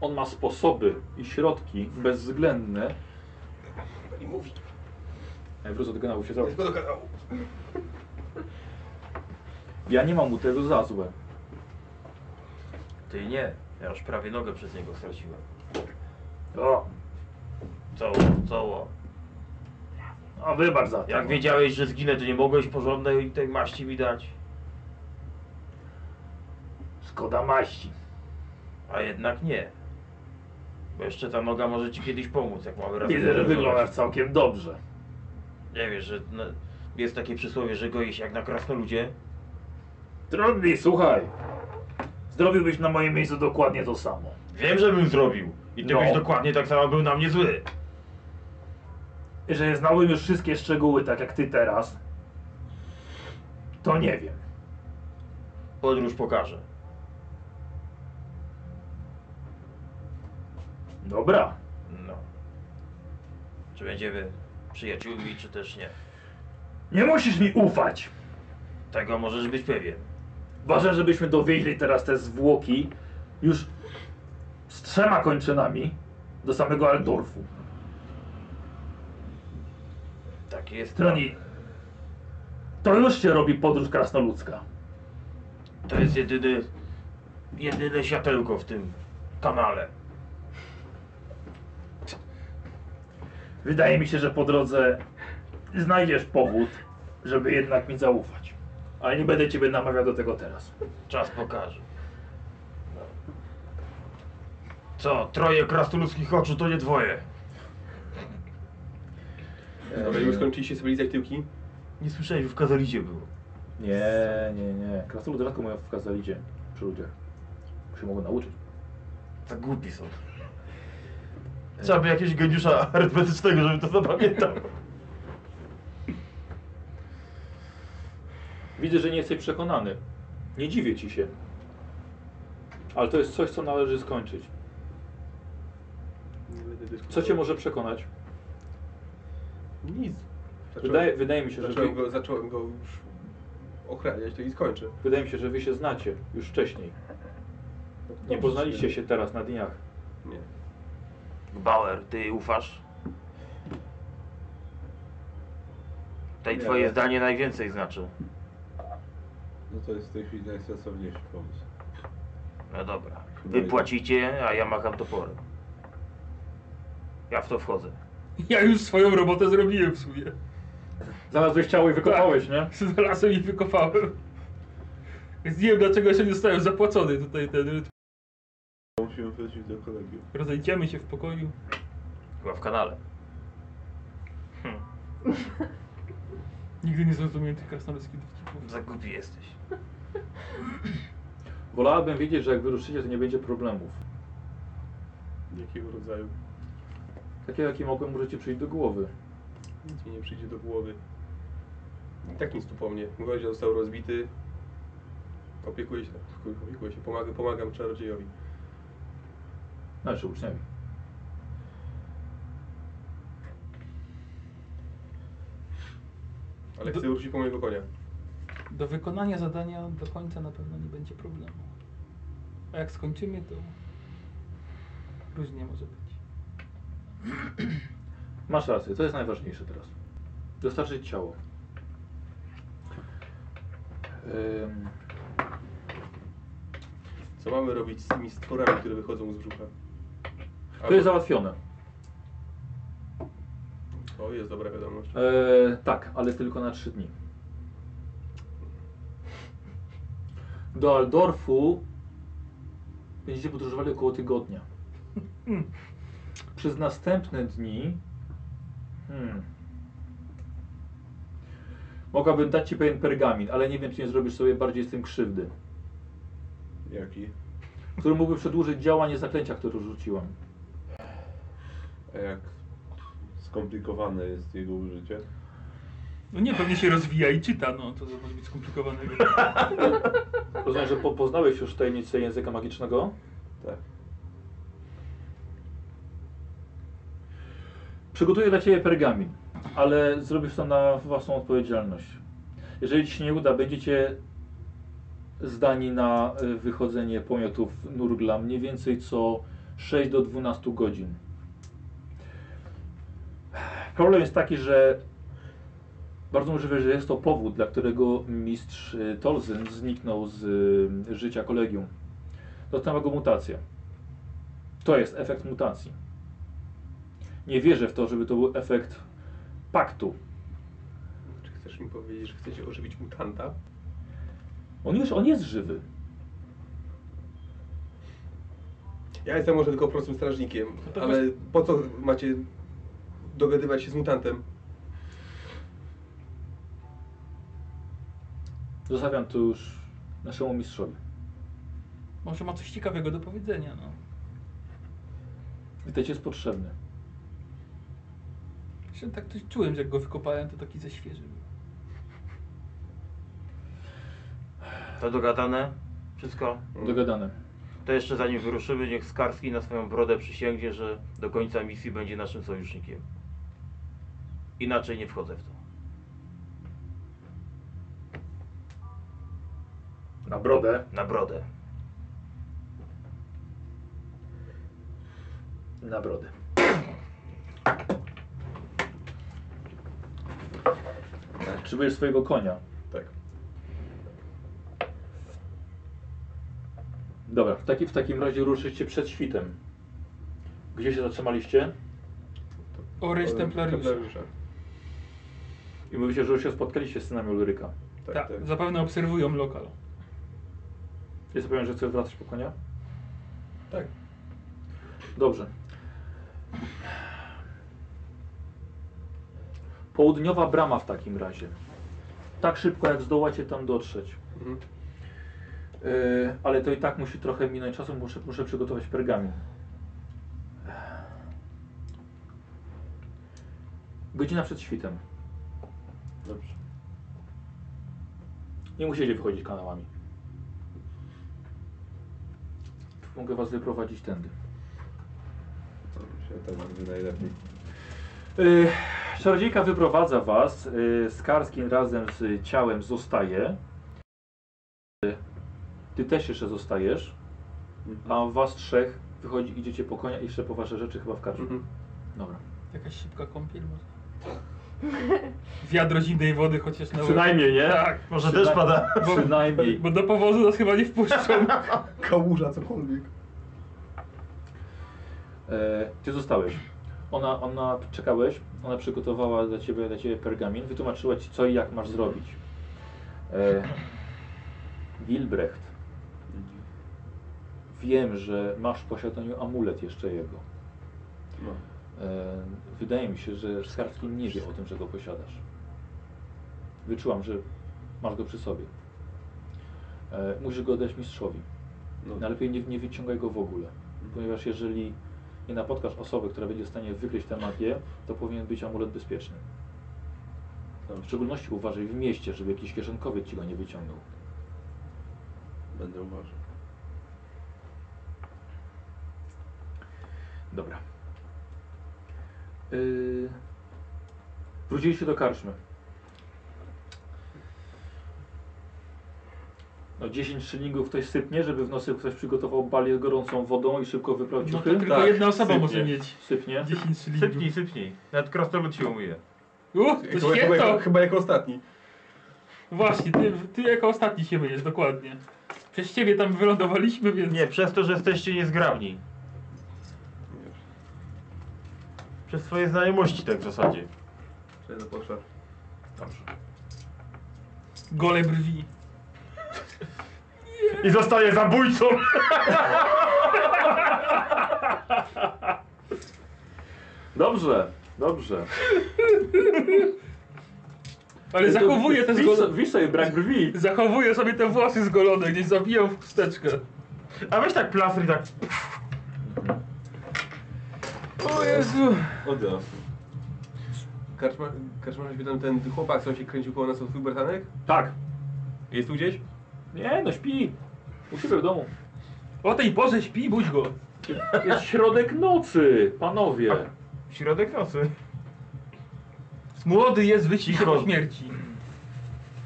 on ma sposoby i środki bezwzględne. I mówi. Ej, Wrócę do kanału się zrobić. Tylko do kanału. Ja nie mam mu tego za złe. Ty nie. Ja już prawie nogę przez niego straciłem. O, Całą, całą. a tak wybacz za to. Jak Tak wiedziałeś, że zginę, to nie mogłeś porządnej tej maści mi dać. Szkoda maści. A jednak nie. Bo jeszcze ta noga może ci kiedyś pomóc, jak mamy razem. Widzę, że podróżować. wyglądasz całkiem dobrze. Nie wiesz, że no, jest takie przysłowie, że goi się jak na krasnoludzie. Drogi, słuchaj. Zrobiłbyś na moim miejscu dokładnie to samo. Wiem, że bym zrobił. I ty No. byś dokładnie tak samo był na mnie zły. Jeżeli znałbym już wszystkie szczegóły, tak jak ty teraz, to nie wiem. Podróż pokaże. Dobra. No. Czy będziemy przyjaciółmi, czy też nie. Nie musisz mi ufać. Tego możesz być pewien. Ważne, żebyśmy dowieźli teraz te zwłoki już z trzema kończynami do samego Aldorfu. Taki Tak jest plan. Troni, to już się robi podróż krasnoludzka. To jest jedyny, jedyne światełko w tym kanale. Wydaje mi się, że po drodze znajdziesz powód, żeby jednak mi zaufać. Ale nie będę ciebie namawiał do tego teraz. Czas pokaże. No. Co, troje krasnoludzkich oczu to nie dwoje. Dobra, już skończyliście sobie lizać tyłki? Nie słyszałeś, już w Kazalidzie było. Nie, nie, nie. Krasnoludy rzadko mają w kazalidzie przy ludziach. Się mogą nauczyć. Za głupi są. E, Trzeba by jakiegoś geniusza arytmetycznego, żeby to zapamiętał. Widzę, że nie jesteś przekonany. Nie dziwię ci się. Ale to jest coś, co należy skończyć. Nie będę Co dyskutował. cię może przekonać? Nic. Zacząłem, Wydaje, wydaje mi się, że zacząłem, wy, go, zacząłem go już ochraniać, to i skończę. wydaje mi się, że wy się znacie już wcześniej. Nie poznaliście się teraz na dniach. Nie. Bauer, ty ufasz? Tutaj Nie, twoje nie. zdanie najwięcej znaczy. No to jest w tej chwili najsensowniejszy pomysł. No dobra. Wy tak. płacicie, a ja macham toporem. Ja w to wchodzę. Ja już swoją robotę zrobiłem w sumie. Znalazłeś ciało i wykopałeś, nie? Znalazłem i wykopałem. Więc nie wiem dlaczego jeszcze nie zostałem zapłacony tutaj ten Musimy wrócić do kolegium. Rozejdziemy się w pokoju. Chyba w kanale. Nigdy nie zrozumiałem tych krasnoludzkich dowcipów. Za głupi jesteś. Wolałabym wiedzieć, że jak wyruszycie, to nie będzie problemów. Jakiego rodzaju? Takiego, jakie mogłem, możecie przyjść do głowy. Nic mi nie przyjdzie do głowy. I tak nic tu po mnie. Mój ojciec został rozbity. Opiekuję się, kurwa, opiekuję się, pomagam, pomagam czarodziejowi. Znaczy uczniami. Ale chcę wrócić po mojego konia. Do wykonania zadania do końca na pewno nie będzie problemu. A jak skończymy, to różnie może być. Masz rację, to jest najważniejsze teraz. Dostarczyć ciało. Ym, Co mamy robić z tymi stworami, które wychodzą z brzucha? to jest załatwione. To jest dobra wiadomość. E, tak, ale tylko na 3 dni. Do Aldorfu Będziecie podróżowali około tygodnia. Przez następne dni. Hmm. Mogłabym dać ci pewien pergamin, ale nie wiem, czy nie zrobisz sobie bardziej z tym krzywdy. Jaki? Który mógłby przedłużyć działanie zaklęcia, które rzuciłam. A jak skomplikowane jest jego użycie? No nie, pewnie się rozwija i czyta, no to może być skomplikowanego. Rozumiem, że po, poznałeś już tajemnicę języka magicznego? Tak. Przygotuję dla Ciebie pergamin, ale zrobisz to na własną odpowiedzialność. Jeżeli Ci się nie uda, będziecie zdani na y, wychodzenie pomiotów nurgla mniej więcej co 6 do 12 godzin. Problem jest taki, że bardzo możliwe, że jest to powód, dla którego mistrz y, Tolzyn zniknął z y, życia kolegium. Dotknęła go mutacja. To jest efekt mutacji. Nie wierzę w to, żeby to był efekt paktu. Czy chcesz mi powiedzieć, że chcecie ożywić mutanta? On już, on jest żywy. Ja jestem może tylko prostym strażnikiem, to ale po co macie dogadywać się z mutantem? Zostawiam to już naszemu mistrzowi. Może ma coś ciekawego do powiedzenia, no. Witajcie jest potrzebny. Się tak coś czułem, że jak go wykopałem, to taki ze świeży był. To dogadane? Wszystko? Dogadane. To jeszcze zanim wyruszymy, niech Skarski na swoją brodę przysięgnie, że do końca misji będzie naszym sojusznikiem. Inaczej nie wchodzę w to. Na brodę. Na brodę. Na brodę. Potrzebujesz swojego konia. Tak. Dobra, w, taki, w takim razie ruszycie przed świtem. Gdzie się zatrzymaliście? Oręż Powiem, Templariusza. Templariusza. I mówicie, że już się spotkaliście z synami Ulryka. Tak, Tak, tak. zapewne obserwują lokal. Jest pewien, że chcesz wracać po konia? Tak. Dobrze. Południowa brama w takim razie. Tak szybko jak zdołacie tam dotrzeć. Mhm. Yy, ale to i tak musi trochę minąć czasu, muszę, muszę przygotować pergamin. Godzina przed świtem. Dobrze. Nie musicie wychodzić kanałami. Mogę was wyprowadzić tędy. To myślę, że tak będzie najlepiej. Yy, Czarodziejka wyprowadza was. Yy, Skarskin razem z ciałem zostaje. Y, ty też jeszcze zostajesz. Mhm. A was trzech wychodzi, idziecie po konia i jeszcze po wasze rzeczy chyba w karzu. Mhm. Dobra. Jakaś szybka kąpiel może. Wiadro zimnej wody chociaż na łeb. Przynajmniej, nie? Tak, może też pada. Bo- Przynajmniej. Bo do powozu nas chyba nie wpuszczą. No Kałuża, cokolwiek. E, ty zostałeś. Ona, ona, czekałeś, ona przygotowała dla ciebie, dla ciebie pergamin, wytłumaczyła ci co i jak masz zrobić. E, Wilbrecht, Mhm. wiem, że masz w posiadaniu amulet jeszcze jego. No. E, wydaje mi się, że Skarski nie wie o tym, że go posiadasz. Wyczułam, że masz go przy sobie. E, musisz go oddać mistrzowi. No. Najlepiej nie, nie wyciągaj go w ogóle, Mhm. ponieważ jeżeli nie napotkasz osoby, która będzie w stanie wykryć tę magię, to powinien być amulet bezpieczny. W Dobrze. szczególności uważaj w mieście, żeby jakiś kieszonkowiec ci go nie wyciągnął. Będę uważał. Dobra. Yy... Wróciliście do karczmy. No 10 szylingów ktoś sypnie, żeby w nocy ktoś przygotował balię z gorącą wodą i szybko wyprał No to ciuchy? tylko Tak, jedna osoba może sypnie. mieć Sypnie. 10 szylingów. Sypnij, sypnij. Nawet krasnolud się umyje. Uch, Chyba, to chyba, jako, święto! chyba jako ostatni. Właśnie, ty, ty jako ostatni się myjesz, dokładnie. Przez ciebie tam wylądowaliśmy, więc... Nie, przez to, że jesteście niezgrabni. Przez swoje znajomości tak w zasadzie. Przejdę do poszła. Gole brwi. I zostaje zabójcą! Dobrze, dobrze. Ale zachowuję te wisz, zgolone... wisz sobie brak brwi. Zachowuję sobie te włosy zgolone, gdzieś zabiję w chusteczkę. A weź tak plastry i tak... O Jezu. Odrosł. Karczma, karczmarza się pytam, ten chłopak, co się kręcił koło nas, to twój bratanek? Tak. Jest tu gdzieś? Nie no, śpi. U siebie w domu. O tej porze śpi, budź go. Jest środek nocy, panowie. Środek nocy. Młody jest wyciszy Cicho. po śmierci.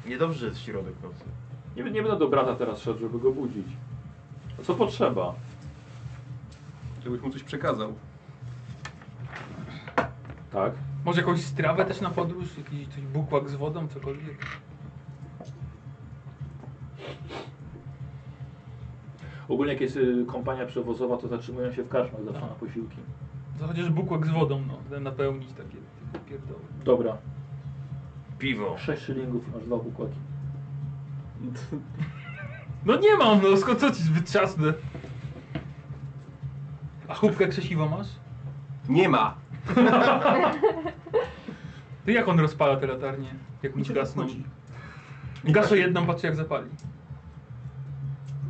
Niedobrze jest środek nocy. Nie, nie będę do brata teraz szedł, żeby go budzić. A Co potrzeba? Żebyś mu coś przekazał. Tak. Może jakąś strawę też na podróż? Jakiś coś bukłak z wodą, cokolwiek. Ogólnie jak jest y, kompania przewozowa, to zatrzymują się w karczmach zawsze No. na posiłki. To No chociaż bukłak z wodą, no. żeby Napełnić takie takie pierdoły. Dobra. Piwo. 6 szylingów i masz dwa bukłaki. No nie mam, no skąd co ci wytrzasnę? A chłopkę krzesiwo masz? Nie ma! Ty jak on rozpala te latarnie? Jak mu ci gasną? Gaszę jedną, patrzę jak zapali.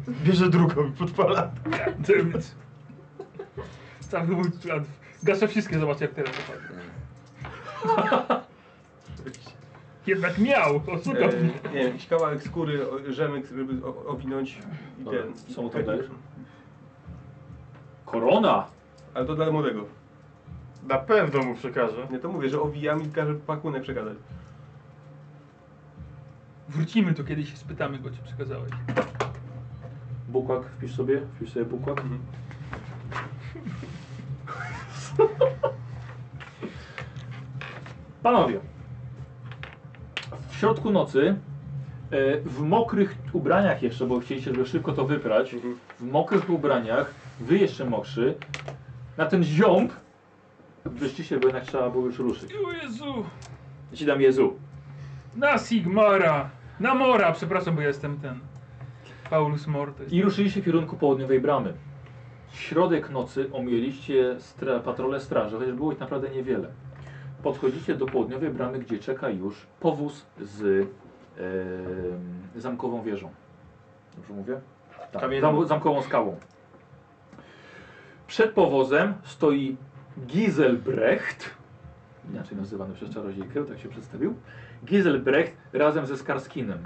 Bierze drugą i podpala. Damn it. Cały mój plan. Gaszę wszystkie, zobacz jak teraz zapali. Jednak miał, oszukał E, mnie. nie wiem, jakiś kawałek skóry, o- rzemek, żeby o- owinąć i Dobra, ten. co mu tam dajesz? Korona! Ale to dla młodego. Na pewno mu przekażę. Nie, to mówię, że owijam i każę pakunek przekazać. Wrócimy tu kiedyś i spytamy go, czy przekazałeś. Bukłak, wpisz sobie, wpisz sobie bukłak. Panowie, w środku nocy, e, w mokrych ubraniach jeszcze, bo chcieliście, żeby szybko to wyprać, w mokrych ubraniach, wy jeszcze mokrzy, na ten ziąb wyszliście, się, bo jednak trzeba było już ruszyć. O Jezu! Ja ci dam Jezu. Na Sigmara! Na Mora, przepraszam, bo ja jestem ten. Paulus Mor to jest. I ruszyliście w kierunku południowej bramy. Środek nocy omieliście stra patrole straży, chociaż było ich naprawdę niewiele. Podchodzicie do południowej bramy, gdzie czeka już powóz z em, zamkową wieżą. Dobrze mówię? Tak, zam zamkową skałą. Przed powozem stoi Giselbrecht, inaczej nazywany przez czarodziejkę, tak się przedstawił. Giselbrecht razem ze Skarskinem.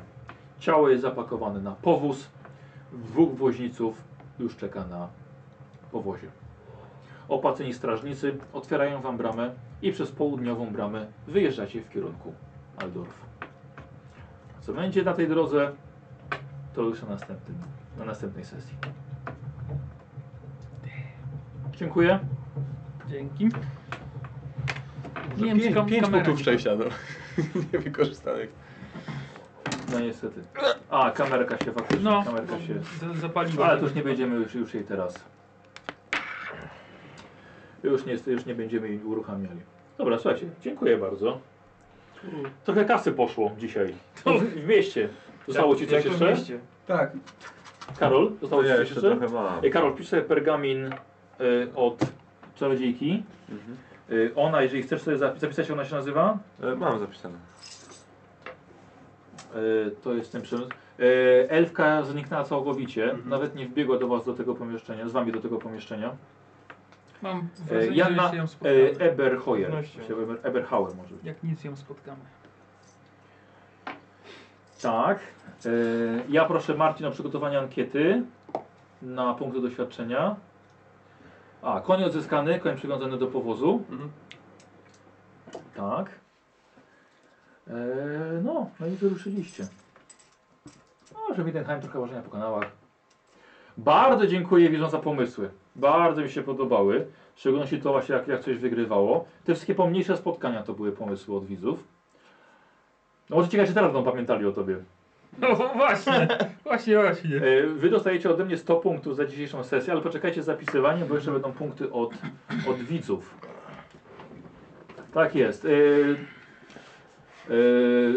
Ciało jest zapakowane na powóz, dwóch woźniców już czeka na powozie. Opłaceni strażnicy otwierają wam bramę i przez południową bramę wyjeżdżacie w kierunku Aldorfu. Co będzie na tej drodze, to już na, następnym, na następnej sesji. Dziękuję. Dzięki. Nie Że wiem, czy pięć- kam- pięć kamera punktów nie- szczęścia, no. Niewykorzystanych. No niestety. A, kamerka się faktycznie, No, kamerka się... z- zapaliła. Ale to już nie będziemy już, już jej teraz. Już nie, już nie będziemy jej uruchamiali. Dobra, słuchajcie, dziękuję bardzo. Trochę kasy poszło dzisiaj. W, w mieście. Zostało ci coś jeszcze? Tak, Karol, To zostało ci ja coś jeszcze jeszcze? trochę mam. Ej, E, Karol, pisz sobie pergamin y, od czarodziejki. Y, ona, jeżeli chcesz sobie zapi- zapisać, jak ona się nazywa, E, Mam zapisane. y, to jest ten przemysł. Y, elfka zniknęła całkowicie, nawet nie wbiegła do was do tego pomieszczenia, z wami do tego pomieszczenia. Mam E, wrażenie, że Janna się ją e, spotkamy. Eberhoyer. Pewnością. Myślę, Eber, Eberhauer może być. Jak nic ją spotkamy. Tak. E, ja proszę Marcin o przygotowanie ankiety na punkty doświadczenia. A, koń odzyskany, koń przywiązany do powozu. Mhm. Tak. E, no, no i wyruszyliście. No, że Widenheim trochę ważenia po kanałach. Bardzo dziękuję widzom za pomysły. Bardzo mi się podobały. W szczególności to właśnie jak, jak coś wygrywało. Te wszystkie pomniejsze spotkania to były pomysły od widzów. No może ciekawe, czy teraz będą pamiętali o tobie. No właśnie, właśnie, właśnie. E, Wy dostajecie ode mnie 100 punktów za dzisiejszą sesję, ale poczekajcie z zapisywaniem, bo jeszcze będą punkty od, od widzów. Tak jest. E, e,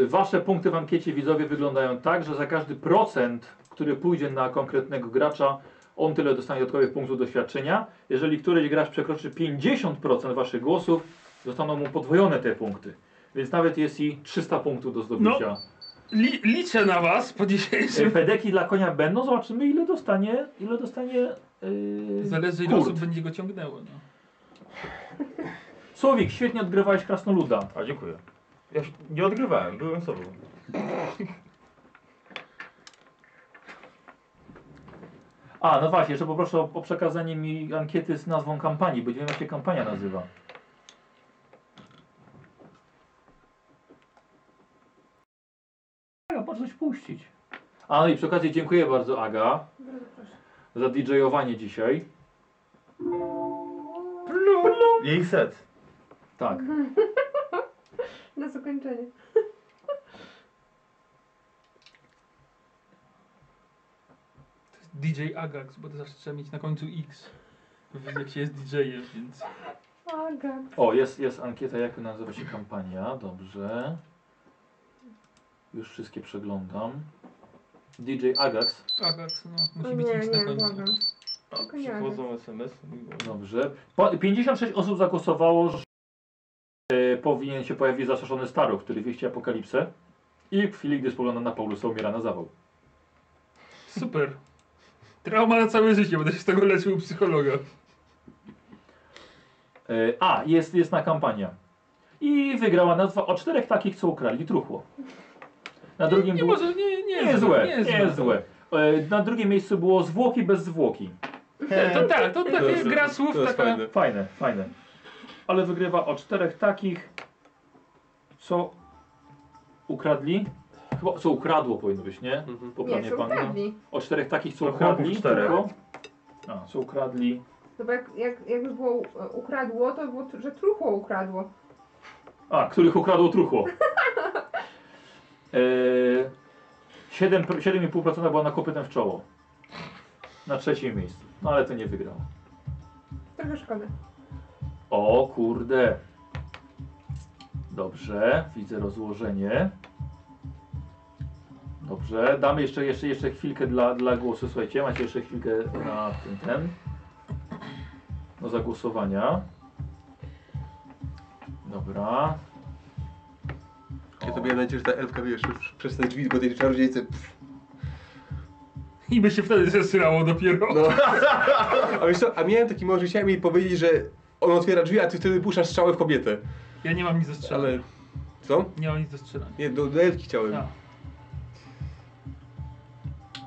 Wasze punkty w ankiecie widzowie wyglądają tak, że za każdy procent, który pójdzie na konkretnego gracza, On tyle dostanie dodatkowych punktów doświadczenia. Jeżeli któryś gracz przekroczy 50% waszych głosów, zostaną mu podwojone te punkty. Więc nawet jest i 300 punktów do zdobycia. Li, liczę na was po E, dzisiejszym. Pedeki dla konia będą, zobaczymy ile dostanie, ile dostanie yy, Zależy ile osób będzie go ciągnęło. No. Słowik, świetnie odgrywałeś krasnoluda. A dziękuję. Ja już nie odgrywałem, byłem sobą. A, no właśnie, jeszcze poproszę o, o przekazanie mi ankiety z nazwą kampanii, bo nie wiem jak się kampania nazywa. Aga, po coś puścić. A no i przy okazji dziękuję bardzo Aga za DJ-owanie dzisiaj. Jej set. Tak. Na zakończenie. To jest DJ Agax, bo to zawsze trzeba mieć na końcu X. Jak się jest DJ-em, więc. Aga. O, jest, jest ankieta, jak nazywa się kampania. Dobrze. Już wszystkie przeglądam. DJ Agax. Agax, no, O musi nie, być X na nie, końcu. błagam. A Kojarzysz. przychodzą SMS. Dobrze. Po- 56 osób zagłosowało, że e, powinien się pojawić zastraszony staruch, który wieści apokalipsę. I w chwili, gdy spogląda na Paulusa, umiera na zawał. Super. Trauma na całe życie, będę się z tego leczył u psychologa. E, a, jest, jest na kampania. I wygrała nazwa o czterech takich, co ukradli truchło. Na drugim Nie było... może, nie, nie, nie złe, nie nie złe. E, na drugim miejscu było zwłoki bez zwłoki. To tak, to To taka jest- gra słów to jest taka. fajne. Fajne, fajne. Ale wygrywa o czterech takich, co ukradli. Chyba co ukradło powinno być, nie? Mhm. Poprawnie Nie, są pamiętam. ukradli. O czterech takich, co No, ukradli. chłopów czterech. tylko. A, co ukradli. No bo jak, jak, jakby było e, ukradło, to było, tr- że truchło ukradło. A, których ukradło truchło. Eee, siedem- 7,5% była na kopytem w czoło. Na trzecim miejscu. No ale to nie wygrało. Trochę szkoda. O kurde. Dobrze, widzę rozłożenie. Dobrze, damy jeszcze, jeszcze, jeszcze chwilkę dla, dla głosu. Słuchajcie, macie jeszcze chwilkę na ten, ten. Do zagłosowania. Dobra. Ja sobie nadzieję, że ta elfka wiesz, już przez te drzwi, bo tej czarodziejce. pff. I by się wtedy zesrało dopiero. No. A wiesz co, a miałem taki moment, że chciałem jej powiedzieć, że on otwiera drzwi, a ty wtedy puszczasz strzałę w kobietę. Ja nie mam nic do strzelania. Ale... Co? Nie mam nic do strzelania. Tak. Nie, do, do elfki chciałem. A.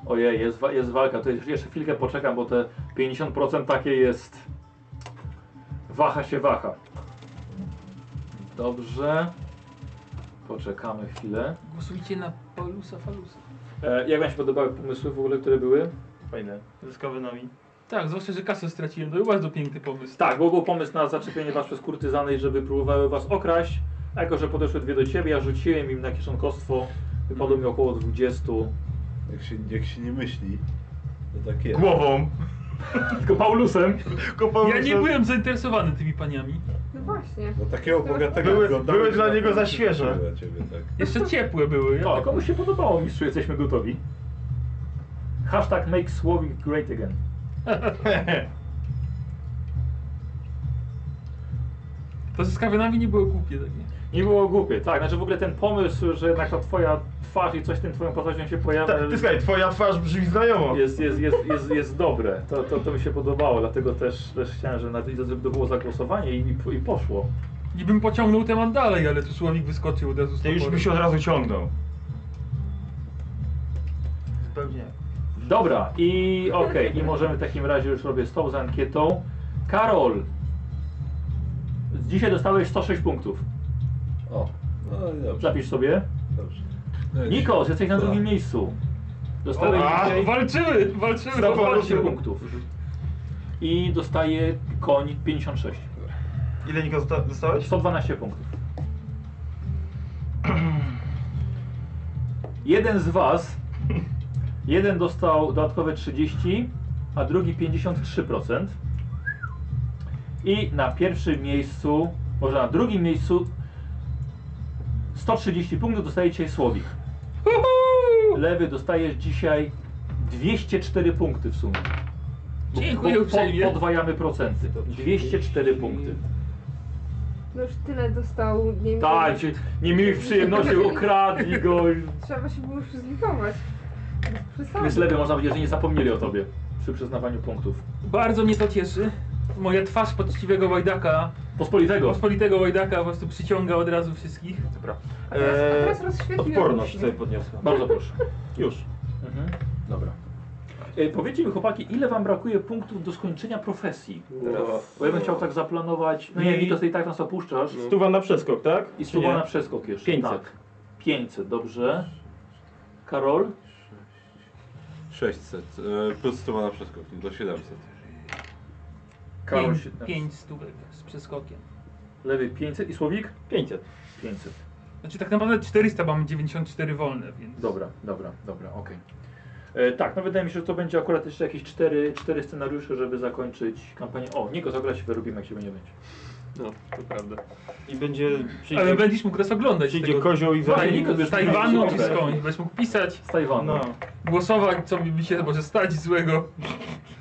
Ojej, jest, wa- jest walka. To jeszcze jeszcze chwilkę poczekam, bo te 50% takie jest. Waha się waha. Dobrze. Poczekamy chwilę. Głosujcie na Paulusa Falusa. E, jak Wam się podobały pomysły w ogóle, które były? Fajne. Z kawynami. Tak, zwłaszcza, że kasę straciłem. To był bardzo piękny pomysł. Tak, bo był pomysł na zaczepienie Was przez kurtyzany, żeby próbowały Was okraść. A jako, że podeszły dwie do Ciebie, ja rzuciłem im na kieszonkostwo. Wypadło mi około 20. Jak się, jak się nie myśli, to tak jest. Głową. Tylko Paulusem. Ja nie byłem zainteresowany tymi paniami. No właśnie. No takiego bogatego Były- oglądamy, były że dla na niego za pewno świeże. Dla ciebie, tak. Jeszcze ciepłe były. Ja O, komuś się podobało, mistrzu, jesteśmy gotowi. Hashtag make Słowik great again. To ze skawionami nie było głupie takie. Nie było głupie, tak. Znaczy w ogóle ten pomysł, że jednak ta twoja twarz i coś tym twoją postacią się pojawia, Ta, Tak, ty słuchaj, twoja twarz brzmi znajomo. jest, jest, jest, jest, jest dobre. To, to, to mi się podobało, dlatego też, też chciałem, że na to żeby to było zagłosowanie i, i poszło. I bym pociągnął temat dalej, ale tu Słowik wyskoczył od razu z Ty już toporem. byś od razu ciągnął. Zupełnie. Dobra, i okej, i możemy w takim razie już robię stop z ankietą. Karol, dzisiaj dostałeś 106 punktów. O, no i dobrze. Zapisz sobie. dobrze. No i- Nikos, jesteś na drugim miejscu. Dostałeś O, a, dzisiaj... Walczymy, walczymy. Znowu chłopaki. ruszył. 12 punktów. I dostaje koń 56. Ile Niko zosta- dostałeś? 112 punktów. Jeden z was, jeden dostał dodatkowe 30, a drugi 53%. I na pierwszym miejscu, może na drugim miejscu 130 punktów dostaje dzisiaj Słowik. Lewy dostajesz dzisiaj 204 punkty w sumie. Dziękuję uprzejmie. Podwajamy procenty. 204 punkty. No już tyle dostał, nie miło. Tak, ci- niemiłych przyjemności okradli go. Trzeba się było już zlitować. Bez przesady. Więc lepiej można powiedzieć, że nie zapomnieli o tobie przy przyznawaniu punktów. Bardzo mnie to cieszy. Moja twarz poczciwego Łajdaka. Pospolitego. Pospolitego Łajdaka po prostu przyciąga od razu wszystkich. Dobra. A teraz- a Э, teraz rozświetliłem Eee, Odporność właśnie. sobie podniosłem. Bardzo proszę. Już. Mhm. Dobra. E, powiedzcie mi chłopaki, ile wam brakuje punktów do skończenia profesji? Teraz. Bo ja bym chciał tak zaplanować. No nie, I- mi to tej tak nas opuszczasz. Stuwa na przeskok, tak? I Czy stuwa nie? na przeskok jeszcze. 500. Tak. 500, dobrze. Karol? 600, e, plus stuwa na no przeskokni, do 700. Karol Pięć- 17. Pięć stówek z przeskokiem. Lewy 500 i Słowik? 500. 500. Znaczy tak naprawdę 400, bo mamy 94 wolne, więc... Dobra, dobra, dobra, okej. E, Tak, no wydaje mi się, że to będzie akurat jeszcze jakieś cztery, cztery scenariusze, żeby zakończyć kampanię. O, Niko, zagra się wyrobimy, jak się nie będzie. No, to prawda. I będzie... przyjdzie- Ale będziesz mógł nas oglądać. Przyjdzie tego- kozioł i z zacznie- Tajwanu- Nikt- Z Tajwanu czy Nikt- skądś. Będziesz mógł pisać, Z Tajwanu. No. głosować, co mi się może stać złego.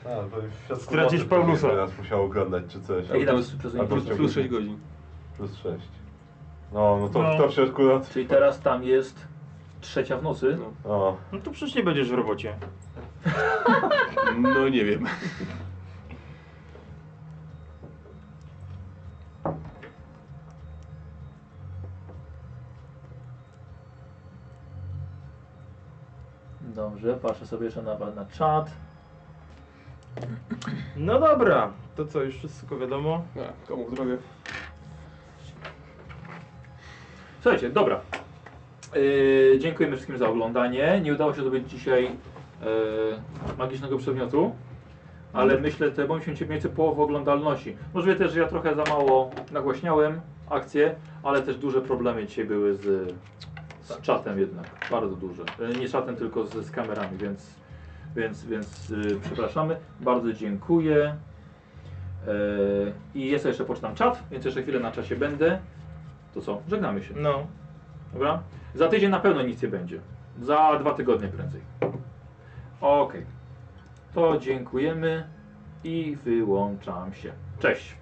A, to już świat Stracisz kłopoty Paulusa. pewnie Teraz musiał oglądać czy coś. A ile tam jest A przez plus- Plus, plus 6 godzin. Plus 6. No, no to, No. to w środku nocy. Czyli teraz tam jest trzecia w nocy. No. O, No to przecież nie będziesz w robocie. No nie wiem. Dobrze, patrzę sobie jeszcze na, na czat. No dobra. To co, już wszystko wiadomo? A, komu w drogę? Słuchajcie, dobra. Yy, dziękujemy wszystkim za oglądanie. Nie udało się zdobyć dzisiaj yy, magicznego przedmiotu, ale myślę, że bądźmy się mniej więcej połowę oglądalności. Możliwe też, że ja trochę za mało nagłaśniałem akcję, ale też duże problemy dzisiaj były z, z czatem jednak. Bardzo duże. Yy, nie z czatem, tylko z, z kamerami, więc, więc, więc yy, przepraszamy. Bardzo dziękuję. Yy, I jest jeszcze poczytam czat, więc jeszcze chwilę na czasie będę. To co? Żegnamy się. No. Dobra? Za tydzień na pewno nic nie będzie. Za dwa tygodnie prędzej. Okej. To dziękujemy i wyłączam się. Cześć.